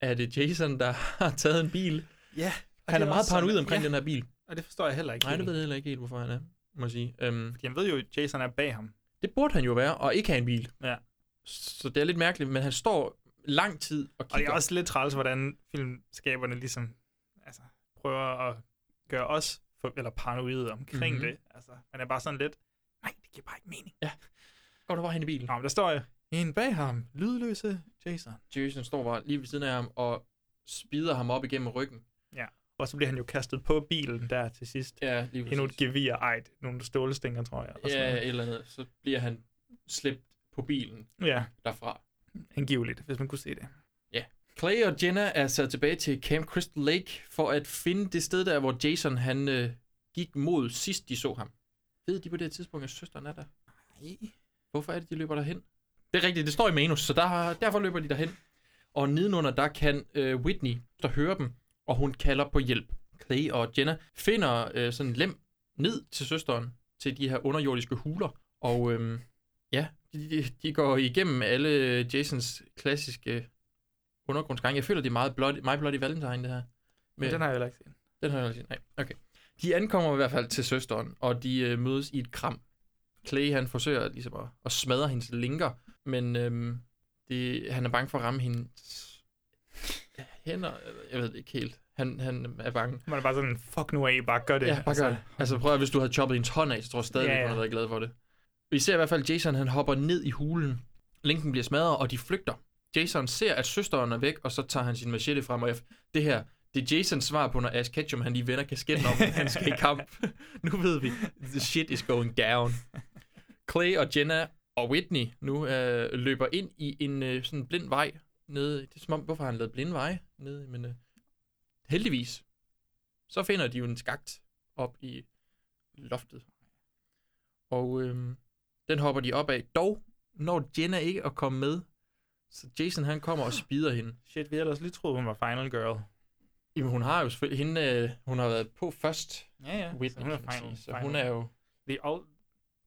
er det Jason, der har taget en bil? Ja. og Han det er meget også sådan- paranoid omkring ja, den her bil. Og det forstår jeg heller ikke. Nej, det helt. ved jeg heller ikke helt, hvorfor han er, må jeg sige. Øhm, Fordi han ved jo, at Jason er bag ham. det burde han jo være, og ikke have en bil. Ja. Så det er lidt mærkeligt, men han står lang tid og Og det kigger. er også lidt træls, hvordan filmskaberne ligesom altså, prøver at gøre os for, eller paranoide omkring Mhm. mm-hmm. det. Altså, man er bare sådan lidt, nej, det giver bare ikke mening. Går du bare hen i bilen? Nå, men der står jo, en bag ham, lydløse Jason. Jason står bare lige ved siden af ham og spider ham op igennem ryggen. Ja. Og så bliver han jo kastet på bilen der til sidst. Ja, lige Endnu et gevir, ej, nogle stålstænger, tror jeg. eller sådan Ja, noget. et eller andet. Så bliver han slæbt på bilen ja, derfra. angiveligt, hvis man kunne se det. Ja. Clay og Jenna er sat tilbage til Camp Crystal Lake for at finde det sted der, hvor Jason han øh, gik mod sidst de så ham. Ved de på det her tidspunkt, at søsteren er der? Nej. Hvorfor er det, de løber derhen? Det er rigtigt, det står i manus, så der, derfor løber de derhen. Og nedenunder, der kan øh, Whitney, der hører dem, og hun kalder på hjælp. Clay og Jenna finder øh, sådan en lem ned til søsteren, til de her underjordiske huler, og øhm, ja, de, de- de går igennem alle Jasons klassiske undergrundsgange. Jeg føler, det er meget Bloody, My Bloody Valentine, det her. Men den har jeg heller ikke set. Den har jeg heller ikke set, nej. Okay. De ankommer i hvert fald til søsteren, og de øh, mødes i et kram. Clay, han forsøger ligesom at, at smadre hendes linker, men øhm, det, han er bange for at ramme hendes øh, hænder. Jeg ved det ikke helt. Han, han er bange. Man er bare sådan, fuck nu af, bare gør det. Ja, bare gør det. Altså prøv at hvis du havde choppet en ton af, så tror jeg stadig, Ja, ja, ja. ja. hun havde været glad for det. Vi ser i hvert fald, Jason han hopper ned i hulen. Linken bliver smadret, og de flygter. Jason ser, at søsteren er væk, og så tager han sin machete frem, og jeg, det her, det er Jasons svar på, når Ash Ketchum han lige vender kasketten om, at han skal i kamp. nu ved vi, the shit is going down. Clay og Jenna og Whitney nu øh, løber ind i en øh, sådan blind vej nede. Det er som om, hvorfor har han lavet blinde veje nede, men øh, heldigvis, så finder de jo en skagt op i loftet. Og øhm, den hopper de op af. Dog når Jenna ikke at komme med, så Jason han kommer og spider hende. Shit, vi havde ellers lige troet, hun var final girl. Jamen hun har jo selvfølgelig, hende, øh, hun har været på først. Ja, ja. Whitney, så hun er kan man final. sige. Så final. hun er jo, The ul-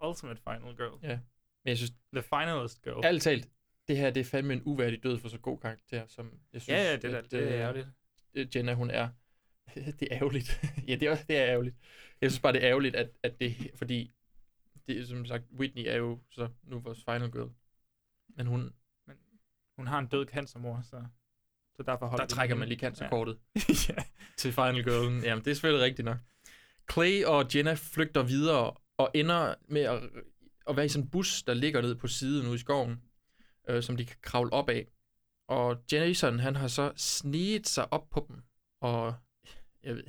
ultimate final girl. ja. Men jeg synes, The finalist girl. ærligt talt, det her det er fandme en uværdig død for så god karakter, som jeg synes, Ja, ja, det er da- det er øh, ærgerligt. øh, Jenna hun er. det er ærgerligt. ja, det er, det er ærgerligt. Jeg synes bare, det er ærgerligt, at, at det, fordi det, er som sagt, Whitney er jo så nu vores final girl. Men hun, Hun har en død cancermor, så, så derfor holder der vi den trækker hende. man lige cancerkortet Ja. ja. til Final Girlen. Jamen, det er selvfølgelig rigtigt nok. Clay og Jenna flygter videre og ender med at, at være i sådan en bus, der ligger nede på siden ude i skoven, øh, som de kan kravle op af. Og Jason, han har så sneget sig op på dem, og jeg ved,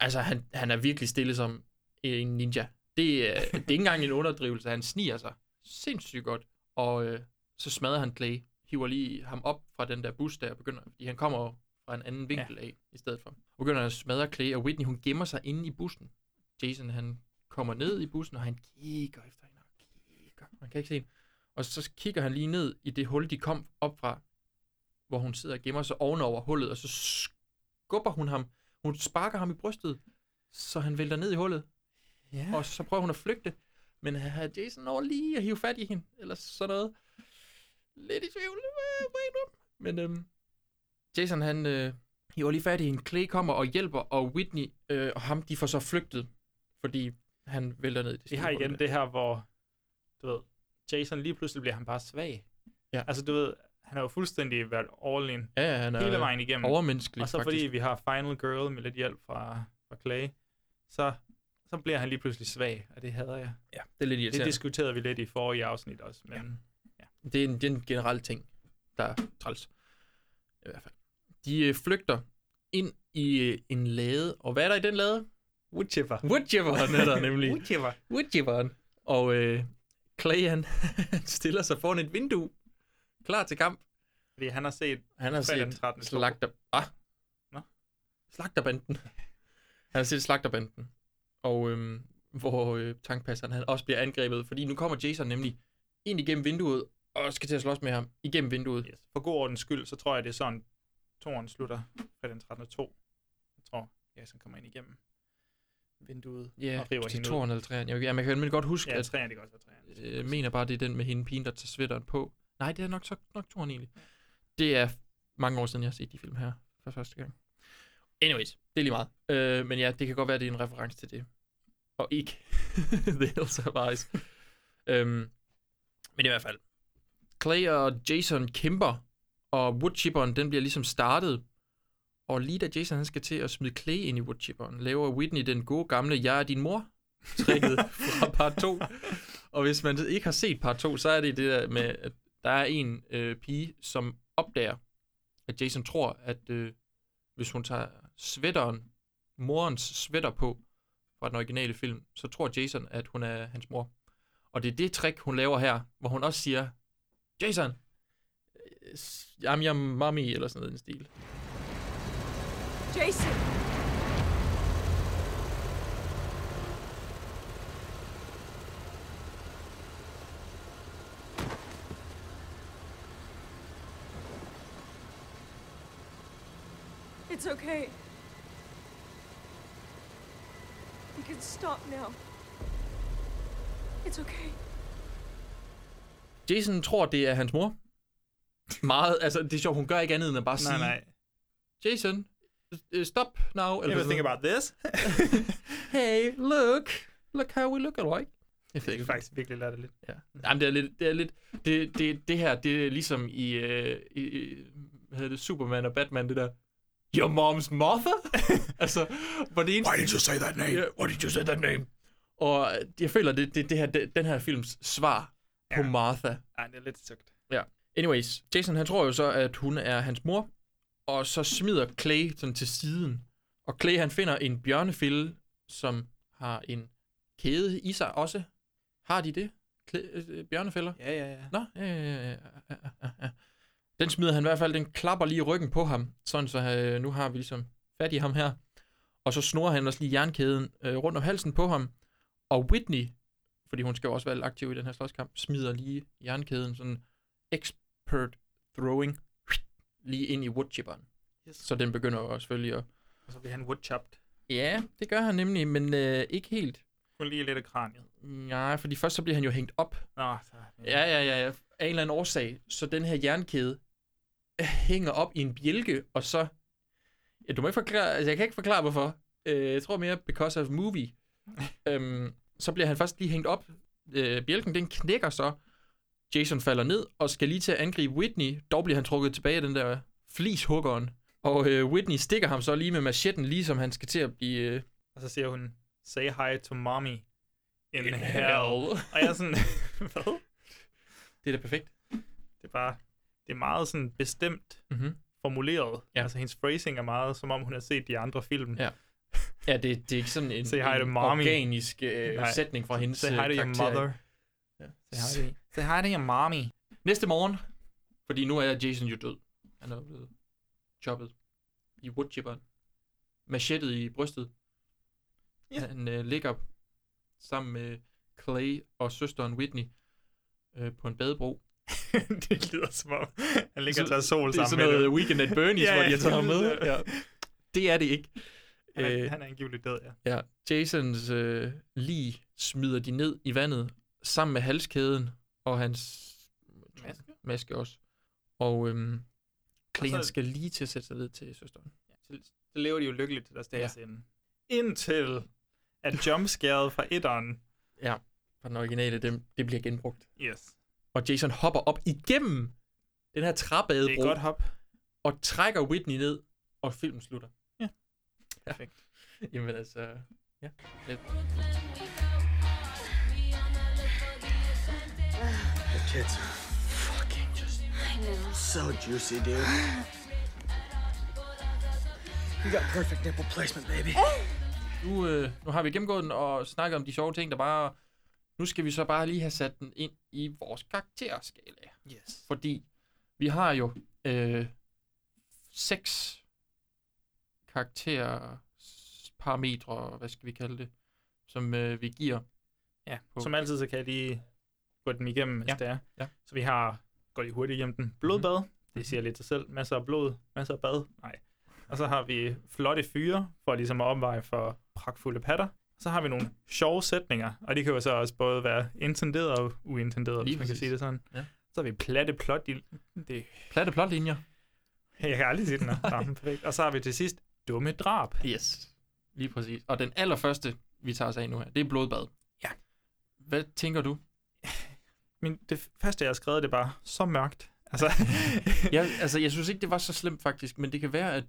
altså han, han er virkelig stille som en ninja. Det, er- det er ikke engang en underdrivelse, han sniger sig sindssygt godt, og øh, så smadrer han Clay, hiver lige ham op fra den der bus der, og begynder, fordi han kommer jo fra en anden vinkel af i stedet for. Og begynder at smadre Clay, og Whitney hun gemmer sig inde i bussen. Jason han kommer ned i bussen, og han kigger efter hende, og kigger, man kan ikke se hende. Og så kigger han lige ned i det hul, de kom op fra, hvor hun sidder og gemmer sig ovenover hullet, og så skubber hun ham. Hun sparker ham i brystet, så han vælter ned i hullet. Ja. Og så prøver hun at flygte, men har Jason når lige at hive fat i hende, eller sådan noget. Lidt i tvivl, øh, må jeg indrømme. men øhm, Jason han øh, hiver lige fat i hende, Clay kommer og hjælper, og Whitney øh, og ham, de får så flygtet, fordi han vælter ned i det Vi stive har hul igen der. det her, hvor, du ved, Jason lige pludselig bliver han bare svag. Ja. Altså, du ved, han har jo fuldstændig været all in Ja, ja, han er hele vejen igennem. overmenneskelig, Og så faktisk. fordi vi har Final Girl med lidt hjælp fra, fra Clay, så, så bliver han lige pludselig svag, og det hader jeg. Ja, det er lidt irriterende. Det diskuterede vi lidt i forrige afsnit også, men... Det er en, det er en generel ting, der er træls. I hvert fald. De øh, flygter ind i øh, en lade, og hvad er der i den lade? Woodchipper. Woodchipperen er der nemlig. Woodchipper. Woodchipperen. Og øh, Clay, han, han stiller sig foran et vindue, klar til kamp. Fordi han har set Han har fredag den set 13. slagter... Ah. Nå. Slagterbanden. Han har set slagterbanden. Og øhm, hvor øh, tankpasseren han også bliver angrebet, fordi nu kommer Jason nemlig ind igennem vinduet, og skal til at slås med ham igennem vinduet. Yes. For god ordens skyld, så tror jeg, det er sådan, toren slutter fredag den 13. 2. Jeg tror, Jason kommer ind igennem vinduet Ja, og river til hende ud. toren eller træerne. Jeg, jamen, jeg kan nemlig godt huske, Ja, at træerne, det kan også være træerne. øh, mener bare, det er den med hende pigen, der tager sweateren på. Nej, det er nok, så, nok toren egentlig. Det er mange år siden, jeg har set de film her for første gang. Anyways, det er lige meget. Øh, men ja, det kan godt være, det er en reference til det. Og ikke The Hills Have Eyes. øhm, men i hvert fald. Clay og Jason kæmper, og woodchipperen, den bliver ligesom startet. Og lige da Jason han skal til at smide Clay ind i woodchipperen, laver Whitney den gode gamle, jeg er din mor, trækket fra part 2. Og hvis man ikke har set part 2, så er det det der med, at der er en øh, pige, som opdager, at Jason tror, at øh, hvis hun tager sweateren, morens sweater på fra den originale film, så tror Jason, at hun er hans mor. Og det er det trick, hun laver her, hvor hun også siger, Jason, øh, s- I'm your mommy, eller sådan noget i den stil. Jason! It's okay. can stop now. It's okay. Jason tror, det er hans mor. Meget, altså det er sjovt, hun gør ikke andet end at bare Nej, sige, nej. Jason, øh, stop now. You ever sådan think noget. about this? hey, look. Look how we look alike. Jeg ved Det er ikke, faktisk virkelig latterligt. Ja. Jamen, det er lidt... Det, er lidt, det, det, det her, det er ligesom i, øh, i, i hvad hedder det, Superman og Batman, det der... Your mom's mother? altså, hvor det eneste... Why did you say that name? Yeah. Why did you say that name? Og jeg føler, det, det, det her, det, den her films svar ja. på Martha. Nej, det er lidt søgt. Ja. Anyways, Jason han tror jo så, at hun er hans mor, og så smider Clay sådan til siden. Og Clay han finder en bjørnefælde, som har en kæde i sig også. Har de det? Klæ- øh, bjørnefælder? Ja, ja, ja. Nå, ja, ja, ja, ja, ja, ja, ja. Den smider han i hvert fald, den klapper lige i ryggen på ham, sådan så øh, nu har vi ligesom fat i ham her. Og så snor han også lige jernkæden øh, rundt om halsen på ham. Og Whitney, fordi hun skal jo også være lidt aktiv i den her slåskamp, smider lige jernkæden sådan expert throwing lige ind i woodchipperen. Yes. Så den begynder jo selvfølgelig at... Og så bliver han woodchopped. Ja, det gør han nemlig, men øh, ikke helt. Kun lige lidt af kraniet. Nej, fordi først så bliver han jo hængt op. Nå, så... Ja, ja, ja, ja. Af en eller anden årsag. Så den her jernkæde øh, hænger op i en bjælke, og så... Ja, du må ikke forklare... Altså, jeg kan ikke forklare, hvorfor. Øh, jeg tror mere, because of movie. øhm, så bliver han først lige hængt op. Øh, bjælken, den knækker så. Jason falder ned og skal lige til at angribe Whitney. Dog bliver han trukket tilbage af den der flishuggeren. Og øh, Whitney stikker ham så lige med machetten, lige som han skal til at blive... Øh, Og så siger hun, say hi to mommy in, in hell. hell. Og jeg er sådan, hvad? det er da perfekt. Det er bare, det er meget sådan bestemt Mhm. formuleret. Ja. Altså hendes phrasing er meget, som om hun har set de andre film. Ja. Ja, det, det er ikke sådan en, Say hi to en mommy. organisk øh, Nej. sætning fra hendes Say øh, hi to your karakter. mother. Ja. Say hi to, say hi to your mommy. Næste morgen, fordi nu er Jason jo død. Han er blevet choppet i woodchipperen. Machetet i brystet. Ja. Han øh, ligger sammen med Clay og søsteren Whitney øh, på en badebro. det lyder som om, han ligger og tager sol det er sammen med sådan noget øh, dem. Weekend at Bernie's, Ja, hvor ja, de har taget ham med. det- Ja. Det er det ikke. Han er, Øh, han er angiveligt død, ja. Ja, Jasons øh, lige smider de ned i vandet, sammen med halskæden og hans Maske. maske også. Og øhm, Clay, Og så- han skal lige til at sætte sig ved til søsteren. Så, så lever de jo lykkeligt til deres dages ja. ende. Indtil at jumpscaret fra etteren, Ja, for den originale, det, det bliver genbrugt. yes, Og Jason hopper op igennem den her det er træbadebro et godt hop. og trækker Whitney ned, og filmen slutter. Ja. Perfekt. Jamen altså, ja. Lidt. The kids are fucking just I know. so juicy, dude. You got perfect nipple placement, baby. Nu, øh, nu har vi gennemgået den og snakket om de sjove ting, der bare... Nu skal vi så bare lige have sat den ind i vores karakterskala. Yes. Fordi vi har jo øh, seks karakterparametre, hvad skal vi kalde det, som øh, vi giver. Ja, på- som altid, så kan jeg lige gå dem igennem, hvis Ja, det er. ja. Mhm. Så vi har, går lige hurtigt igennem den, blodbad, det siger lidt sig selv, masser af blod, masser af bad, nej. Og så har vi flotte fyre, for ligesom at opveje for pragtfulde patter. Så har vi nogle sjove sætninger, og de kan jo så også både være intenderet og uintenderet, hvis Lige man kan præcis. sige det sådan. Ja. Så har vi platte plot, i- det Platte plotlinjer. Jeg kan aldrig sige den her. Nå, perfekt. Og så har vi til sidst dumme drab. Yes. Lige præcis. Og den allerførste, vi tager os af nu her, det er blodbad. Ja. Hvad tænker du? Men det første, jeg har skrevet, det er bare så mørkt. Altså, jeg, altså, jeg synes ikke, det var så slemt faktisk, men det kan være, at,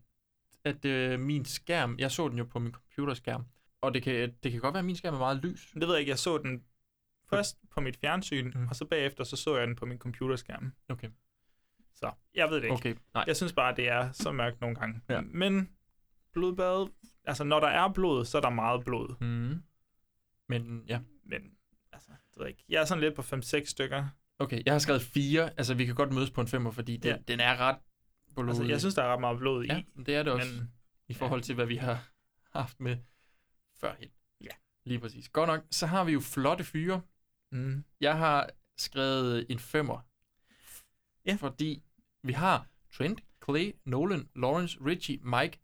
at øh, min skærm, jeg så den jo på min computerskærm, og det kan, det kan godt være, at min skærm er meget lys. det ved jeg ikke. Jeg så den først på mit fjernsyn, mm. og så bagefter så, så jeg den på min computerskærm. Okay. Så jeg ved det ikke. Okay, nej. Jeg synes bare, det er så mørkt nogle gange. Ja. Men blodbad, altså når der er blod, så er der meget blod. Mm. Men ja, Men altså, det ved jeg ikke. Jeg er sådan lidt på 5-6 stykker. okay. Jeg har skrevet fire, altså vi kan godt mødes på en femmer, fordi den, Ja. ja. den er ret Altså, blodig. jeg synes, der er ret meget blod i. ja, det er det også, men, men- i forhold til, hvad vi har haft med førhen. Ja. Lige præcis. Godt nok, så har vi jo flotte fyre. Mm. Jeg har skrevet en femmer. Ja. Fordi vi har Trent, Clay, Nolan, Lawrence, Richie, Mike,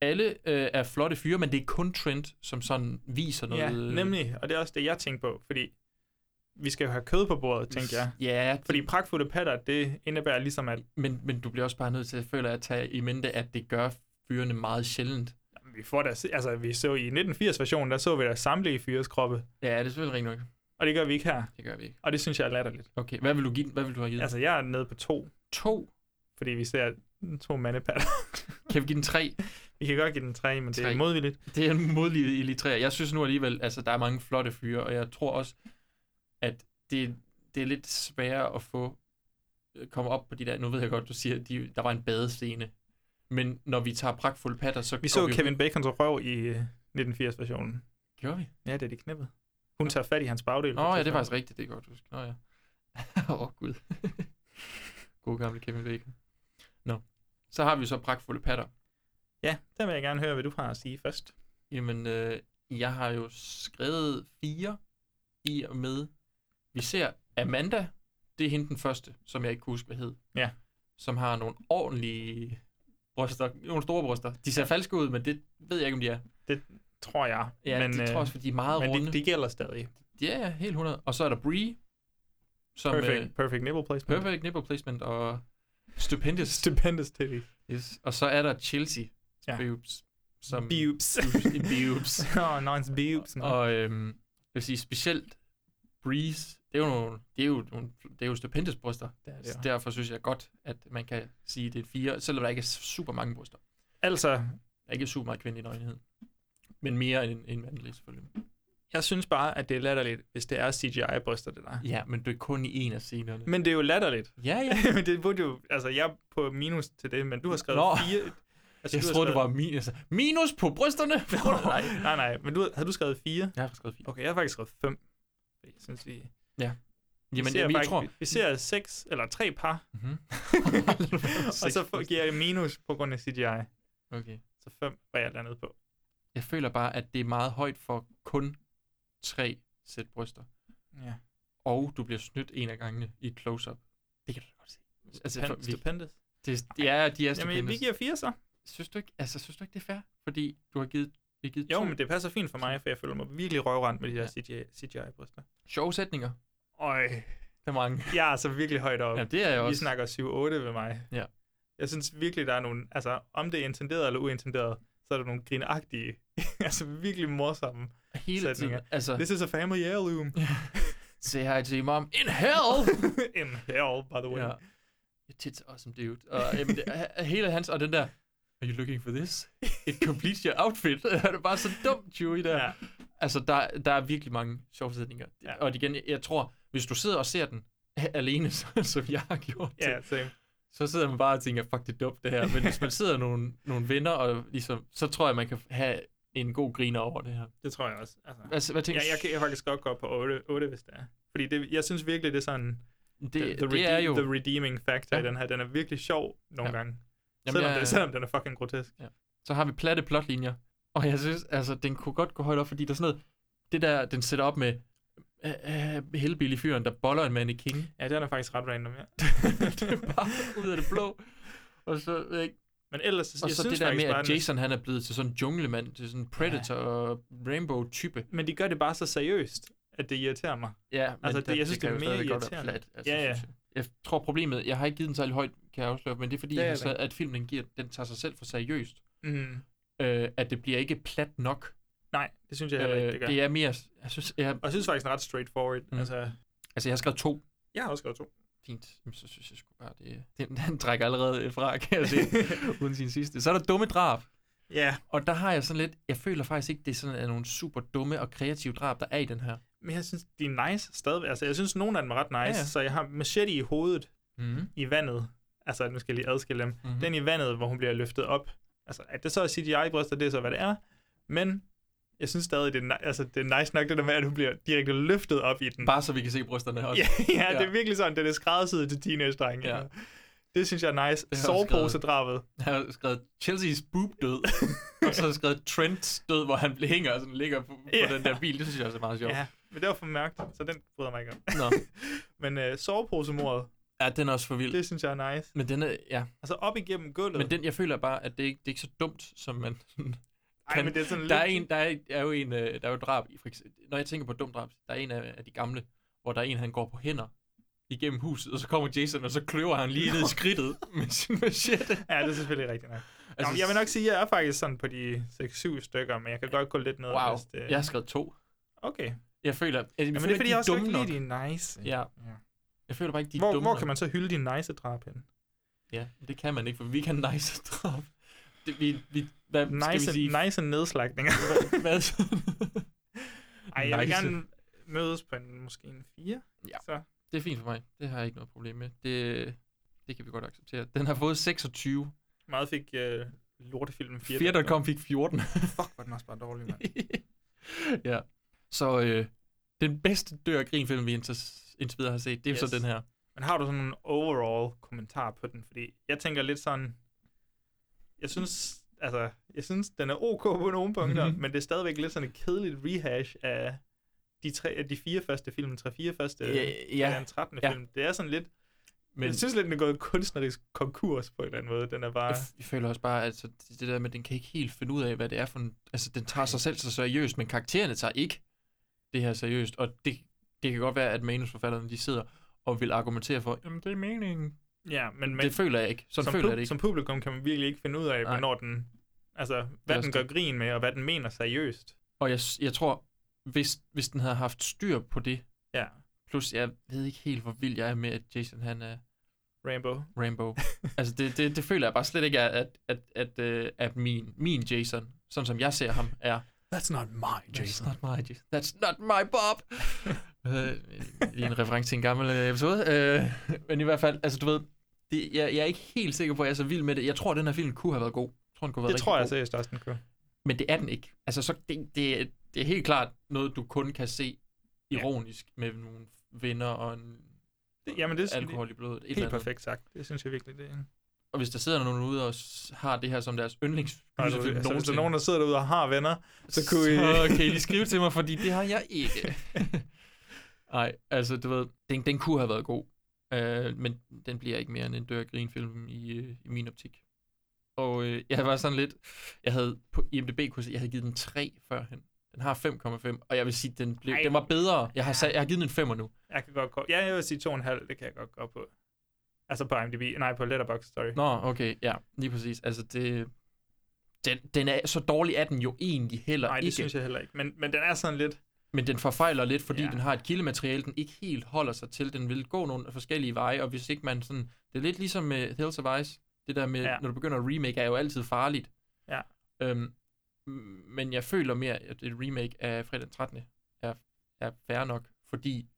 alle øh, er flotte fyre, men det er kun Trent, som sådan viser noget. øh, Ja, nemlig. Og det er også det, jeg tænkte på, fordi vi skal jo have kød på bordet, tænkte jeg. Ja, Fordi pragtfulde patter, det indebærer ligesom, at Men, men du bliver også bare nødt til, at føle at tage i mente, at det gør fyrene meget sjældent. vi får da, se- altså vi så i 1980-versionen, der så vi da samtlige fyres kroppe. Ja, det er selvfølgelig rigtigt nok. Og det gør vi ikke her. Det gør vi ikke. Og det synes jeg er latterligt. Okay, hvad vil du give den? Hvad vil du have givet den? Altså, jeg er nede på to. To? Fordi vi ser to mandepatter. Kan vi give den tre? vi kan godt give den tre, men det Tre. er modvilligt. Det er modlige illitræer. Jeg synes nu alligevel, altså der er mange flotte fyre, og jeg tror også, at det, det er lidt sværere at få øh, komme op på de der, nu ved jeg godt, du siger, de, der var en badescene, men når vi tager pragtfulde patter, så Vi så går jo vi Kevin Bacons røv i øh, 1980-versionen. Gjorde vi? Ja, det er de knippet. Hun tager fat i hans bagdel. Nå ja, det er faktisk rigtigt, det er godt huske. Nå ja. Åh oh, gud. God gamle Kevin Bacon. Nå. Så har vi så pragtfulde patter. Ja, der vil jeg gerne høre, hvad du har at sige først. Jamen, øh, jeg har jo skrevet fire i og med, vi ser Amanda, det er hende den første, som jeg ikke kan huske, hvad hed. Ja. Som har nogle ordentlige bryster, nogle store bryster. De ser falske ud, men det ved jeg ikke, om de er. Det tror jeg. Ja, men, men, de tror øh, også, for de er meget men de- runde. de gælder stadig. Ja, ja, helt 100. Og så er der Bree, som øh, Perfect, perfect nipple placement. Perfect nipple placement og stupendous. Stupendous titties. Yes. Og så er der Chelsea. Ja. Boobs. Som, Boobs. Boobs. boobs. Åh, oh, nice boobs. man. Og øhm, jeg vil sige, specielt Breeze, det er jo, nogle, det er jo, nogle, det er jo stupendous bryster. Det er det Så jo. derfor synes jeg godt, at man kan sige, at det er fire, selvom der ikke er super mange bryster. Altså, Der er ikke super meget kvindelig nøgenhed. Men mere end, end mandlig, selvfølgelig. jeg synes bare, at det er latterligt, hvis det er CGI-bryster, det der. Ja, men det er kun i en af scenerne. Men det er jo latterligt. Ja, ja. men det burde jo... Altså, jeg er på minus til det, men du har skrevet Nå. fire... Altså, jeg du har troede, det var skrevet- minus. Minus på brysterne! nej. nej, nej. Men du, har- havde du skrevet fire? Jeg har skrevet fire. Okay, jeg har faktisk skrevet fem. Jeg synes, vi... Ja. Jamen, vi ser jeg, jeg faktisk, tror... Vi, vi ser seks, eller tre par, Mhm. og så får, giver jeg minus på grund af CGI. Okay. Så fem var jeg landet på. Jeg føler bare, at det er meget højt for kun tre sæt bryster. Ja. Og du bliver snydt en af gangene i et close-up. Det kan du da godt se. Altså, for, vi, Stupendous. det, ja, de er Jamen, vi stupendous. giver fire så. Synes du ikke, altså, synes du ikke, det er fair? Fordi du har givet, vi har givet Jo, to men det passer fint for mig, for jeg føler mig virkelig røvrendt med de der CGI-bryster. sjove sætninger. Øj, Der er mange. jeg er altså virkelig højt oppe. Ja, det er jeg Vi også. snakker 7-8 ved mig. Ja. Jeg synes virkelig, der er nogle, altså om det er intenderet eller uintenderet, så er der nogle grinagtige, altså virkelig morsomme Hele tiden. sætninger. Altså, This is a family heirloom. say hi to your mom in hell! In hell, by the way. ja. Your tits are awesome, dude. Og jamen, det, er- hele hans, og den der, are you looking for this? It completes your outfit. det er bare så dumt, Chewie, der. Ja. Altså, der, der er virkelig mange sjove sætninger. Ja. Ja. Og igen, jeg, jeg tror, hvis du sidder og ser den a- alene, så- som jeg har gjort det, Ja, same. så sidder man bare og tænker, fuck, det er dumt det her. Men hvis man sidder nogle, nogle venner, og ligesom, så tror jeg, man kan have en god griner over det her. Det tror jeg også. Altså, Altså, hvad ja, tænker jeg kan jeg faktisk godt gå op på 8, 8 hvis det er. Fordi det, jeg synes virkelig, det er sådan, det, the, the, det, redeem, det er jo... the redeeming factor ja. i Ja. den her. Den er virkelig sjov nogle Ja. ja. gange. Jamen, selvom, jeg- det, selvom den er fucking grotesk. så har vi platte plotlinjer. Og jeg synes, altså, den kunne godt gå højt op, fordi der er sådan noget, det der, den sætter op med øh, øh, helbillig fyren, der boller en mand i king. Ja, den er faktisk ret random, ja. det er bare ud af det blå. Og så, ved jeg ikke, Men ellers, så, og jeg så det synes der faktisk med, bare, at den er- Jason han er blevet til sådan en junglemand, til sådan en predator og rainbow-type. Men de gør det bare så seriøst, at det irriterer mig. Ja, men Altså, det- jeg synes, det er kan jo mega stadigvæk godt være irriterende. Flat, altså, Ja, ja. synes Jeg. jeg tror problemet, jeg har ikke givet den særlig højt, kan jeg afsløre, men det er fordi, Ja, ja, ja, ja, ja. at filmen giver, den tager sig selv for seriøst. Mm. Øh, at det bliver ikke plat nok. Nej, det synes jeg heller ikke, det gør. Øh, det er mere, jeg synes, jeg, Og jeg synes faktisk, den er ret straightforward. Mm. Mm. Altså, altså jeg har skrevet to jeg har også skrevet to. fint, Jamen, så synes jeg sgu bare, det, den, den trækker allerede øh, fra, kan jeg se, uden sin sidste. Så er der dumme drab, Ja, og der har jeg sådan lidt, jeg føler faktisk ikke, det er sådan er nogle super dumme og kreative drab, der er i den her. men jeg synes, de er nice stadigvæk. Altså, jeg synes, nogle af dem er ret nice. Ja, Ja, ja. ja. Så jeg har machete i hovedet, Mm. i vandet. Altså, nu skal jeg lige adskille dem. Mhm. Mm-hmm. Den i vandet, hvor hun bliver løftet op. Altså, at det så er CGI-bryster, det er så, hvad det er. Men jeg synes stadig, det er, ni- altså, det er nice nok, det der med, at hun bliver direkte løftet op i den. Bare så vi kan se brysterne også. Ja, ja, det Ja. er virkelig sådan, den er skræddersyet til teenage-drenge. Ja. Ja. Det synes jeg er nice. jeg skrevet. Soveposedrabet. Jeg har skrevet Chelsea's boob død, og så har jeg skrevet Trents død, hvor han hænger og sådan ligger på, på Ja. den der bil. Det synes jeg også er meget sjovt. Ja, men det var for mørkt, så den bryder jeg mig ikke om. Nå. Men øh, soveposemordet, Ja, den er også for vild. Det synes jeg er nice. Men den er, ja. Altså op igennem gulvet. Men den, jeg føler bare, at det, ikke, det er ikke så dumt, som man... kan- Ej, men det er sådan der er lidt- en, der er, der er jo en, øh, der er jo drab i, for eksempel, når jeg tænker på et dumt drab, der er en af, af de gamle, hvor der er en, han går på hænder igennem huset, og så kommer Jason, og så kløver han lige ned i skridtet med sin machete. Ja, det er selvfølgelig rigtigt nok. Altså, Altså, Nå, jeg vil nok sige, at jeg er faktisk sådan på de 6-7 stykker, men jeg kan godt gå lidt ned. Wow, hvis Altså, det- jeg har skrevet to. Okay. Jeg føler, jeg, jeg Jamen, føler det er fordi, de jeg også dumme ikke nok. lide de er nice. Ja. Jeg føler bare ikke, de er Hvor, dumme hvor nok. kan man så hylde din nice drab hen? Ja, det kan man ikke, for vi kan nice drab. Det, vi, vi, hvad skal vi Nice, sige? nice nedslagninger. Hvad? Ej, jeg vil Nice. gerne mødes på en, måske en 4. Ja. Så. Det er fint for mig. Det har jeg ikke noget problem med. Det, det kan vi godt acceptere. Den har fået 26. Meget fik øh, lortefilmen 4. Fire, der kom, fik 14. Fuck, hvor er den også bare dårlig, mand. ja. Så øh, den bedste dør og grinfilm, vi indtil, indtil videre har set, det er yes. Yes. så den her. Men har du sådan en overall kommentar på den? Fordi jeg tænker lidt sådan, jeg synes, altså, jeg synes, den er ok på nogle punkter, Mhm. men det er stadigvæk lidt sådan et kedeligt rehash af de, tre, af de fire første film, tre fire første, Ja, ja. og den 13. Ja. film. Det er sådan lidt, Men- men, jeg synes lidt, den er gået kunstnerisk konkurs på en eller anden måde. Den er bare, Jeg, f- jeg føler også bare, at så det det der med, at den kan ikke helt finde ud af, hvad det er for en... Altså, den tager sig selv så seriøst, men karaktererne tager ikke det her seriøst. Og det, det kan godt være, at manusforfatterne, de sidder og vil argumentere for, jamen, det er meningen. ja, men, men det føler jeg ikke. Sådan som, føler pub- jeg det ikke. som publikum kan man virkelig ikke finde ud af, Nej. hvornår den, altså, hvad også den gør det. grin med, og hvad den mener seriøst. Og jeg, s- jeg tror, hvis, hvis den havde haft styr på det, Ja. plus jeg ved ikke helt, hvor vild jeg er med, at Jason han er Rainbow. Rainbow. altså det, det, det føler jeg bare slet ikke, er, at, at, at, at, at min, min Jason, sådan som jeg ser ham, er... That's not my Jason. That's not my Jason. That's not my Bob! Øh, Lige en reference til en gammel øh, episode. Øh, men i hvert fald, altså du ved, det, jeg, jeg er ikke helt sikker på, at jeg er så vild med det. Jeg tror, at den her film kunne have været god. Jeg tror, den kunne have været Det rigtig tror jeg god. seriøst også, den kører. Men det er den ikke. Altså, så det, det, er- det er helt klart noget, du kun kan se ironisk ja. med nogle venner og en Det- Jamen, det er alkohol i blodet. et eller Helt andet. perfekt sagt. Det synes jeg virkelig, det er. Og hvis der sidder nogen ude og s- har det her som deres yndlings Altså, gyserfilm altså, hvis der er nogensinde, nogen, der sidder derude og har venner, så kunne I... så kan I lige skrive til mig, fordi det har jeg ikke. Nej, altså du ved, den, den kunne have været god, øh, men den bliver ikke mere end en dør og grinfilm i, øh, i min optik. Og øh, jeg var sådan lidt, jeg havde på IMDb kunne se, jeg havde givet den 3 førhen. Den har 5,5, og jeg vil sige, den, blev, Ej. den var bedre. Jeg har, sat, jeg har givet den en 5 nu. Jeg kan godt gå... Ja, jeg vil sige 2,5, det kan jeg godt gå på. Altså på IMDb. Nej, på Letterboxd, sorry. Nå, okay, ja, lige præcis. Altså det, den, den er, så dårlig er den jo egentlig heller Nej, det ikke. synes jeg heller ikke. Men, men den er sådan lidt... Men den forfejler lidt, fordi ja. Ja. den har et kildemateriale, den ikke helt holder sig til. Den vil gå nogle forskellige veje, og hvis ikke man sådan... Det er lidt ligesom med Hills of Ice. Det der med, ja. Ja. når du begynder at remake, er jo altid farligt. Ja. Øhm, m- men jeg føler mere, at et remake af fredag den 13. er, er fair nok, fordi...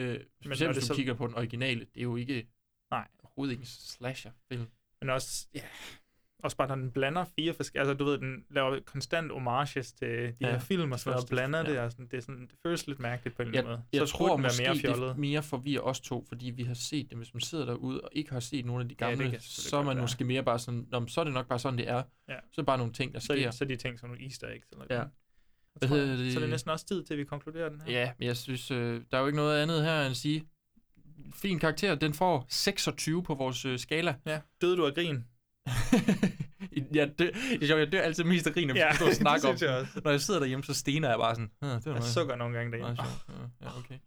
Øh, specielt når hvis det du så... så- kigger på den originale, det er jo ikke... Nej. Overhovedet ikke en slasher film. Men også... Ja. Også bare, når den blander fire forskellige... Altså, du ved, den laver konstant homages til de Ja, ja, her film og sådan noget, og første- blander ja. det, og sådan, det, er sådan, det føles lidt mærkeligt på en eller Jeg, anden måde. jeg så tror burde den måske, være mere det fjollet. mere forvirrer os to, fordi vi har set det. Hvis man sidder derude og ikke har set nogle af de Ja, det gamle, kan ja, selvfølgelig så er godt man være. måske mere bare sådan, Nå, men så er det nok bare sådan, det er. Ja. Så er det bare nogle ting, der Så, er sker. de- så er de ting som nogle easter eggs. Eller Ja. noget. Jeg Hvad tror, hedder det? Så er det næsten også tid til, at vi konkluderer den her. Ja, men jeg synes, øh, der er jo ikke noget andet her end at sige, fin karakter, den får 26 på vores øh, skala. ja. Døde du af grin? Ja, det, det er sjovt, jeg dør altid mest af griner, hvis Ja, jeg står og det snakker om. synes jeg den. også. Når jeg sidder derhjemme, så stener jeg bare sådan. "Huh, Det var Jeg noget." sukker nogle gange derhjemme. Meget sjovt. Ja, ja, okay.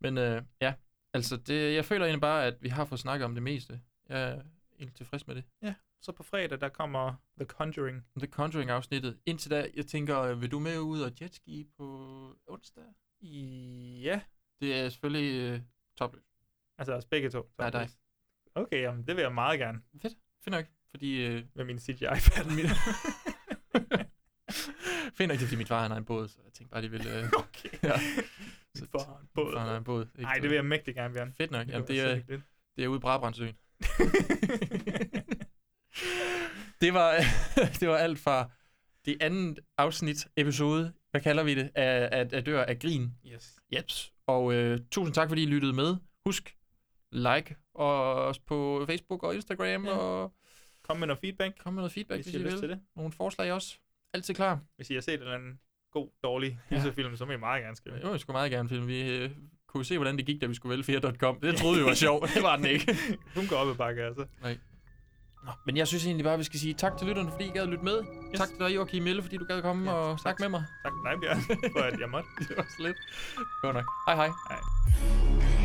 Men øh, ja, altså det, jeg føler egentlig bare, at vi har fået snakket om det meste. Jeg er egentlig tilfreds med det. Ja, så på fredag, der kommer The Conjuring. The Conjuring-afsnittet. Indtil da, jeg tænker, øh, vil du med ud og jetski på onsdag? Ja. Det er selvfølgelig øh, topløst. Altså os begge to. Nej, dig. Okay, jamen, det vil jeg meget gerne. Fedt. Fint nok, fordi... Øh, Med min CGI-pad. min... Fint nok, det er fordi mit far han har en båd, så jeg tænkte bare, de ville... Øh, okay. Ja. Så, Min far har en båd. Min far har en båd. ikke? øh, Nej, det vil jeg mægtig gerne, Bjørn. Fedt nok. Det Jamen, kunne det, være er, sindssygt fedt. det er ude i Brabrandsøen. det, var, det var alt fra det andet afsnit, episode, hvad kalder vi det, af, af, af Dør af Grin. Yes. Jeps. Og øh, tusind tak, fordi I lyttede med. Husk, like og os på Facebook og Instagram, ja. Ja. og Kom med noget feedback, kom med noget feedback, hvis I har lyst til det. Nogle forslag også. Altid klar. Hvis I har set en eller anden god, dårlig gyserfilm, så må I meget gerne skrive. Jo, jeg skulle meget gerne film. Vi øh, kunne kunne se, hvordan det gik, da vi skulle vælge 4.com. Det troede vi var sjovt. Det var den ikke. Hun går op ad bakke, altså. Nej. Nå, men jeg synes egentlig bare, at vi skal sige tak til lytterne, fordi I gad lytte med. Yes. Tak til dig, Joachim Mille, fordi du gad komme ja, og snakke med mig. Tak, nej, Bjørn, for at jeg måtte. det var så lidt. Godt nok. Hej hej. hej.